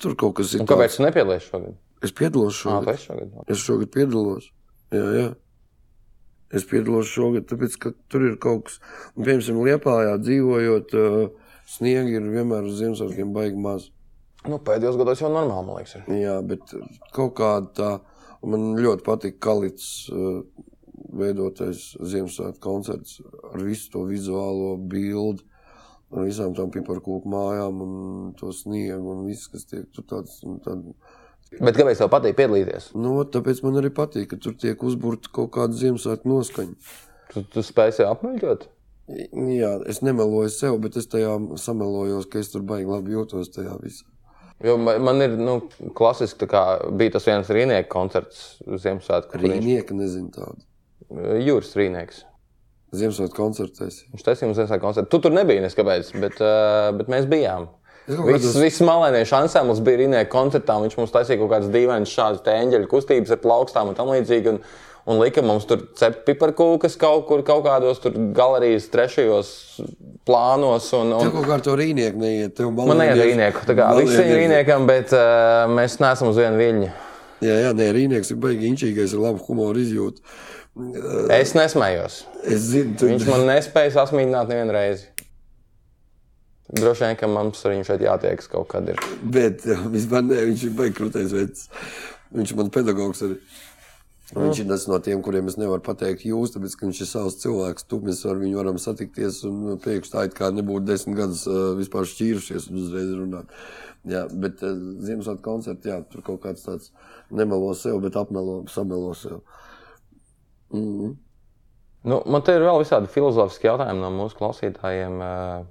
[SPEAKER 1] Tur kaut kas ir.
[SPEAKER 2] Un kāpēc tu nepiedalies šogad?
[SPEAKER 1] tāds. Es piedalos
[SPEAKER 2] Jā,
[SPEAKER 1] šogad.
[SPEAKER 2] tas ir šogad.
[SPEAKER 1] Es šogad piedalos. Jā, jā. Es piedalos šogad, tāpēc, ka tur ir kaut kas, un, piemēram, Lietpājā dzīvojot, ā, sniegi ir vienmēr uz Ziemassvētkiem baigi maz.
[SPEAKER 2] Nu, pēdējos gados jau normāli, man liekas. Ir.
[SPEAKER 1] Jā, bet kaut kāda tā, un man ļoti patīk Kalits ā, veidotais Ziemassvētku koncerts ar visu to vizuālo bildi. Ar visām tām piparkūku mājām, un to sniegu, un viss, kas tiek tur tāds, un tāda
[SPEAKER 2] Bet kāpēc tev patīk piedalīties?
[SPEAKER 1] Nu, ot, tāpēc man arī patīk, ka tur tiek uzburta kaut kāda Ziemassvētku noskaņa.
[SPEAKER 2] Tu, tu spēj sev apmeļķot?
[SPEAKER 1] I- Jā, es nemeloju sev, bet es tajā samelojos, ka es tur baigi labi jūtos tajā visā.
[SPEAKER 2] Jo ma- man ir nu, klasiski, tā kā bija tas viens rīnieka koncerts Ziemassvētku kur viņš-
[SPEAKER 1] Rīnieki nezina tādu.
[SPEAKER 2] Jūras rīnieks.
[SPEAKER 1] Ziemassvētku koncertēs.
[SPEAKER 2] Viņš taisīja mums Ziemassvētku koncertu. Tu tur nebija neskapēc, bet, uh, bet mēs bijām.
[SPEAKER 1] Es kaut
[SPEAKER 2] Viss,
[SPEAKER 1] kādos-
[SPEAKER 2] viss malēniešu ansamblis bija rīnieka koncertā. un Viņš mums taisīja kaut kādas dīvainas šādas te eņģeļu kustības ar plaukstām un tam līdzīgi. Un, un lika mums tur cept piparkūkas kaut kur, kaut kādos tur galerijas trešajos plānos. Un, un,
[SPEAKER 1] Tev kaut kā ar to rīnieku neiet. Tev
[SPEAKER 2] Man ir
[SPEAKER 1] balodieši-
[SPEAKER 2] rīnieku, tā kā visi ir
[SPEAKER 1] balodieši-
[SPEAKER 2] rīniekam, bet uh, mēs neesam uz vienu viļņu.
[SPEAKER 1] Jā, jā, nē, rīnieks ir baigi inčīgais, ir laba humora izjūta.
[SPEAKER 2] Es nesmējos.
[SPEAKER 1] Es zinu, tu...
[SPEAKER 2] Viņš man nespēja sasmīdināt nevienu reizi. Droši vien, ka mums ar viņu šeit jātiekas kaut kad. Ir.
[SPEAKER 1] bet vispār nē, viņš ir baigi krūtais vecs. Viņš man pedagogs arī. Un Viņš ir
[SPEAKER 2] Ah.
[SPEAKER 1] tas no tiem, kuriem es nevaru pateikt, jūs, tāpēc, ka viņš ir savs cilvēks. Tu mēs ar viņu varam satikties un uh, priekš tā, it kā nebūtu desmit gadus uh, vispār šķīrušies un uzreiz runāt. Jā, bet uh, Ziemassvētku koncerts, jā, tur kaut kāds tāds nemelo sev, bet apmelo, samelo sev.
[SPEAKER 2] Nu, man te ir vēl visādi filozofiski jautājumi no mūsu klausītājiem. eh,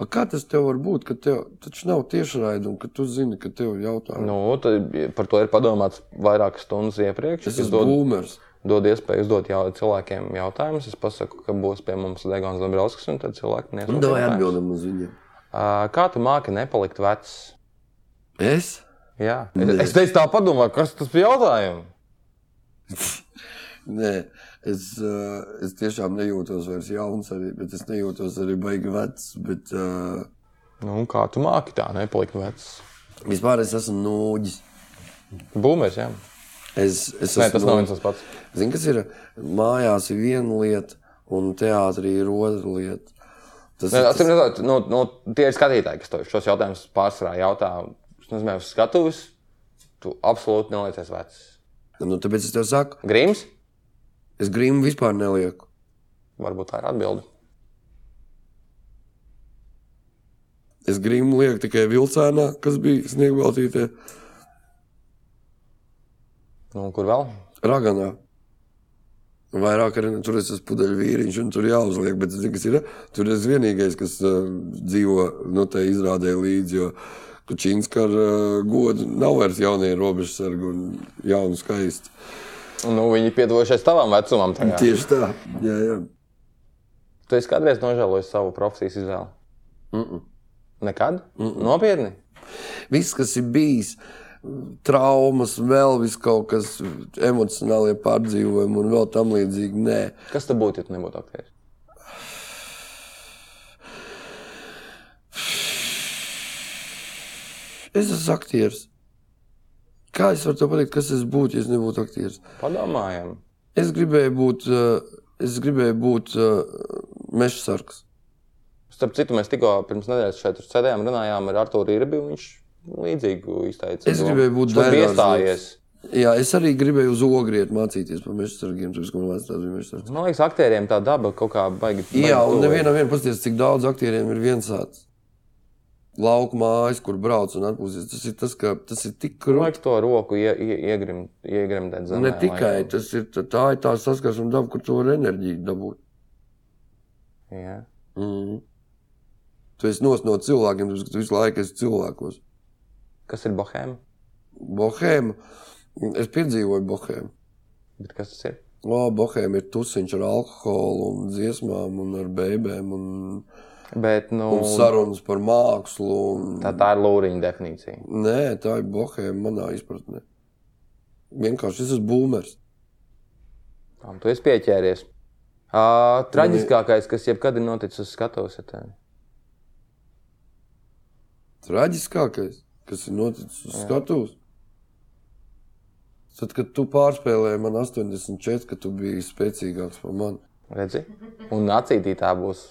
[SPEAKER 1] A, kā tas tev var būt, ka tev taču nav tiešraiduma, ka tu zini, ka tev ir jautājumi?
[SPEAKER 2] Nu, tad par to ir padomāts vairākas stundas iepriekš.
[SPEAKER 1] Tas
[SPEAKER 2] Es
[SPEAKER 1] ir
[SPEAKER 2] dodu,
[SPEAKER 1] boomers.
[SPEAKER 2] dodu iespēju uzdot jau, cilvēkiem jautājumus. Es pasaku, ka būs pie mums Degons Lembrauskis, un tad cilvēki
[SPEAKER 1] Nu,
[SPEAKER 2] nesūta
[SPEAKER 1] Davai
[SPEAKER 2] jautājumus.
[SPEAKER 1] atbildam uz viņiem.
[SPEAKER 2] Eh, Kā tu māki nepalikt vecs?
[SPEAKER 1] Es?
[SPEAKER 2] Jā. Es, es teicu, tā padomā, kas tas bija jautājums?
[SPEAKER 1] Nē, es, uh, es tiešām nejūtos vairs jauns, arī, bet es nejūtos arī baigi vecs. Bet, uh,
[SPEAKER 2] Nu, un kā tu māki tā nepalikt vecs?
[SPEAKER 1] vispār es esmu nūģis.
[SPEAKER 2] Būmēs, jā.
[SPEAKER 1] Es, es
[SPEAKER 2] Nē, tas nav
[SPEAKER 1] nūģis.
[SPEAKER 2] viens tas pats.
[SPEAKER 1] Zini, kas ir mājās ir viena lieta, un teātrī ir otra lieta. Tas,
[SPEAKER 2] Nē,
[SPEAKER 1] ir
[SPEAKER 2] Atcīm redzot, nu, nu, tie ir skatītāji, kas tev šos jautājumus pārsvarā jautā. Es nezinu, uz skatuves tu absolūti neliecies vecs.
[SPEAKER 1] tas, nu, tāpēc es tev saku,
[SPEAKER 2] Grims,
[SPEAKER 1] es grimu vispār nelieku.
[SPEAKER 2] varbūt tā ir atbilde.
[SPEAKER 1] Es grimu lieku tikai vilcienā, kas bija sniegbaltītē,
[SPEAKER 2] Nu, un kur vēl?
[SPEAKER 1] raganā. Vairāk arī nu, tur es esmu pudeļvīriņš, un tur jāuzliek. Bet zini, kas ir, tur es vienīgais, kas uh, dzīvo no tā izrādē līdzi. Jo Kučīnska ar uh, godu nav vairs jaunie robežsargi un jauni skaisti.
[SPEAKER 2] Nu, viņi pietuvojušies tavam vecumam. tagad.
[SPEAKER 1] Tieši tā. Jā, jā.
[SPEAKER 2] Tu esi kādreiz nožēlojis savu profesijas izvēli?
[SPEAKER 1] Mm -mm.
[SPEAKER 2] Nekad? Nopietni.
[SPEAKER 1] Viss, kas ir bijis, traumas, vēl vis kaut kas, emocionālie pārdzīvojumi un vēl tam līdzīgi. Nē,
[SPEAKER 2] Kas tad būtu, ja tu nebūtu aktieris?
[SPEAKER 1] es esmu aktieris. Kā es varu te pateikt, kas es būtu, ja es nebūtu aktieris?
[SPEAKER 2] Padomājam.
[SPEAKER 1] Es gribēju būt, uh, es gribēju būt uh, meža sargs.
[SPEAKER 2] Starp citu, mēs tikko pirms nedēļas šeit tur sēdējām, runājām ar Arthuru Irbiņu. Viņš līdzīgi izteica.
[SPEAKER 1] Es
[SPEAKER 2] domu.
[SPEAKER 1] gribēju būt
[SPEAKER 2] Viņš tur bija
[SPEAKER 1] dairāznieks.
[SPEAKER 2] iestājies.
[SPEAKER 1] Jā, es arī gribēju uz ogriet mācīties par meža sargiem, tāpēc, ka man liekas, tas bija meža sargs.
[SPEAKER 2] Man liekas, aktieriem tā daba kaut kā baigi.
[SPEAKER 1] Jā,
[SPEAKER 2] baigi
[SPEAKER 1] un
[SPEAKER 2] tuvojas.
[SPEAKER 1] nevienam vien pasties, cik daudz aktieriem ir viensāds. Lauku mājas, kur brauc un atpūsties. Tas ir tas, ka tas ir tik
[SPEAKER 2] Man
[SPEAKER 1] krūti.
[SPEAKER 2] liekas, to roku ie, ie, iegrim, iegremdēt zemē.
[SPEAKER 1] Ne
[SPEAKER 2] laikam.
[SPEAKER 1] tikai tas ir tā, tā ir tā saskarsme, daba, kur to var enerģiju dabūt.
[SPEAKER 2] Jā.
[SPEAKER 1] Mm. Tu esi nos no cilvēkiem, tāpēc, ka tu visu laiku esi cilvēkos.
[SPEAKER 2] Kas ir bohēma?
[SPEAKER 1] Bohēma, es piedzīvoju bohēmu.
[SPEAKER 2] Bet kas tas ir?
[SPEAKER 1] O, bohēma ir tusiņš ar alkoholu un dziesmām un ar bēbēm un,
[SPEAKER 2] Bet, nu,
[SPEAKER 1] un sarunas par mākslu. Un...
[SPEAKER 2] tā, tā ir lūriņa definīcija.
[SPEAKER 1] Nē, tā ir bohēma manā izpratnē. Vienkārši es esmu boomers.
[SPEAKER 2] Tam tu esi pieķēries. Uh, traģiskākais, kas jebkad ir noticis uz skatuves, ir tevi.
[SPEAKER 1] Traģiskākais, kas ir noticis uz skatuves. Tad, kad tu pārspēlēji man 84, kad tu biji spēcīgāks par mani.
[SPEAKER 2] Redzi? Un acītī tā būs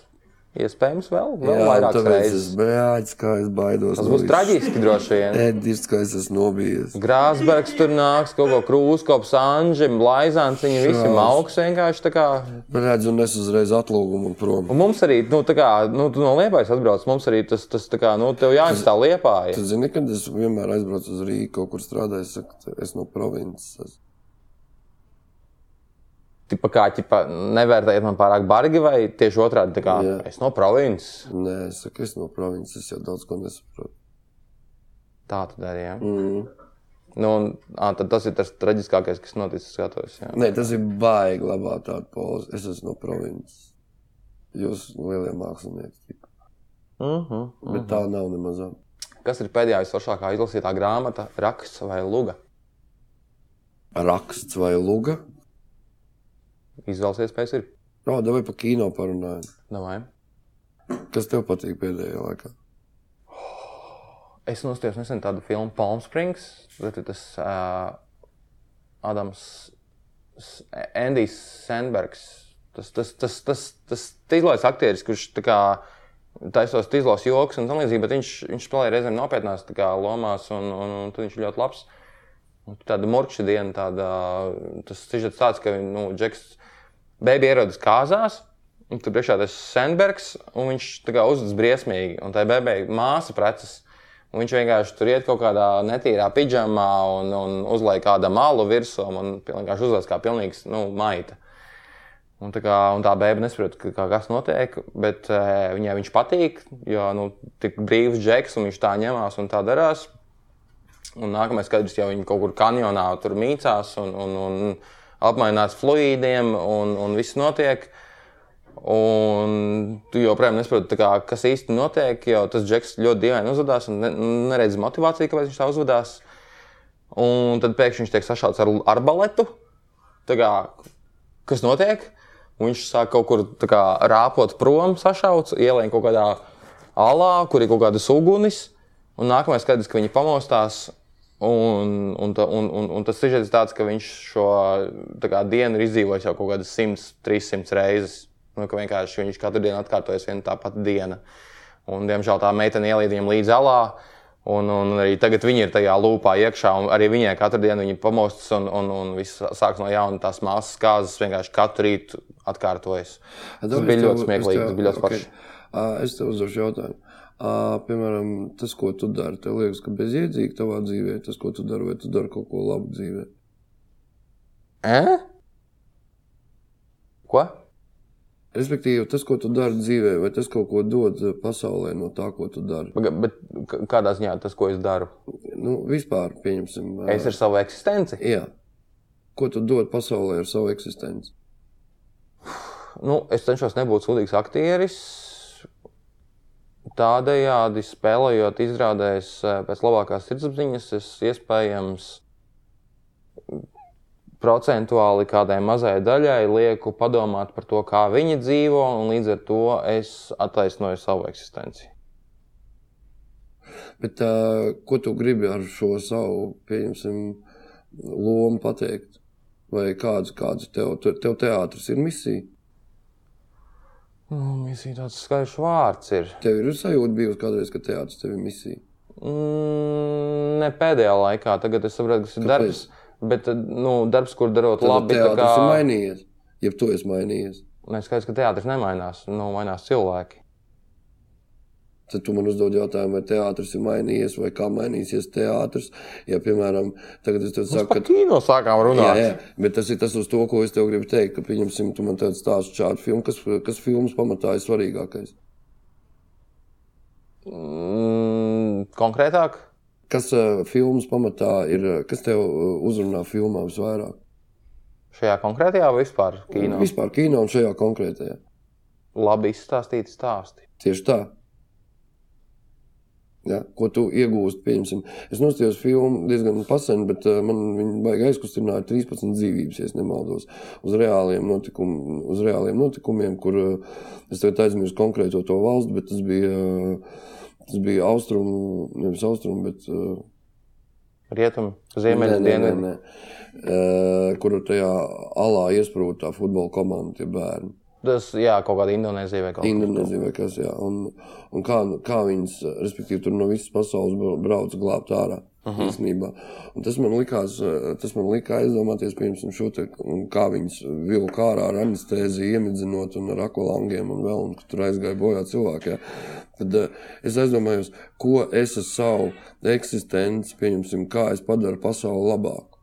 [SPEAKER 2] iespējams vēl, vēl
[SPEAKER 1] Jā,
[SPEAKER 2] jā, vairākas
[SPEAKER 1] tāpēc es
[SPEAKER 2] reizes.
[SPEAKER 1] bēdzu, kā es baidos.
[SPEAKER 2] Tas būs traģiski droši vien.
[SPEAKER 1] Edis, kā es esmu nobijies.
[SPEAKER 2] Grāzbergs tur nāks, kaut ko krūskops, anģim, laizāns, viņi visi
[SPEAKER 1] Šaus.
[SPEAKER 2] mauks vienkārši tā kā.
[SPEAKER 1] Redz, un es uzreiz atlūgumu un prom.
[SPEAKER 2] Un mums arī, nu, tā kā, nu, tu no liepais atbrauc, mums arī tas, tas tā kā, nu, tev jāizstāv liepāja.
[SPEAKER 1] Tu zini, kad es vienmēr aizbraucu uz Rīgā, kaut kur strādāju, es saku, es no provinces. esmu.
[SPEAKER 2] Tipa kā, tipa, nevērtējiet man pārāk bargi vai tieši otrādi, tā kā, Jā.
[SPEAKER 1] Jā.
[SPEAKER 2] es no provinces.
[SPEAKER 1] Nē, es saku, es no provinces, es jau daudz ko nesaprotu.
[SPEAKER 2] Tā tu dari, ja.
[SPEAKER 1] Mm.
[SPEAKER 2] Nu, un, ā, tad tas ir tas traģiskākais, kas noticis skatos, jā.
[SPEAKER 1] Nē, tas ir baigi labā tāda poza. Es esmu no provinces. Jūs lielie mākslinieki. tipa.
[SPEAKER 2] Uh -huh.
[SPEAKER 1] Bet tā nav nemaz.
[SPEAKER 2] Kas ir pēdējā visvaršākā izlasītā grāmata, raksts vai luga?
[SPEAKER 1] Raksts vai luga?
[SPEAKER 2] Izvēles iespējas ir.
[SPEAKER 1] No, davai pa kino parunājam.
[SPEAKER 2] Davai.
[SPEAKER 1] Kas tev patīk pēdējā laikā?
[SPEAKER 2] Es nostājos nesen tādu filmu Palm Springs. Tad ir tas uh, Adams, S- Andijs Sandbergs. Tas, tas, tas, tas, tas tīzlais aktieris, kurš tā kā taisās tīzlos joks un tā līdzīgi, bet viņš, viņš spēlēja reizēm nopietnās tā kā lomās un, un, un tad viņš ir ļoti labs. Un Tāda morkšķa diena, tāda, tas sižets tāds, ka nu, Džeks beigas ierodas kāzās. un Tur priekšā tas Sandbergs, un viņš tā kā uzvedas briesmīgi. Un tā bebē māsa preces. Un viņš vienkārši tur iet kaut kādā netīrā pidžamā un, un uzliek kādu malu virsū. Un vienkārši uzvedas kā pilnīgs nu, maita. Un tā, kā, un tā bērna nesaprot, ka- kā- kas notiek, bet e, viņai viņš patīk, jo nu, tik brīvs džeks, un viņš tā ņemās un tā darās. Un nākamais kadrs jau viņi kaut kur kanjonā tur mītās un, un, un apmainās fluīdiem, un, un viss notiek. Un tu joprojām nesaproti, tā kā, kas īstenībā notiek, jo tas džeks ļoti dīvaini uzvedās un ne, neredz motivāciju, kāpēc viņš tā uzvedās. Un tad pēkšņi viņš tiek sašauts ar arbaletu. Tā kā, kas notiek? Un Viņš sāk kaut kur tā kā, rāpot prom, sašauts, ielēja kaut kādā alā, kur ir kaut kādas uguns. Un nākamais skats, ka viņi pamostās. Un, un, ta- un, un, un tas sižets ir tāds, ka viņš šo tā kā, dienu ir izdzīvojis jau kaut kādas 100, 300 reizes. Nu, ka vienkārši viņš katru dienu atkārtojas viena tā pati diena. Un, diemžēl tā meitene ielīd viņam līdz alā. Un, un arī tagad viņi ir tajā lūpā iekšā, un arī viņai katru dienu viņa pamostas, un, un, un viss sākas no jauna. Tās māsas kāzas vienkārši katru rītu atkārtojas. Tas bija ļoti smieklīgi, tas bija ļoti forši.
[SPEAKER 1] Uh, es tev uzdošu jautājumu. Uh, piemēram, tas, ko tu dari, tev liekas, ka bezjēdzīgi tavā dzīvē, tas, ko tu dari, vai tu dari kaut ko labu dzīvē.
[SPEAKER 2] Eh? Ko?
[SPEAKER 1] Respektīvi, tas, ko tu dari dzīvē, vai tas kaut ko dod eh, pasaulē no tā, ko tu dari.
[SPEAKER 2] Paga- Bet k- kādā ziņā tas, ko es daru?
[SPEAKER 1] Nu, vispār, pieņemsim, eh,
[SPEAKER 2] Es ar savu eksistenci.
[SPEAKER 1] jā. ko tu dod pasaulē ar savu eksistenci.
[SPEAKER 2] Nu, es cenšos nebūt sūdīgs aktieris. Tādējādi spēlējot, izrādējas eh, pēc labākās sirdsapziņas, es iespējams procentuāli kādai mazai daļai lieku padomāt par to, kā viņi dzīvo, un līdz ar to es attaisnoju savu eksistenci.
[SPEAKER 1] Bet uh, ko tu gribi ar šo savu, pieņemsim, lomu pateikt? Vai kāds, kāds tev, te- tev teātris ir misija?
[SPEAKER 2] Nu, misija tāds skaļš vārds ir.
[SPEAKER 1] Tev ir sajūta bijusi kādreiz, ka teātris tev ir misija.
[SPEAKER 2] Mm, ne pēdējā laikā, tagad es saprotu, kas ir
[SPEAKER 1] Kāpēc?
[SPEAKER 2] darbs. Bet, nu, darbs, kur darot
[SPEAKER 1] Labi,
[SPEAKER 2] labi,
[SPEAKER 1] teātris
[SPEAKER 2] tā
[SPEAKER 1] kā... ir
[SPEAKER 2] kā.
[SPEAKER 1] mainījies. Ja tu esi mainījies,
[SPEAKER 2] Nē, skaidrs, ka teātris nemainās. Nu, mainās cilvēki.
[SPEAKER 1] tad tu man uzdod jautājumu, vai teātris ir mainījies, vai kā mainīsies teātris. Ja, piemēram, tagad es tev saku,
[SPEAKER 2] Par
[SPEAKER 1] ka
[SPEAKER 2] kino sākām
[SPEAKER 1] Jā,
[SPEAKER 2] runāt.
[SPEAKER 1] jā, bet tas ir tas, uz to, ko es tev gribu teikt. Ka, pieņemsim, tu man tādu stāstu šādu filmu, kas, kas filmas pamatā ir svarīgākais.
[SPEAKER 2] Mm, konkrētāk,
[SPEAKER 1] Kas uh, filmas pamatā ir, uh, kas tev uh, uzrunā filmā visvairāk?
[SPEAKER 2] šajā konkrētajā vai vispār kino. Vis...
[SPEAKER 1] Vispār kino un šajā konkrētajā.
[SPEAKER 2] Labi izstāstīti stāsti.
[SPEAKER 1] Tieši tā. Ja, ko tu iegūsti? Pieņemsim. Es nostājos filmu diezgan sen, bet uh, man viņa baigi aizkustināja 13 dzīvības, ja es nemaldos, uz reāliem, notikum, uz reāliem notikumiem, kur uh, es tagad aizmirsu konkrēto to valstu, bet tas bija, uh, tas bija austrumu, nevis austrumu, bet uh,
[SPEAKER 2] Rietumi, ziemeļi, dienvidi.
[SPEAKER 1] Uh, kur tajā alā iesprūda tā futbola komanda, tie bērni.
[SPEAKER 2] Tas, jā, kaut kāda Indonēzija vai kaut kas
[SPEAKER 1] Indonēzija vai kas tāds. Un, un kā, kā viņas, respektīvi, tur no visas pasaules bra- brauc glābt ārā. Uh -huh. Tas man likās, eh, tas man lika aizdomāties, piemēram, šo te, un kā viņas vilka ārā ar anestēziju, iemidzinot un ar akolangiem un vēl, un ka tur aizgāja bojā cilvēki. Ja. Tad eh, es aizdomājos, ko es ar savu eksistenci, pieņemsim, kā es padaru pasauli labāku.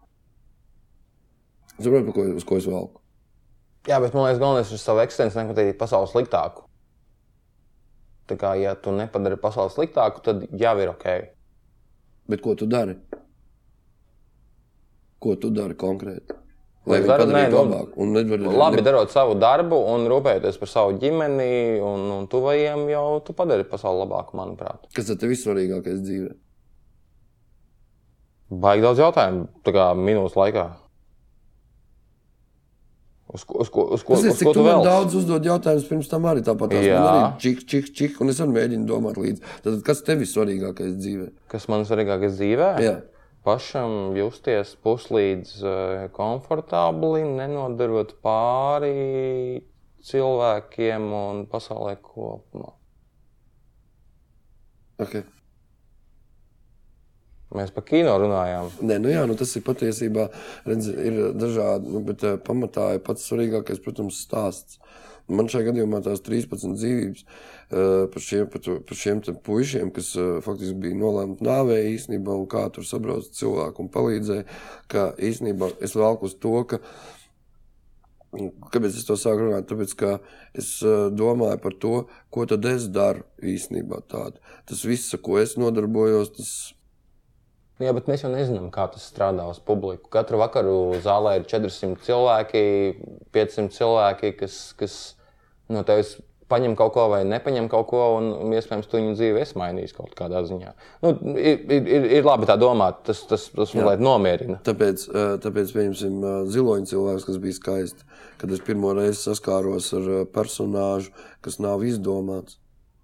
[SPEAKER 1] Saprotu, pa ko- uz ko es velku?
[SPEAKER 2] Jā, bet man liekas, galvenais ir savu eksistenci, nepadarīt pasauli sliktāku. Tā kā, ja tu nepadari pasauli sliktāku, tad jau ir ok.
[SPEAKER 1] Bet ko tu dari? Ko tu dari konkrēti? Lai viņi
[SPEAKER 2] Es daru-
[SPEAKER 1] padarītu
[SPEAKER 2] nē, nu,
[SPEAKER 1] labāk. Un nedvar,
[SPEAKER 2] Labi, darot savu darbu un rūpējoties par savu ģimeni un, un tuvajiem, jau tu padari pasauli labāku, manuprāt.
[SPEAKER 1] Kas tad ir vissvarīgākais dzīvē?
[SPEAKER 2] Baigi daudz jautājumu, tā kā minūtes laikā. Uz ko, uz ko, uz ko,
[SPEAKER 1] Es
[SPEAKER 2] uz
[SPEAKER 1] nezinu,
[SPEAKER 2] ko
[SPEAKER 1] cik
[SPEAKER 2] tu
[SPEAKER 1] man
[SPEAKER 2] vēl?
[SPEAKER 1] daudz uzdod jautājumus pirms tam arī tāpat. tās.
[SPEAKER 2] Jā.
[SPEAKER 1] Man arī čik, čik, čik, un es arī mēģinu domāt līdzi. Tad kas tev ir svarīgākais dzīvē?
[SPEAKER 2] Kas man svarīgākais dzīvē?
[SPEAKER 1] Jā.
[SPEAKER 2] Pašam justies puslīdz eh, komfortabli, nenodarot pāri cilvēkiem un pasaulē kopumā.
[SPEAKER 1] Okay.
[SPEAKER 2] Mēs par kino runājām.
[SPEAKER 1] Nē, nu jā, nu tas ir patiesībā redz, ir dažādi, nu, bet eh, pamatā ir pats svarīgākais, protams, stāsts. Man šajā gadījumā tās 13 dzīvības eh, par šiem, par to- par šiem te puišiem, kas eh, faktiski bija nolēmti nāvē īstenībā, un kā tur sabrauc cilvēku un palīdzēja, ka īstenībā es vēlku uz to, ka Kāpēc es to sāku runāt? Tāpēc, ka es eh, domāju par to, ko tad es daru īstenībā. Tādu. Tas viss, ar ko es nodarbojos, tas
[SPEAKER 2] Nu, Jā, bet mēs jau nezinām, kā tas strādā uz publikumu. Katru vakaru zālē ir 400 cilvēki, 500 cilvēki, kas, kas no tevis paņem kaut ko vai nepaņem kaut ko, un, un iespējams, tu viņu dzīvi esi mainījis kaut kādā ziņā. Nu, ir, ir- ir, ir labi tā domāt, tas, tas, tas mazliet nomierina.
[SPEAKER 1] Tāpēc, eh, tāpēc pieņemsim, eh, ziloņa cilvēks, kas bija skaists. Kad es pirmo reizi saskāros ar eh, personāžu, kas nav izdomāts.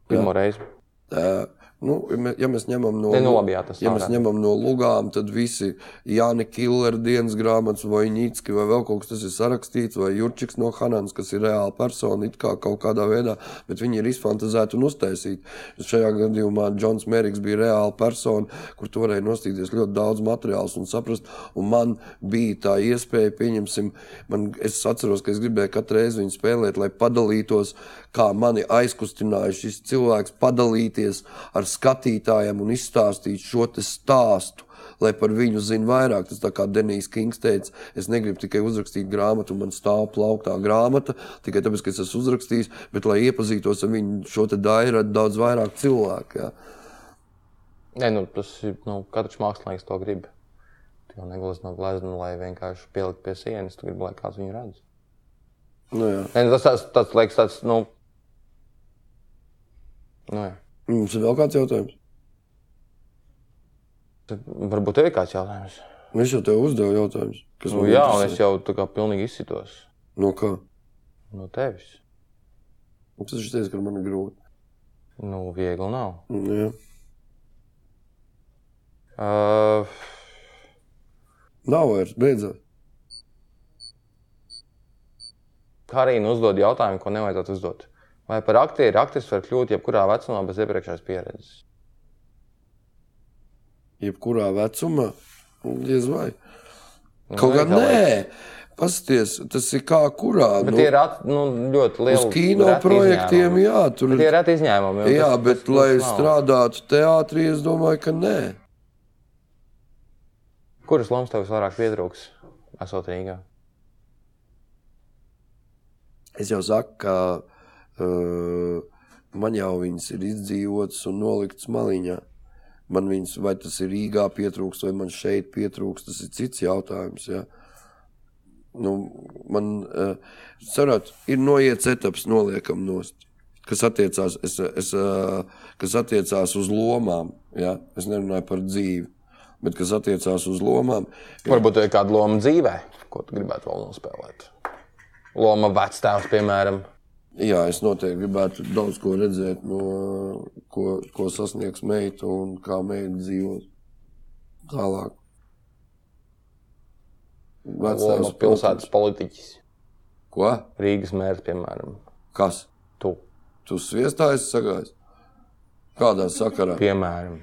[SPEAKER 2] Pirmo reizi.
[SPEAKER 1] Eh, Nu, ja mē- ja mēs ņemam no,
[SPEAKER 2] Te nu labi, jā, tas
[SPEAKER 1] ja
[SPEAKER 2] nav
[SPEAKER 1] mēs
[SPEAKER 2] tā.
[SPEAKER 1] ņemam no lugām, tad visi Jānis Killers, dienas grāmatas, vai Nīcki, vai vēl kaut kas tāds ir sarakstīts, vai Jurčiks no Hananas, kas ir reāla persona, it kā kaut kādā veidā, bet viņi ir izfantazēti un uztaisīti. Šajā gadījumā Džons Meriks bija reāla persona, kur tu varēji nostīties ļoti daudz materiālus un saprast, un man bija tā iespēja, pieņemsim, man, es atceros, ka es gribēju katru reizi viņu spēlēt, lai padalītos, kā mani aizkustināja šis cilvēks, padalīties ar skatītājiem un izstāstīt šo te stāstu. Lai par viņu zinātu vairāk, tas tā kā Denijs Kings teica, es negribu tikai uzrakstīt grāmatu, un man stāv plauktā grāmata, tikai tāpēc, ka es esmu uzrakstījis, bet lai iepazītos ar viņu šo te dairu, ar daudz vairāk cilvēku. Jā.
[SPEAKER 2] Nē, nu, tas ir nu, katrs mākslinieks to grib. Tu jau negluži no glezna, lai vienkārši pielikt pie sienas, tu gribi, lai kāds viņu redz.
[SPEAKER 1] Nu, jā.
[SPEAKER 2] Nē, nu, tas tas, tas liekas, tas, nu, nu jā.
[SPEAKER 1] Mums ir vēl kāds jautājums.
[SPEAKER 2] Tad Varbūt ir kāds jautājums.
[SPEAKER 1] Es jau tev uzdevu jautājumu, kas
[SPEAKER 2] Nu,
[SPEAKER 1] man
[SPEAKER 2] jā, un
[SPEAKER 1] interesē.
[SPEAKER 2] es jau tā kā pilnīgi izsitos
[SPEAKER 1] No kā?
[SPEAKER 2] no tevis.
[SPEAKER 1] Tas ir tas, kas man ir grūti.
[SPEAKER 2] Nu, viegli nav.
[SPEAKER 1] Nu, jā.
[SPEAKER 2] Uh,
[SPEAKER 1] Nav vairs, beidzot.
[SPEAKER 2] Karina nu, uzdod jautājumu, ko nevajadzētu uzdot. Vai par aktieru aktris var kļūt jebkurā vecumā bez iepriekšējās pieredzes?
[SPEAKER 1] jebkurā vecumā, diez vai.
[SPEAKER 2] Nu,
[SPEAKER 1] Kaut kā
[SPEAKER 2] vajag tā, lai-
[SPEAKER 1] nē, paskatieties, tas ir kā kurā.
[SPEAKER 2] Bet
[SPEAKER 1] Nu,
[SPEAKER 2] tie ir at, nu, ļoti lieli
[SPEAKER 1] uz kino projektiem, jā, tur
[SPEAKER 2] Tie ir
[SPEAKER 1] ir.
[SPEAKER 2] reti izņēmumi. jo
[SPEAKER 1] Jā,
[SPEAKER 2] tas- tas-
[SPEAKER 1] bet,
[SPEAKER 2] tas
[SPEAKER 1] lai
[SPEAKER 2] nav.
[SPEAKER 1] strādātu teātrī, es domāju, ka nē.
[SPEAKER 2] Kuras lomas tev vislabāk pietrūks? Esot Rīgā.
[SPEAKER 1] Es jau saku, ka uh, man jau viņas ir izdzīvotas un noliktas maliņā. Man viņas, vai tas ir Rīgā pietrūkst, vai man šeit pietrūkst, tas ir cits jautājums. Ja? Nu, man, uh, sarat, ir noiets etaps, noliekam nost. Kas attiecās, es, es, uh, kas attiecās uz lomām, ja? es nerunāju par dzīvi, bet kas attiecās uz lomām,
[SPEAKER 2] Varbūt tev ir kāda loma dzīvē, ko tu gribētu vēl nospēlēt. Loma vecāks, piemēram.
[SPEAKER 1] Jā, es noteikti gribētu daudz ko redzēt, no, ko, ko sasniegs meita un kā meita dzīvos tālāk.
[SPEAKER 2] Loma
[SPEAKER 1] Vecās
[SPEAKER 2] pilsētas politiķis.
[SPEAKER 1] Ko?
[SPEAKER 2] Rīgas mērs, piemēram,
[SPEAKER 1] Kas?
[SPEAKER 2] tu.
[SPEAKER 1] Tu sviestā esi sagājis? Kādā sakarā?
[SPEAKER 2] Piemēram.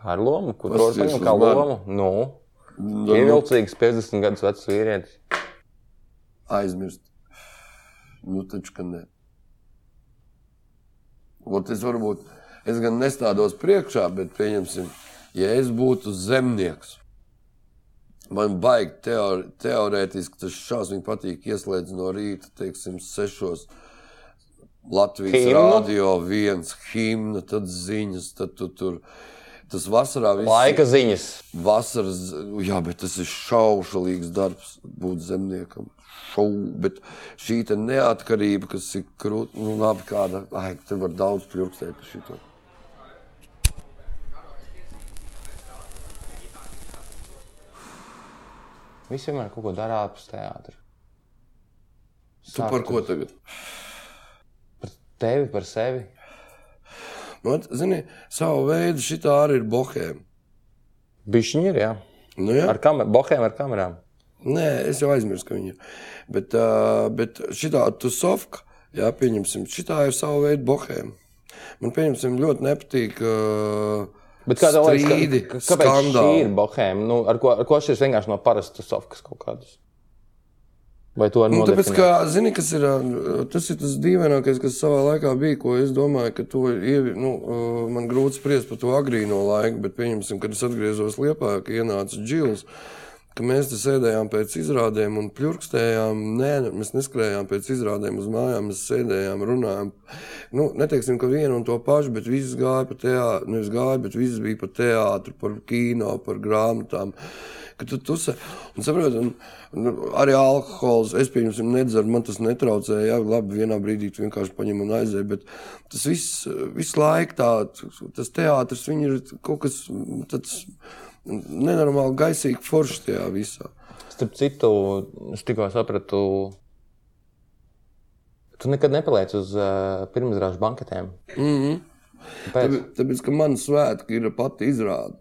[SPEAKER 2] Kā ar lomu? Ko tu
[SPEAKER 1] Kas
[SPEAKER 2] vari
[SPEAKER 1] tieši
[SPEAKER 2] paņemt kā
[SPEAKER 1] uz mani?
[SPEAKER 2] lomu? Nu,
[SPEAKER 1] Nu,
[SPEAKER 2] ievilcīgs 50 gadus vecs vīrietis.
[SPEAKER 1] aizmirst. Nu, taču, ka nē. Ot, es, varbūt, es gan nestādos priekšā, bet pieņemsim, ja es būtu zemnieks. Man baigi teor teorētiski tas šausmīgi patīk ieslēdz no rīta, teiksim, sešos. Latvijas
[SPEAKER 2] Himnu?
[SPEAKER 1] Himna? radio viens, himna, tad ziņas, tad tu tur. Tas vasarā viss
[SPEAKER 2] Laika ziņas.
[SPEAKER 1] Vasaras, jā, bet tas ir šaušalīgs darbs būt zemniekam. Šau, bet šī te neatkarība, kas ir krūta, nu, labi, kāda, ai, tur var daudz pļurkstēt par šito.
[SPEAKER 2] Visi vienmēr kaut ko dara ārpus teātra.
[SPEAKER 1] Tu par ko tagad?
[SPEAKER 2] Par tevi, par sevi.
[SPEAKER 1] Nu, at- zini, savu veidu šitā arī ir bohēma.
[SPEAKER 2] Bišķiņi ir, jā.
[SPEAKER 1] Nu, jā?
[SPEAKER 2] Ar kamerām, bohēm ar kamerām.
[SPEAKER 1] Nē, es jau aizmirsu, ka viņi ir. Bet, uh, bet šitā tusovka, jā, pieņemsim, šitā ir sava veida bohēma. Man, pieņemsim, ļoti nepatīk uh,
[SPEAKER 2] Bet kā tev liekas,
[SPEAKER 1] Strīdi,
[SPEAKER 2] ka- ka- kāpēc tā
[SPEAKER 1] skandāli.
[SPEAKER 2] ir bohēma? Nu, ar ko, ar ko šis vienkārši no parastas sofkas kaut kādas? Vai to arī
[SPEAKER 1] Nu, tāpēc,
[SPEAKER 2] nodefinē?
[SPEAKER 1] kā, zini, kas ir, ā, tas ir tas dīvainākais, kas savā laikā bija, ko es domāju, ka to ir, nu, ā, man grūti spriest par to agrīno laiku, bet pieņemsim, kad es atgriezos Liepā, ka ienāca Džils, ka mēs te sēdējām pēc izrādēm un pļurkstējām, nē, nu, mēs neskrējām pēc izrādēm uz mājām, mēs sēdējām, runājām, nu, neteiksim, ka vienu un to pašu, bet viss gāja pa teātru, nevis gāja, bet viss bija pa teātru, par kino, par grāmatām ka tu tur saproti, un, un arī alkohols. Es pieņemsim, nedzeru, man tas netraucē. Jā, labi, vienā brīdī tu vienkārši paņem un aizēji. Bet tas viss, visu laiku tā, tas teātris, viņi ir kaut kas tāds nenormāli gaisīgi foršs tajā visā.
[SPEAKER 2] Starp citu, es tikko sapratu, tu nekad nepaliec uz uh, pirmizrāžu banketēm. Mm
[SPEAKER 1] Mhm.
[SPEAKER 2] -hmm. Pēc,
[SPEAKER 1] Tāpēc, tāpēc, ka man svētki ir pati izrāde.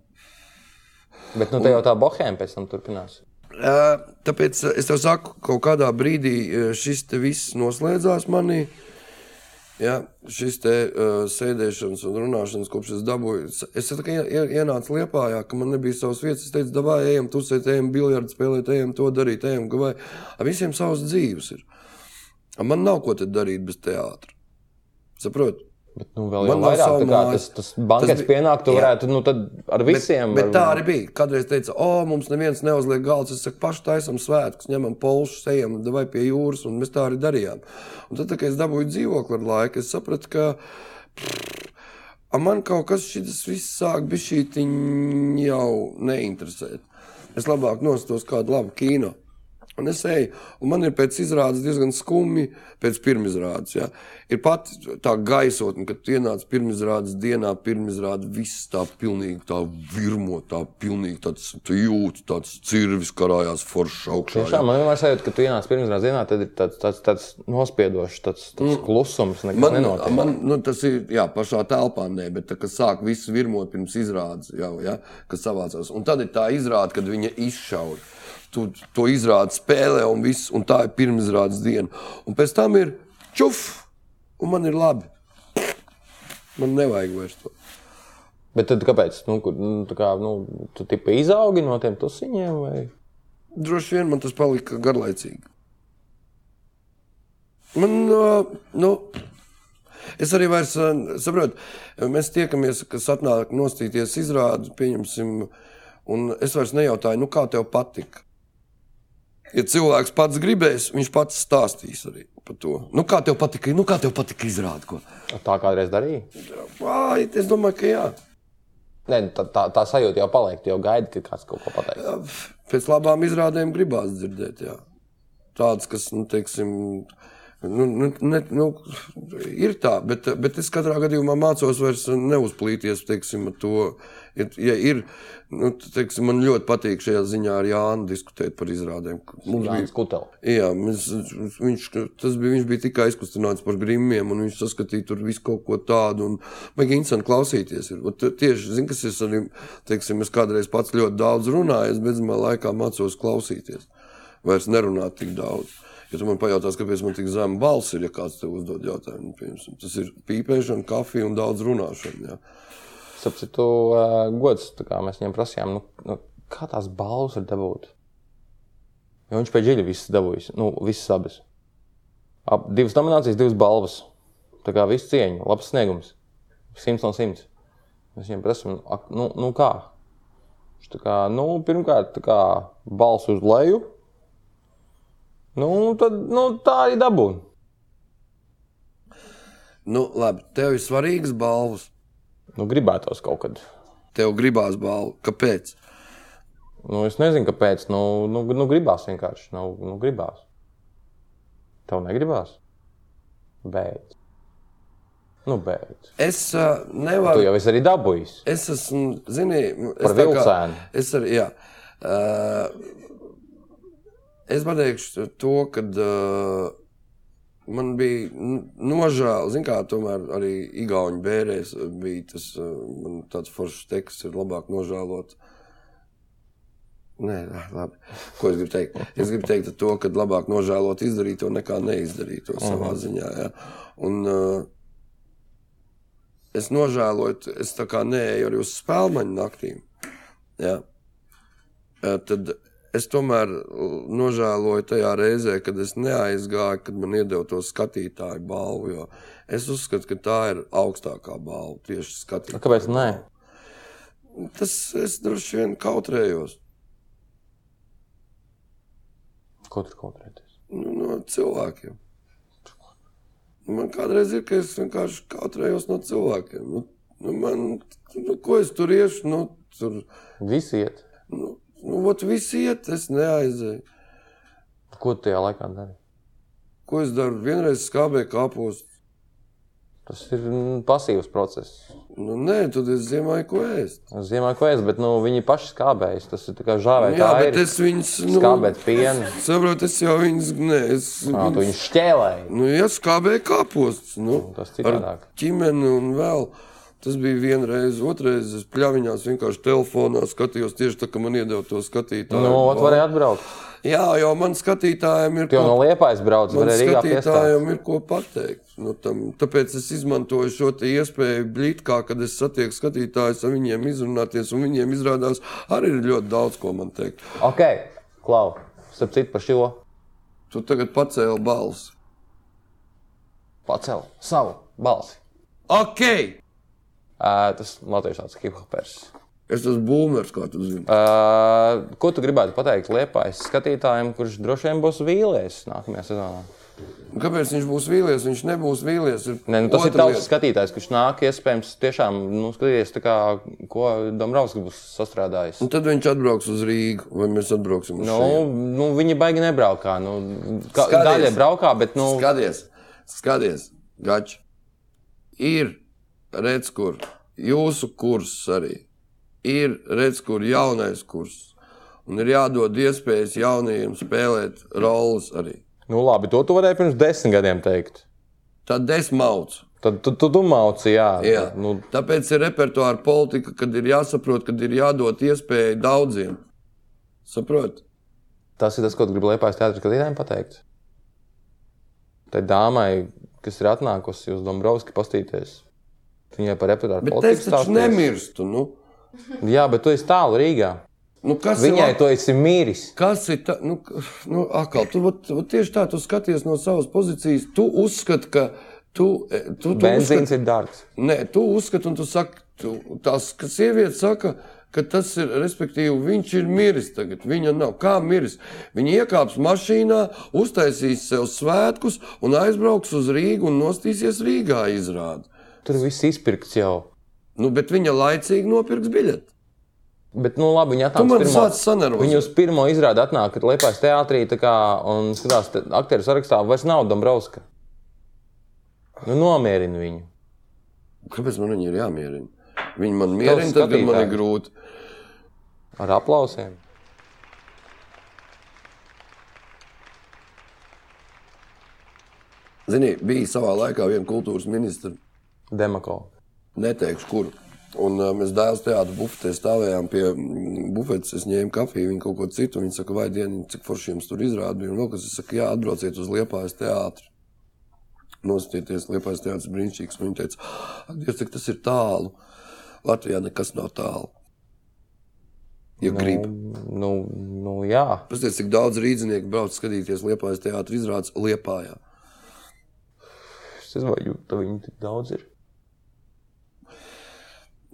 [SPEAKER 2] bet nu, te jau tā bohēma pēc tam turpinās.
[SPEAKER 1] Ā, Tāpēc ā, es tev saku, ka kaut kādā brīdī ā, šis te viss noslēdzās manī. Ja, šis te uh, sēdēšanas un runāšanas, kopš es dabūju, es- es tā kā ie- ie- ienācu liepā, jā, ka man nebija savas vietas. Es teicu, dabā, ejam, tusēt, ejam, biljardu spēlēt, ejam, to darīt, ejam, gavai. Ar visiem savas dzīves ir. A, Man nav ko te darīt bez teātra. Saprotu?
[SPEAKER 2] Bet, nu, vēl jau
[SPEAKER 1] Man nav
[SPEAKER 2] vairāk,
[SPEAKER 1] savu
[SPEAKER 2] tā kā
[SPEAKER 1] māju.
[SPEAKER 2] tas, tas bankets
[SPEAKER 1] Tas bija-
[SPEAKER 2] pienāk, tu
[SPEAKER 1] Jā.
[SPEAKER 2] varētu nu, tad ar visiem.
[SPEAKER 1] Bet, bet
[SPEAKER 2] var-
[SPEAKER 1] tā arī bija. Kādreiz teica, o, mums neviens neuzliek galds. Es saku, paši taisam svētkus, ņemam polšus, ejam vai pie jūras, un mēs tā arī darījām. Un tad, tā kā es dabūju dzīvokli ar laiku, es sapratu, ka a, man kaut kas šis viss sāk bišķītiņ jau neinteresēt. Es labāk nostos kādu labu kino. Un es eju, un man ir pēc izrādes diezgan skumji, pēc pirmizrādes. Ja. Ir pat tā gaisotne, kad ienāca pirmizrādes dienā, pirmizrāde viss tā pilnīgi tā virmo, tā pilnīgi tāds tu jūti, tāds cirvis karājās foršs augšā.
[SPEAKER 2] Tiešām man vienmēr sajūta, ka tu ienāc pirmizrādes dienā, tad ir tāds, tāds, tāds nospiedošs, tāds, tāds klusums, nekas
[SPEAKER 1] Mm. Man,
[SPEAKER 2] nenotiek.
[SPEAKER 1] man nu, tas ir jā, pašā telpā, nē, bet tā, kas sāk visu virmot pirms izrādes, jau ja, kas savācās. Un tad ir tā izrāde, kad viņa izšauja. Tu to izrādi spēlē, un, viss, un tā ir pirmizrādes diena. Un pēc tam ir čuf, un man ir labi. Man nevajag vairs to.
[SPEAKER 2] Bet tad kāpēc? Nu, kur, nu, tā kā, nu, tu tipi izaugi no tiem tusiņiem? Vai?
[SPEAKER 1] Droši vien man tas palika garlaicīgi. Man, ā, nu, es arī vairs ā, saprotu, mēs tiekamies, kas atnāk nostīties izrādi, pieņemsim, un es vairs nejautāju, nu, kā tev patika. Ja cilvēks pats gribēs, viņš pats stāstīs arī par to. Nu, kā tev patika, nu, kā tev patika izrādi? Ko?
[SPEAKER 2] Tā kādreiz darīja.
[SPEAKER 1] Ai, es domāju, ka jā.
[SPEAKER 2] Nē, nu, tā, tā, tā sajūta jau paliek, tu jau gaidi, kad kāds kaut ko pateiks.
[SPEAKER 1] pēc labām izrādēm gribās dzirdēt. Jā. Tādas, kas, nu, teiksim, nu, nu, ne, nu, ir tā, bet, bet es katrā gadījumā mācos vairs neuzplīties, teiksim, ar to. Ja, ja ir, nu, teiksim, man ļoti patīk šajā ziņā ar Jānu diskutēt par izrādēm. Mums bija
[SPEAKER 2] Jānis Kutel.
[SPEAKER 1] Jā, mēs, viņš, tas bija, viņš bija tikai aizkustināts par grimiem, un viņš saskatīja tur visu kaut ko tādu. un Vajag interesanti klausīties. Ir. Ot, Tieši zin, kas es arī, teiksim, es kādreiz pats ļoti daudz runāju, es beidzamā laikā mācos klausīties. Vairs nerunāt tik daudz. Ja tu man pajautās, kāpēc man tik zema balss ir, ja kāds tev uzdod jautājumu, nu, piemēram, tas ir pīpēšana, kafija un daudz runāšana. Jā.
[SPEAKER 2] Sapratu, uh, gods, tā kā mēs viņam prasījām, nu, nu, kā tās balvas var dabūt. Jo viņš pēc dziļi visas dabūjis, nu, visas abas. Ap, divas nominācijas, divas balvas. Tā kā viss cieņa, labs sniegums. Simts no simts. Mēs viņam prasām, nu, ak, nu, nu kā? Viņš tā kā, nu, pirmkārt, tā kā balss uz leju. Nu, tad, nu, tā arī dabūja.
[SPEAKER 1] Nu, labi, tev ir svarīgas balvas,
[SPEAKER 2] Nu, gribētos kaut kad.
[SPEAKER 1] tev gribās balvu. Kāpēc?
[SPEAKER 2] Nu, es nezinu, kāpēc. Nu, nu, nu gribās vienkārši. Nu, nu gribās. Tev negribās. Beidz. Nu, beidz.
[SPEAKER 1] Es uh, nevaru.
[SPEAKER 2] Tu jau esi arī dabūjis.
[SPEAKER 1] Es esmu, zini, es
[SPEAKER 2] Par
[SPEAKER 1] tā kā-
[SPEAKER 2] vilcēnu.
[SPEAKER 1] Es arī, jā. Uh, es pateikšu to, ka uh, man bija n- nožēla, zini, kā tomēr arī Igauni bērēs bija tas, uh, man tāds foršs teksts ir labāk nožēlot. Nē, nē, labi. Ko es gribu teikt? Es gribu teikt ar to, ka labāk nožēlot izdarīto nekā neizdarīto savā ziņā. Ja? Un, uh, eh, es nožēloju, es tā kā neeju arī uz spēļu naktīm. Ja? Eh, Tad es tomēr l- nožēloju tajā reizē, kad es neaizgāju, kad man iedeva to skatītāju balvu. jo Es uzskatu, ka tā ir augstākā balva tieši skatītājai.
[SPEAKER 2] Nu, Kāpēc? Nē,
[SPEAKER 1] Tas es droši vien kautrējos.
[SPEAKER 2] ko tur kaut kādā veidā.
[SPEAKER 1] nu, no cilvēkiem. Man kādreiz ir, ka es vienkārši kautrējos no cilvēkiem. Nu, nu man, nu, ko es tur iešu? Nu, tur,
[SPEAKER 2] Visi iet.
[SPEAKER 1] nu, nu ot, visi iet, es neaizēju.
[SPEAKER 2] Ko tu tajā laikā dari?
[SPEAKER 1] Ko es daru? Vienreiz skābēju kāpos.
[SPEAKER 2] Tas ir mm, pasīvs process.
[SPEAKER 1] Nu, nē, tad es zināju, ko ēst.
[SPEAKER 2] Es Ziemā ko es, bet nu, viņi paši skābējas. Tas ir tā kā žāvēt.
[SPEAKER 1] Nu Jā, bet es viņus, nu,
[SPEAKER 2] skābēt pienu.
[SPEAKER 1] saprotu, es jau viņus, nē, es,
[SPEAKER 2] Nā, tu viņu šķēlēji.
[SPEAKER 1] nu, ja skābēju kāpos, nu,
[SPEAKER 2] Tas
[SPEAKER 1] ar
[SPEAKER 2] citādāk.
[SPEAKER 1] ģimeni un vēl. Tas bija vienreiz, otrreiz es pļāviņās vienkārši telefonā skatījos tieši tā, ka man iedeva to skatītāju.
[SPEAKER 2] Nu, ot varēja atbraukt.
[SPEAKER 1] Jā, jo man skatītājiem ir
[SPEAKER 2] Tu jau no Liepājas brauc,
[SPEAKER 1] man
[SPEAKER 2] varēja Rīgā piestāvēt.
[SPEAKER 1] skatītājiem ir ko pateikt. Nu, tam, tāpēc es izmantoju šo te iespēju blīt, kā kad es satieku skatītājus ar viņiem izrunāties, un viņiem izrādās arī ir ļoti daudz, ko man teikt.
[SPEAKER 2] Ok, klau, starp citu par šo.
[SPEAKER 1] Tu tagad pacēli balsi.
[SPEAKER 2] Pacel savu balsi.
[SPEAKER 1] Ok!
[SPEAKER 2] Uh, tas latviešu tāds hiphopers.
[SPEAKER 1] Es esmu būmers, kā tu zini.
[SPEAKER 2] Uh, ko tu gribētu pateikt Liepājas skatītājiem, kurš droši vien būs vīlies nākamajā sezonā?
[SPEAKER 1] Kāpēc viņš būs vīlies? Viņš nebūs vīlies. ir
[SPEAKER 2] Nē, nu, tas ir
[SPEAKER 1] otra
[SPEAKER 2] tavs
[SPEAKER 1] lieta.
[SPEAKER 2] skatītājs, kurš nāk, iespējams, tiešām nu, skatīties, tā kā, ko Dombrovskis būs sastrādājis.
[SPEAKER 1] Un tad viņš atbrauks uz Rīgā, vai mēs atbrauksim uz
[SPEAKER 2] Nu,
[SPEAKER 1] Rīgā.
[SPEAKER 2] nu, viņi baigi nebraukā. Nu, kā,
[SPEAKER 1] Skaties.
[SPEAKER 2] daļa braukā, bet nu,
[SPEAKER 1] Skaties, skaties, gači. Ir redz, kur jūsu kurs arī ir redz, kur jaunais kurs. Un ir jādod iespējas jaunajiem spēlēt roles arī.
[SPEAKER 2] nu, labi, to tu varēji pirms desmit gadiem teikt.
[SPEAKER 1] Tad desmauts.
[SPEAKER 2] Tad tu, tu domāci, jā.
[SPEAKER 1] Jā.
[SPEAKER 2] Nu,
[SPEAKER 1] Tāpēc ir repertuāra politika, kad ir jāsaprot, kad ir jādod iespēja daudziem. Saprotiet?
[SPEAKER 2] tas ir tas, ko tu gribi liepājas teātris skatītājiem pateikt. Tai dāmai, kas ir atnākusi uz Dombrovski pastīties. Viņai par repertuāru
[SPEAKER 1] Bet
[SPEAKER 2] politiku
[SPEAKER 1] es taču
[SPEAKER 2] stāsties.
[SPEAKER 1] nemirstu. Nu,
[SPEAKER 2] Jā, bet tu esi tālu Rīgā.
[SPEAKER 1] nu, kas ir
[SPEAKER 2] Viņai
[SPEAKER 1] labi?
[SPEAKER 2] to esi mīris.
[SPEAKER 1] Kas ir tā, nu, k- nu atkal, tu vat- vat tieši tā, tu skaties no savas pozīcijas, tu uzskati, ka tu, e, tu, tu
[SPEAKER 2] Benzīns
[SPEAKER 1] uzskati,
[SPEAKER 2] ir dārgs.
[SPEAKER 1] nē, tu uzskati un tu saki, tu, tās, ka sieviete saka, ka tas ir, respektīvi, viņš ir miris tagad, viņa nav, kā miris. Viņa iekāps mašīnā, uztaisīs sev svētkus un aizbrauks uz Rīgu un nostīsies Rīgā izrādi.
[SPEAKER 2] Tur viss izpirkts jau.
[SPEAKER 1] Nu, bet viņa laicīgi nopirks biļeti.
[SPEAKER 2] Bet, nu, labi, viņa
[SPEAKER 1] Tu
[SPEAKER 2] atnāca
[SPEAKER 1] man
[SPEAKER 2] pirmo.
[SPEAKER 1] sāc sanervozēt.
[SPEAKER 2] Viņa uz pirmo izrādi atnāk, kad lepojas teātrī tā kā, un skatās, ka aktieru sarakstā vairs nav Dombrovska. Nu, nomierina viņu.
[SPEAKER 1] Kāpēc man viņa ir jāmierina? Viņa man mierina,
[SPEAKER 2] Tavs
[SPEAKER 1] tad, kad man ir
[SPEAKER 2] skatītājs.
[SPEAKER 1] grūti.
[SPEAKER 2] Ar aplausiem.
[SPEAKER 1] Ziniet, bija savā laikā viena kultūras ministra,
[SPEAKER 2] Demako.
[SPEAKER 1] neteikšu, kur. Un uh, mēs dēls teātrī bufetē stāvējām pie mm, bufetes. Es ņēmu kafiju, viņa kaut ko citu. Viņa saka, vai dienu, cik forši jums tur izrādīja. Un vēl kas, es saku, jā, atbrauciet uz Liepājas teātri. Nostieties, Liepājas teātris brīnišķīgs. Viņa teica, ak, Dievs, cik tas ir tālu. Latvijā nekas nav tālu. Ja grib.
[SPEAKER 2] Nu, nu, jā.
[SPEAKER 1] Paskatieties, cik daudz rīznieku brauc skatīties Liepājas teātris izrādes Liepājā.
[SPEAKER 2] Es domāju, ka viņu tik daudz ir.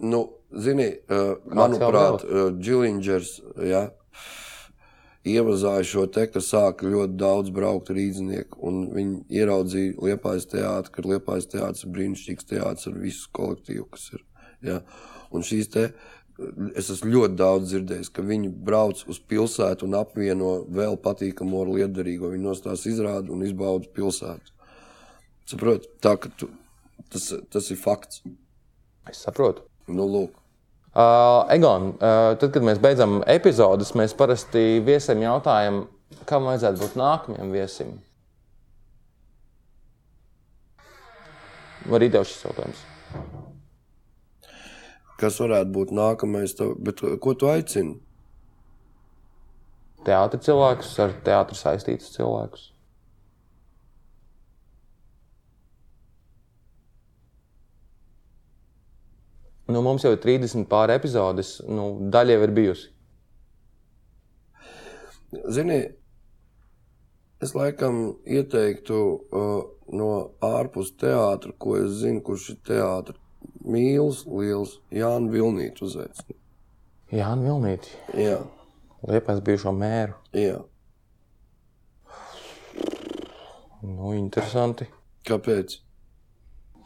[SPEAKER 1] Nu, zini, uh,
[SPEAKER 2] jau
[SPEAKER 1] manuprāt, Džilingers ja, iemazāja šo te, ka sāk ļoti daudz braukt rīznieku. un Viņi ieraudzīja Liepājas teātri, ka Liepājas teātris ir brīnišķīgs teātris ar visu kolektīvu, kas ir. Ja. Un šīs te, uh, es esmu ļoti daudz dzirdējis, ka viņi brauc uz pilsētu un apvieno vēl patīkamu ar liederīgo. Viņi nostās izrādi un izbauda pilsētu. Saprot, tā, ka tu, tas, tas ir fakts.
[SPEAKER 2] Es saprotu.
[SPEAKER 1] Nu, lūk.
[SPEAKER 2] Uh, Egon, uh, tad, kad mēs beidzam epizodes, mēs parasti viesiem jautājam, kam vajadzētu būt nākamajam viesim. Arī tev šis jautājums.
[SPEAKER 1] kas varētu būt nākamais. Tev, bet, eh, ko tu aicini?
[SPEAKER 2] Teātris cilvēkus, ar teātris saistītus cilvēkus. Nu, mums jau ir 30 pāri epizodes, nu, daļa jau ir bijusi.
[SPEAKER 1] Zini, es laikam ieteiktu uh, no ārpus teātra, ko es zinu, kurš ir teātris. Mīls, liels, Jānis Vilnīts uzaicinājums.
[SPEAKER 2] Jā, nu, Vilnīti,
[SPEAKER 1] Jā,
[SPEAKER 2] liepais bijušo mēru.
[SPEAKER 1] jā.
[SPEAKER 2] Nu, interesanti.
[SPEAKER 1] Kāpēc?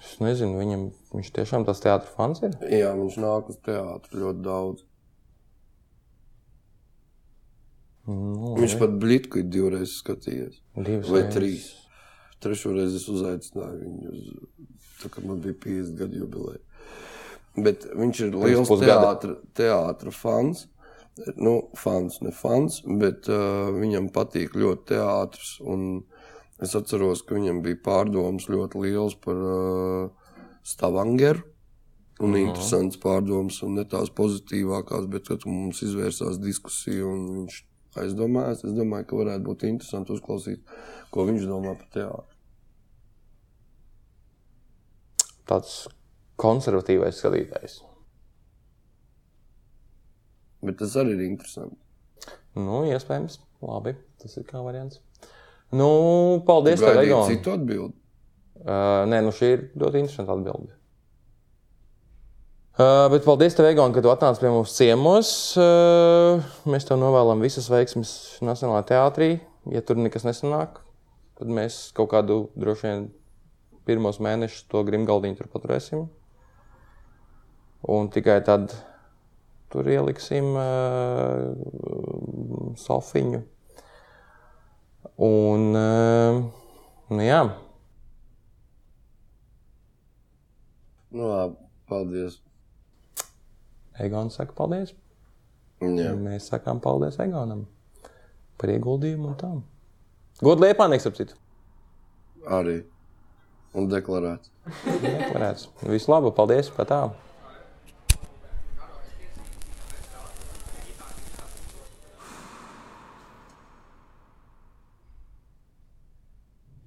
[SPEAKER 2] Es nezinu, viņam, viņš tiešām tas teātris fans ir.
[SPEAKER 1] Jā, viņš nāk uz teātru ļoti daudz.
[SPEAKER 2] Nu,
[SPEAKER 1] Viņš pat blitku ir divreiz skatījies.
[SPEAKER 2] divas
[SPEAKER 1] Vai
[SPEAKER 2] reizes.
[SPEAKER 1] trīs. Trešo reizi es uzaicināju viņu. Uz, tā kā man bija 50 gadu jubileja. Bet viņš ir liels
[SPEAKER 2] pusgada.
[SPEAKER 1] teātris fans. Nu, fans, ne fans, bet uh, viņam patīk ļoti teātris. un Es atceros, ka viņam bija pārdomas ļoti liels par uh, Stavangeru. Un mm. interesants pārdoms, un ne tās pozitīvākās, bet kad mums izvērsās diskusija, un viņš aizdomājās, es domāju, ka varētu būt interesanti uzklausīt, ko viņš domā par teātru.
[SPEAKER 2] Tāds konservatīvais skatītājs.
[SPEAKER 1] Bet tas arī ir interesanti.
[SPEAKER 2] Nu, iespējams, labi. Tas ir kā variants. Nu, paldies, tev,
[SPEAKER 1] Gaidīt
[SPEAKER 2] Egon.
[SPEAKER 1] citu atbildi.
[SPEAKER 2] Uh, nē, nu šī ir ļoti interesanta atbilde. Uh, bet paldies, tev, Egon, ka tu atnāci pie mums ciemos. Uh, mēs tev novēlam visas veiksmes Nacionālajā teātrī. Ja tur nekas nesanāk, tad mēs kaut kādu droši vien pirmos mēnešus to grimgaldiņu tur paturēsim. Un tikai tad tur ieliksim uh, sofiņu. Un, uh, nu jā.
[SPEAKER 1] Nu, labi, paldies.
[SPEAKER 2] Egons saka, paldies.
[SPEAKER 1] Jā.
[SPEAKER 2] Jā. Mēs sakām, paldies Egonam par ieguldījumu un tam. Godu liepānieks, ap citu.
[SPEAKER 1] Arī. Un deklarēts.
[SPEAKER 2] Nekvarēts. Visu labu, paldies par tām.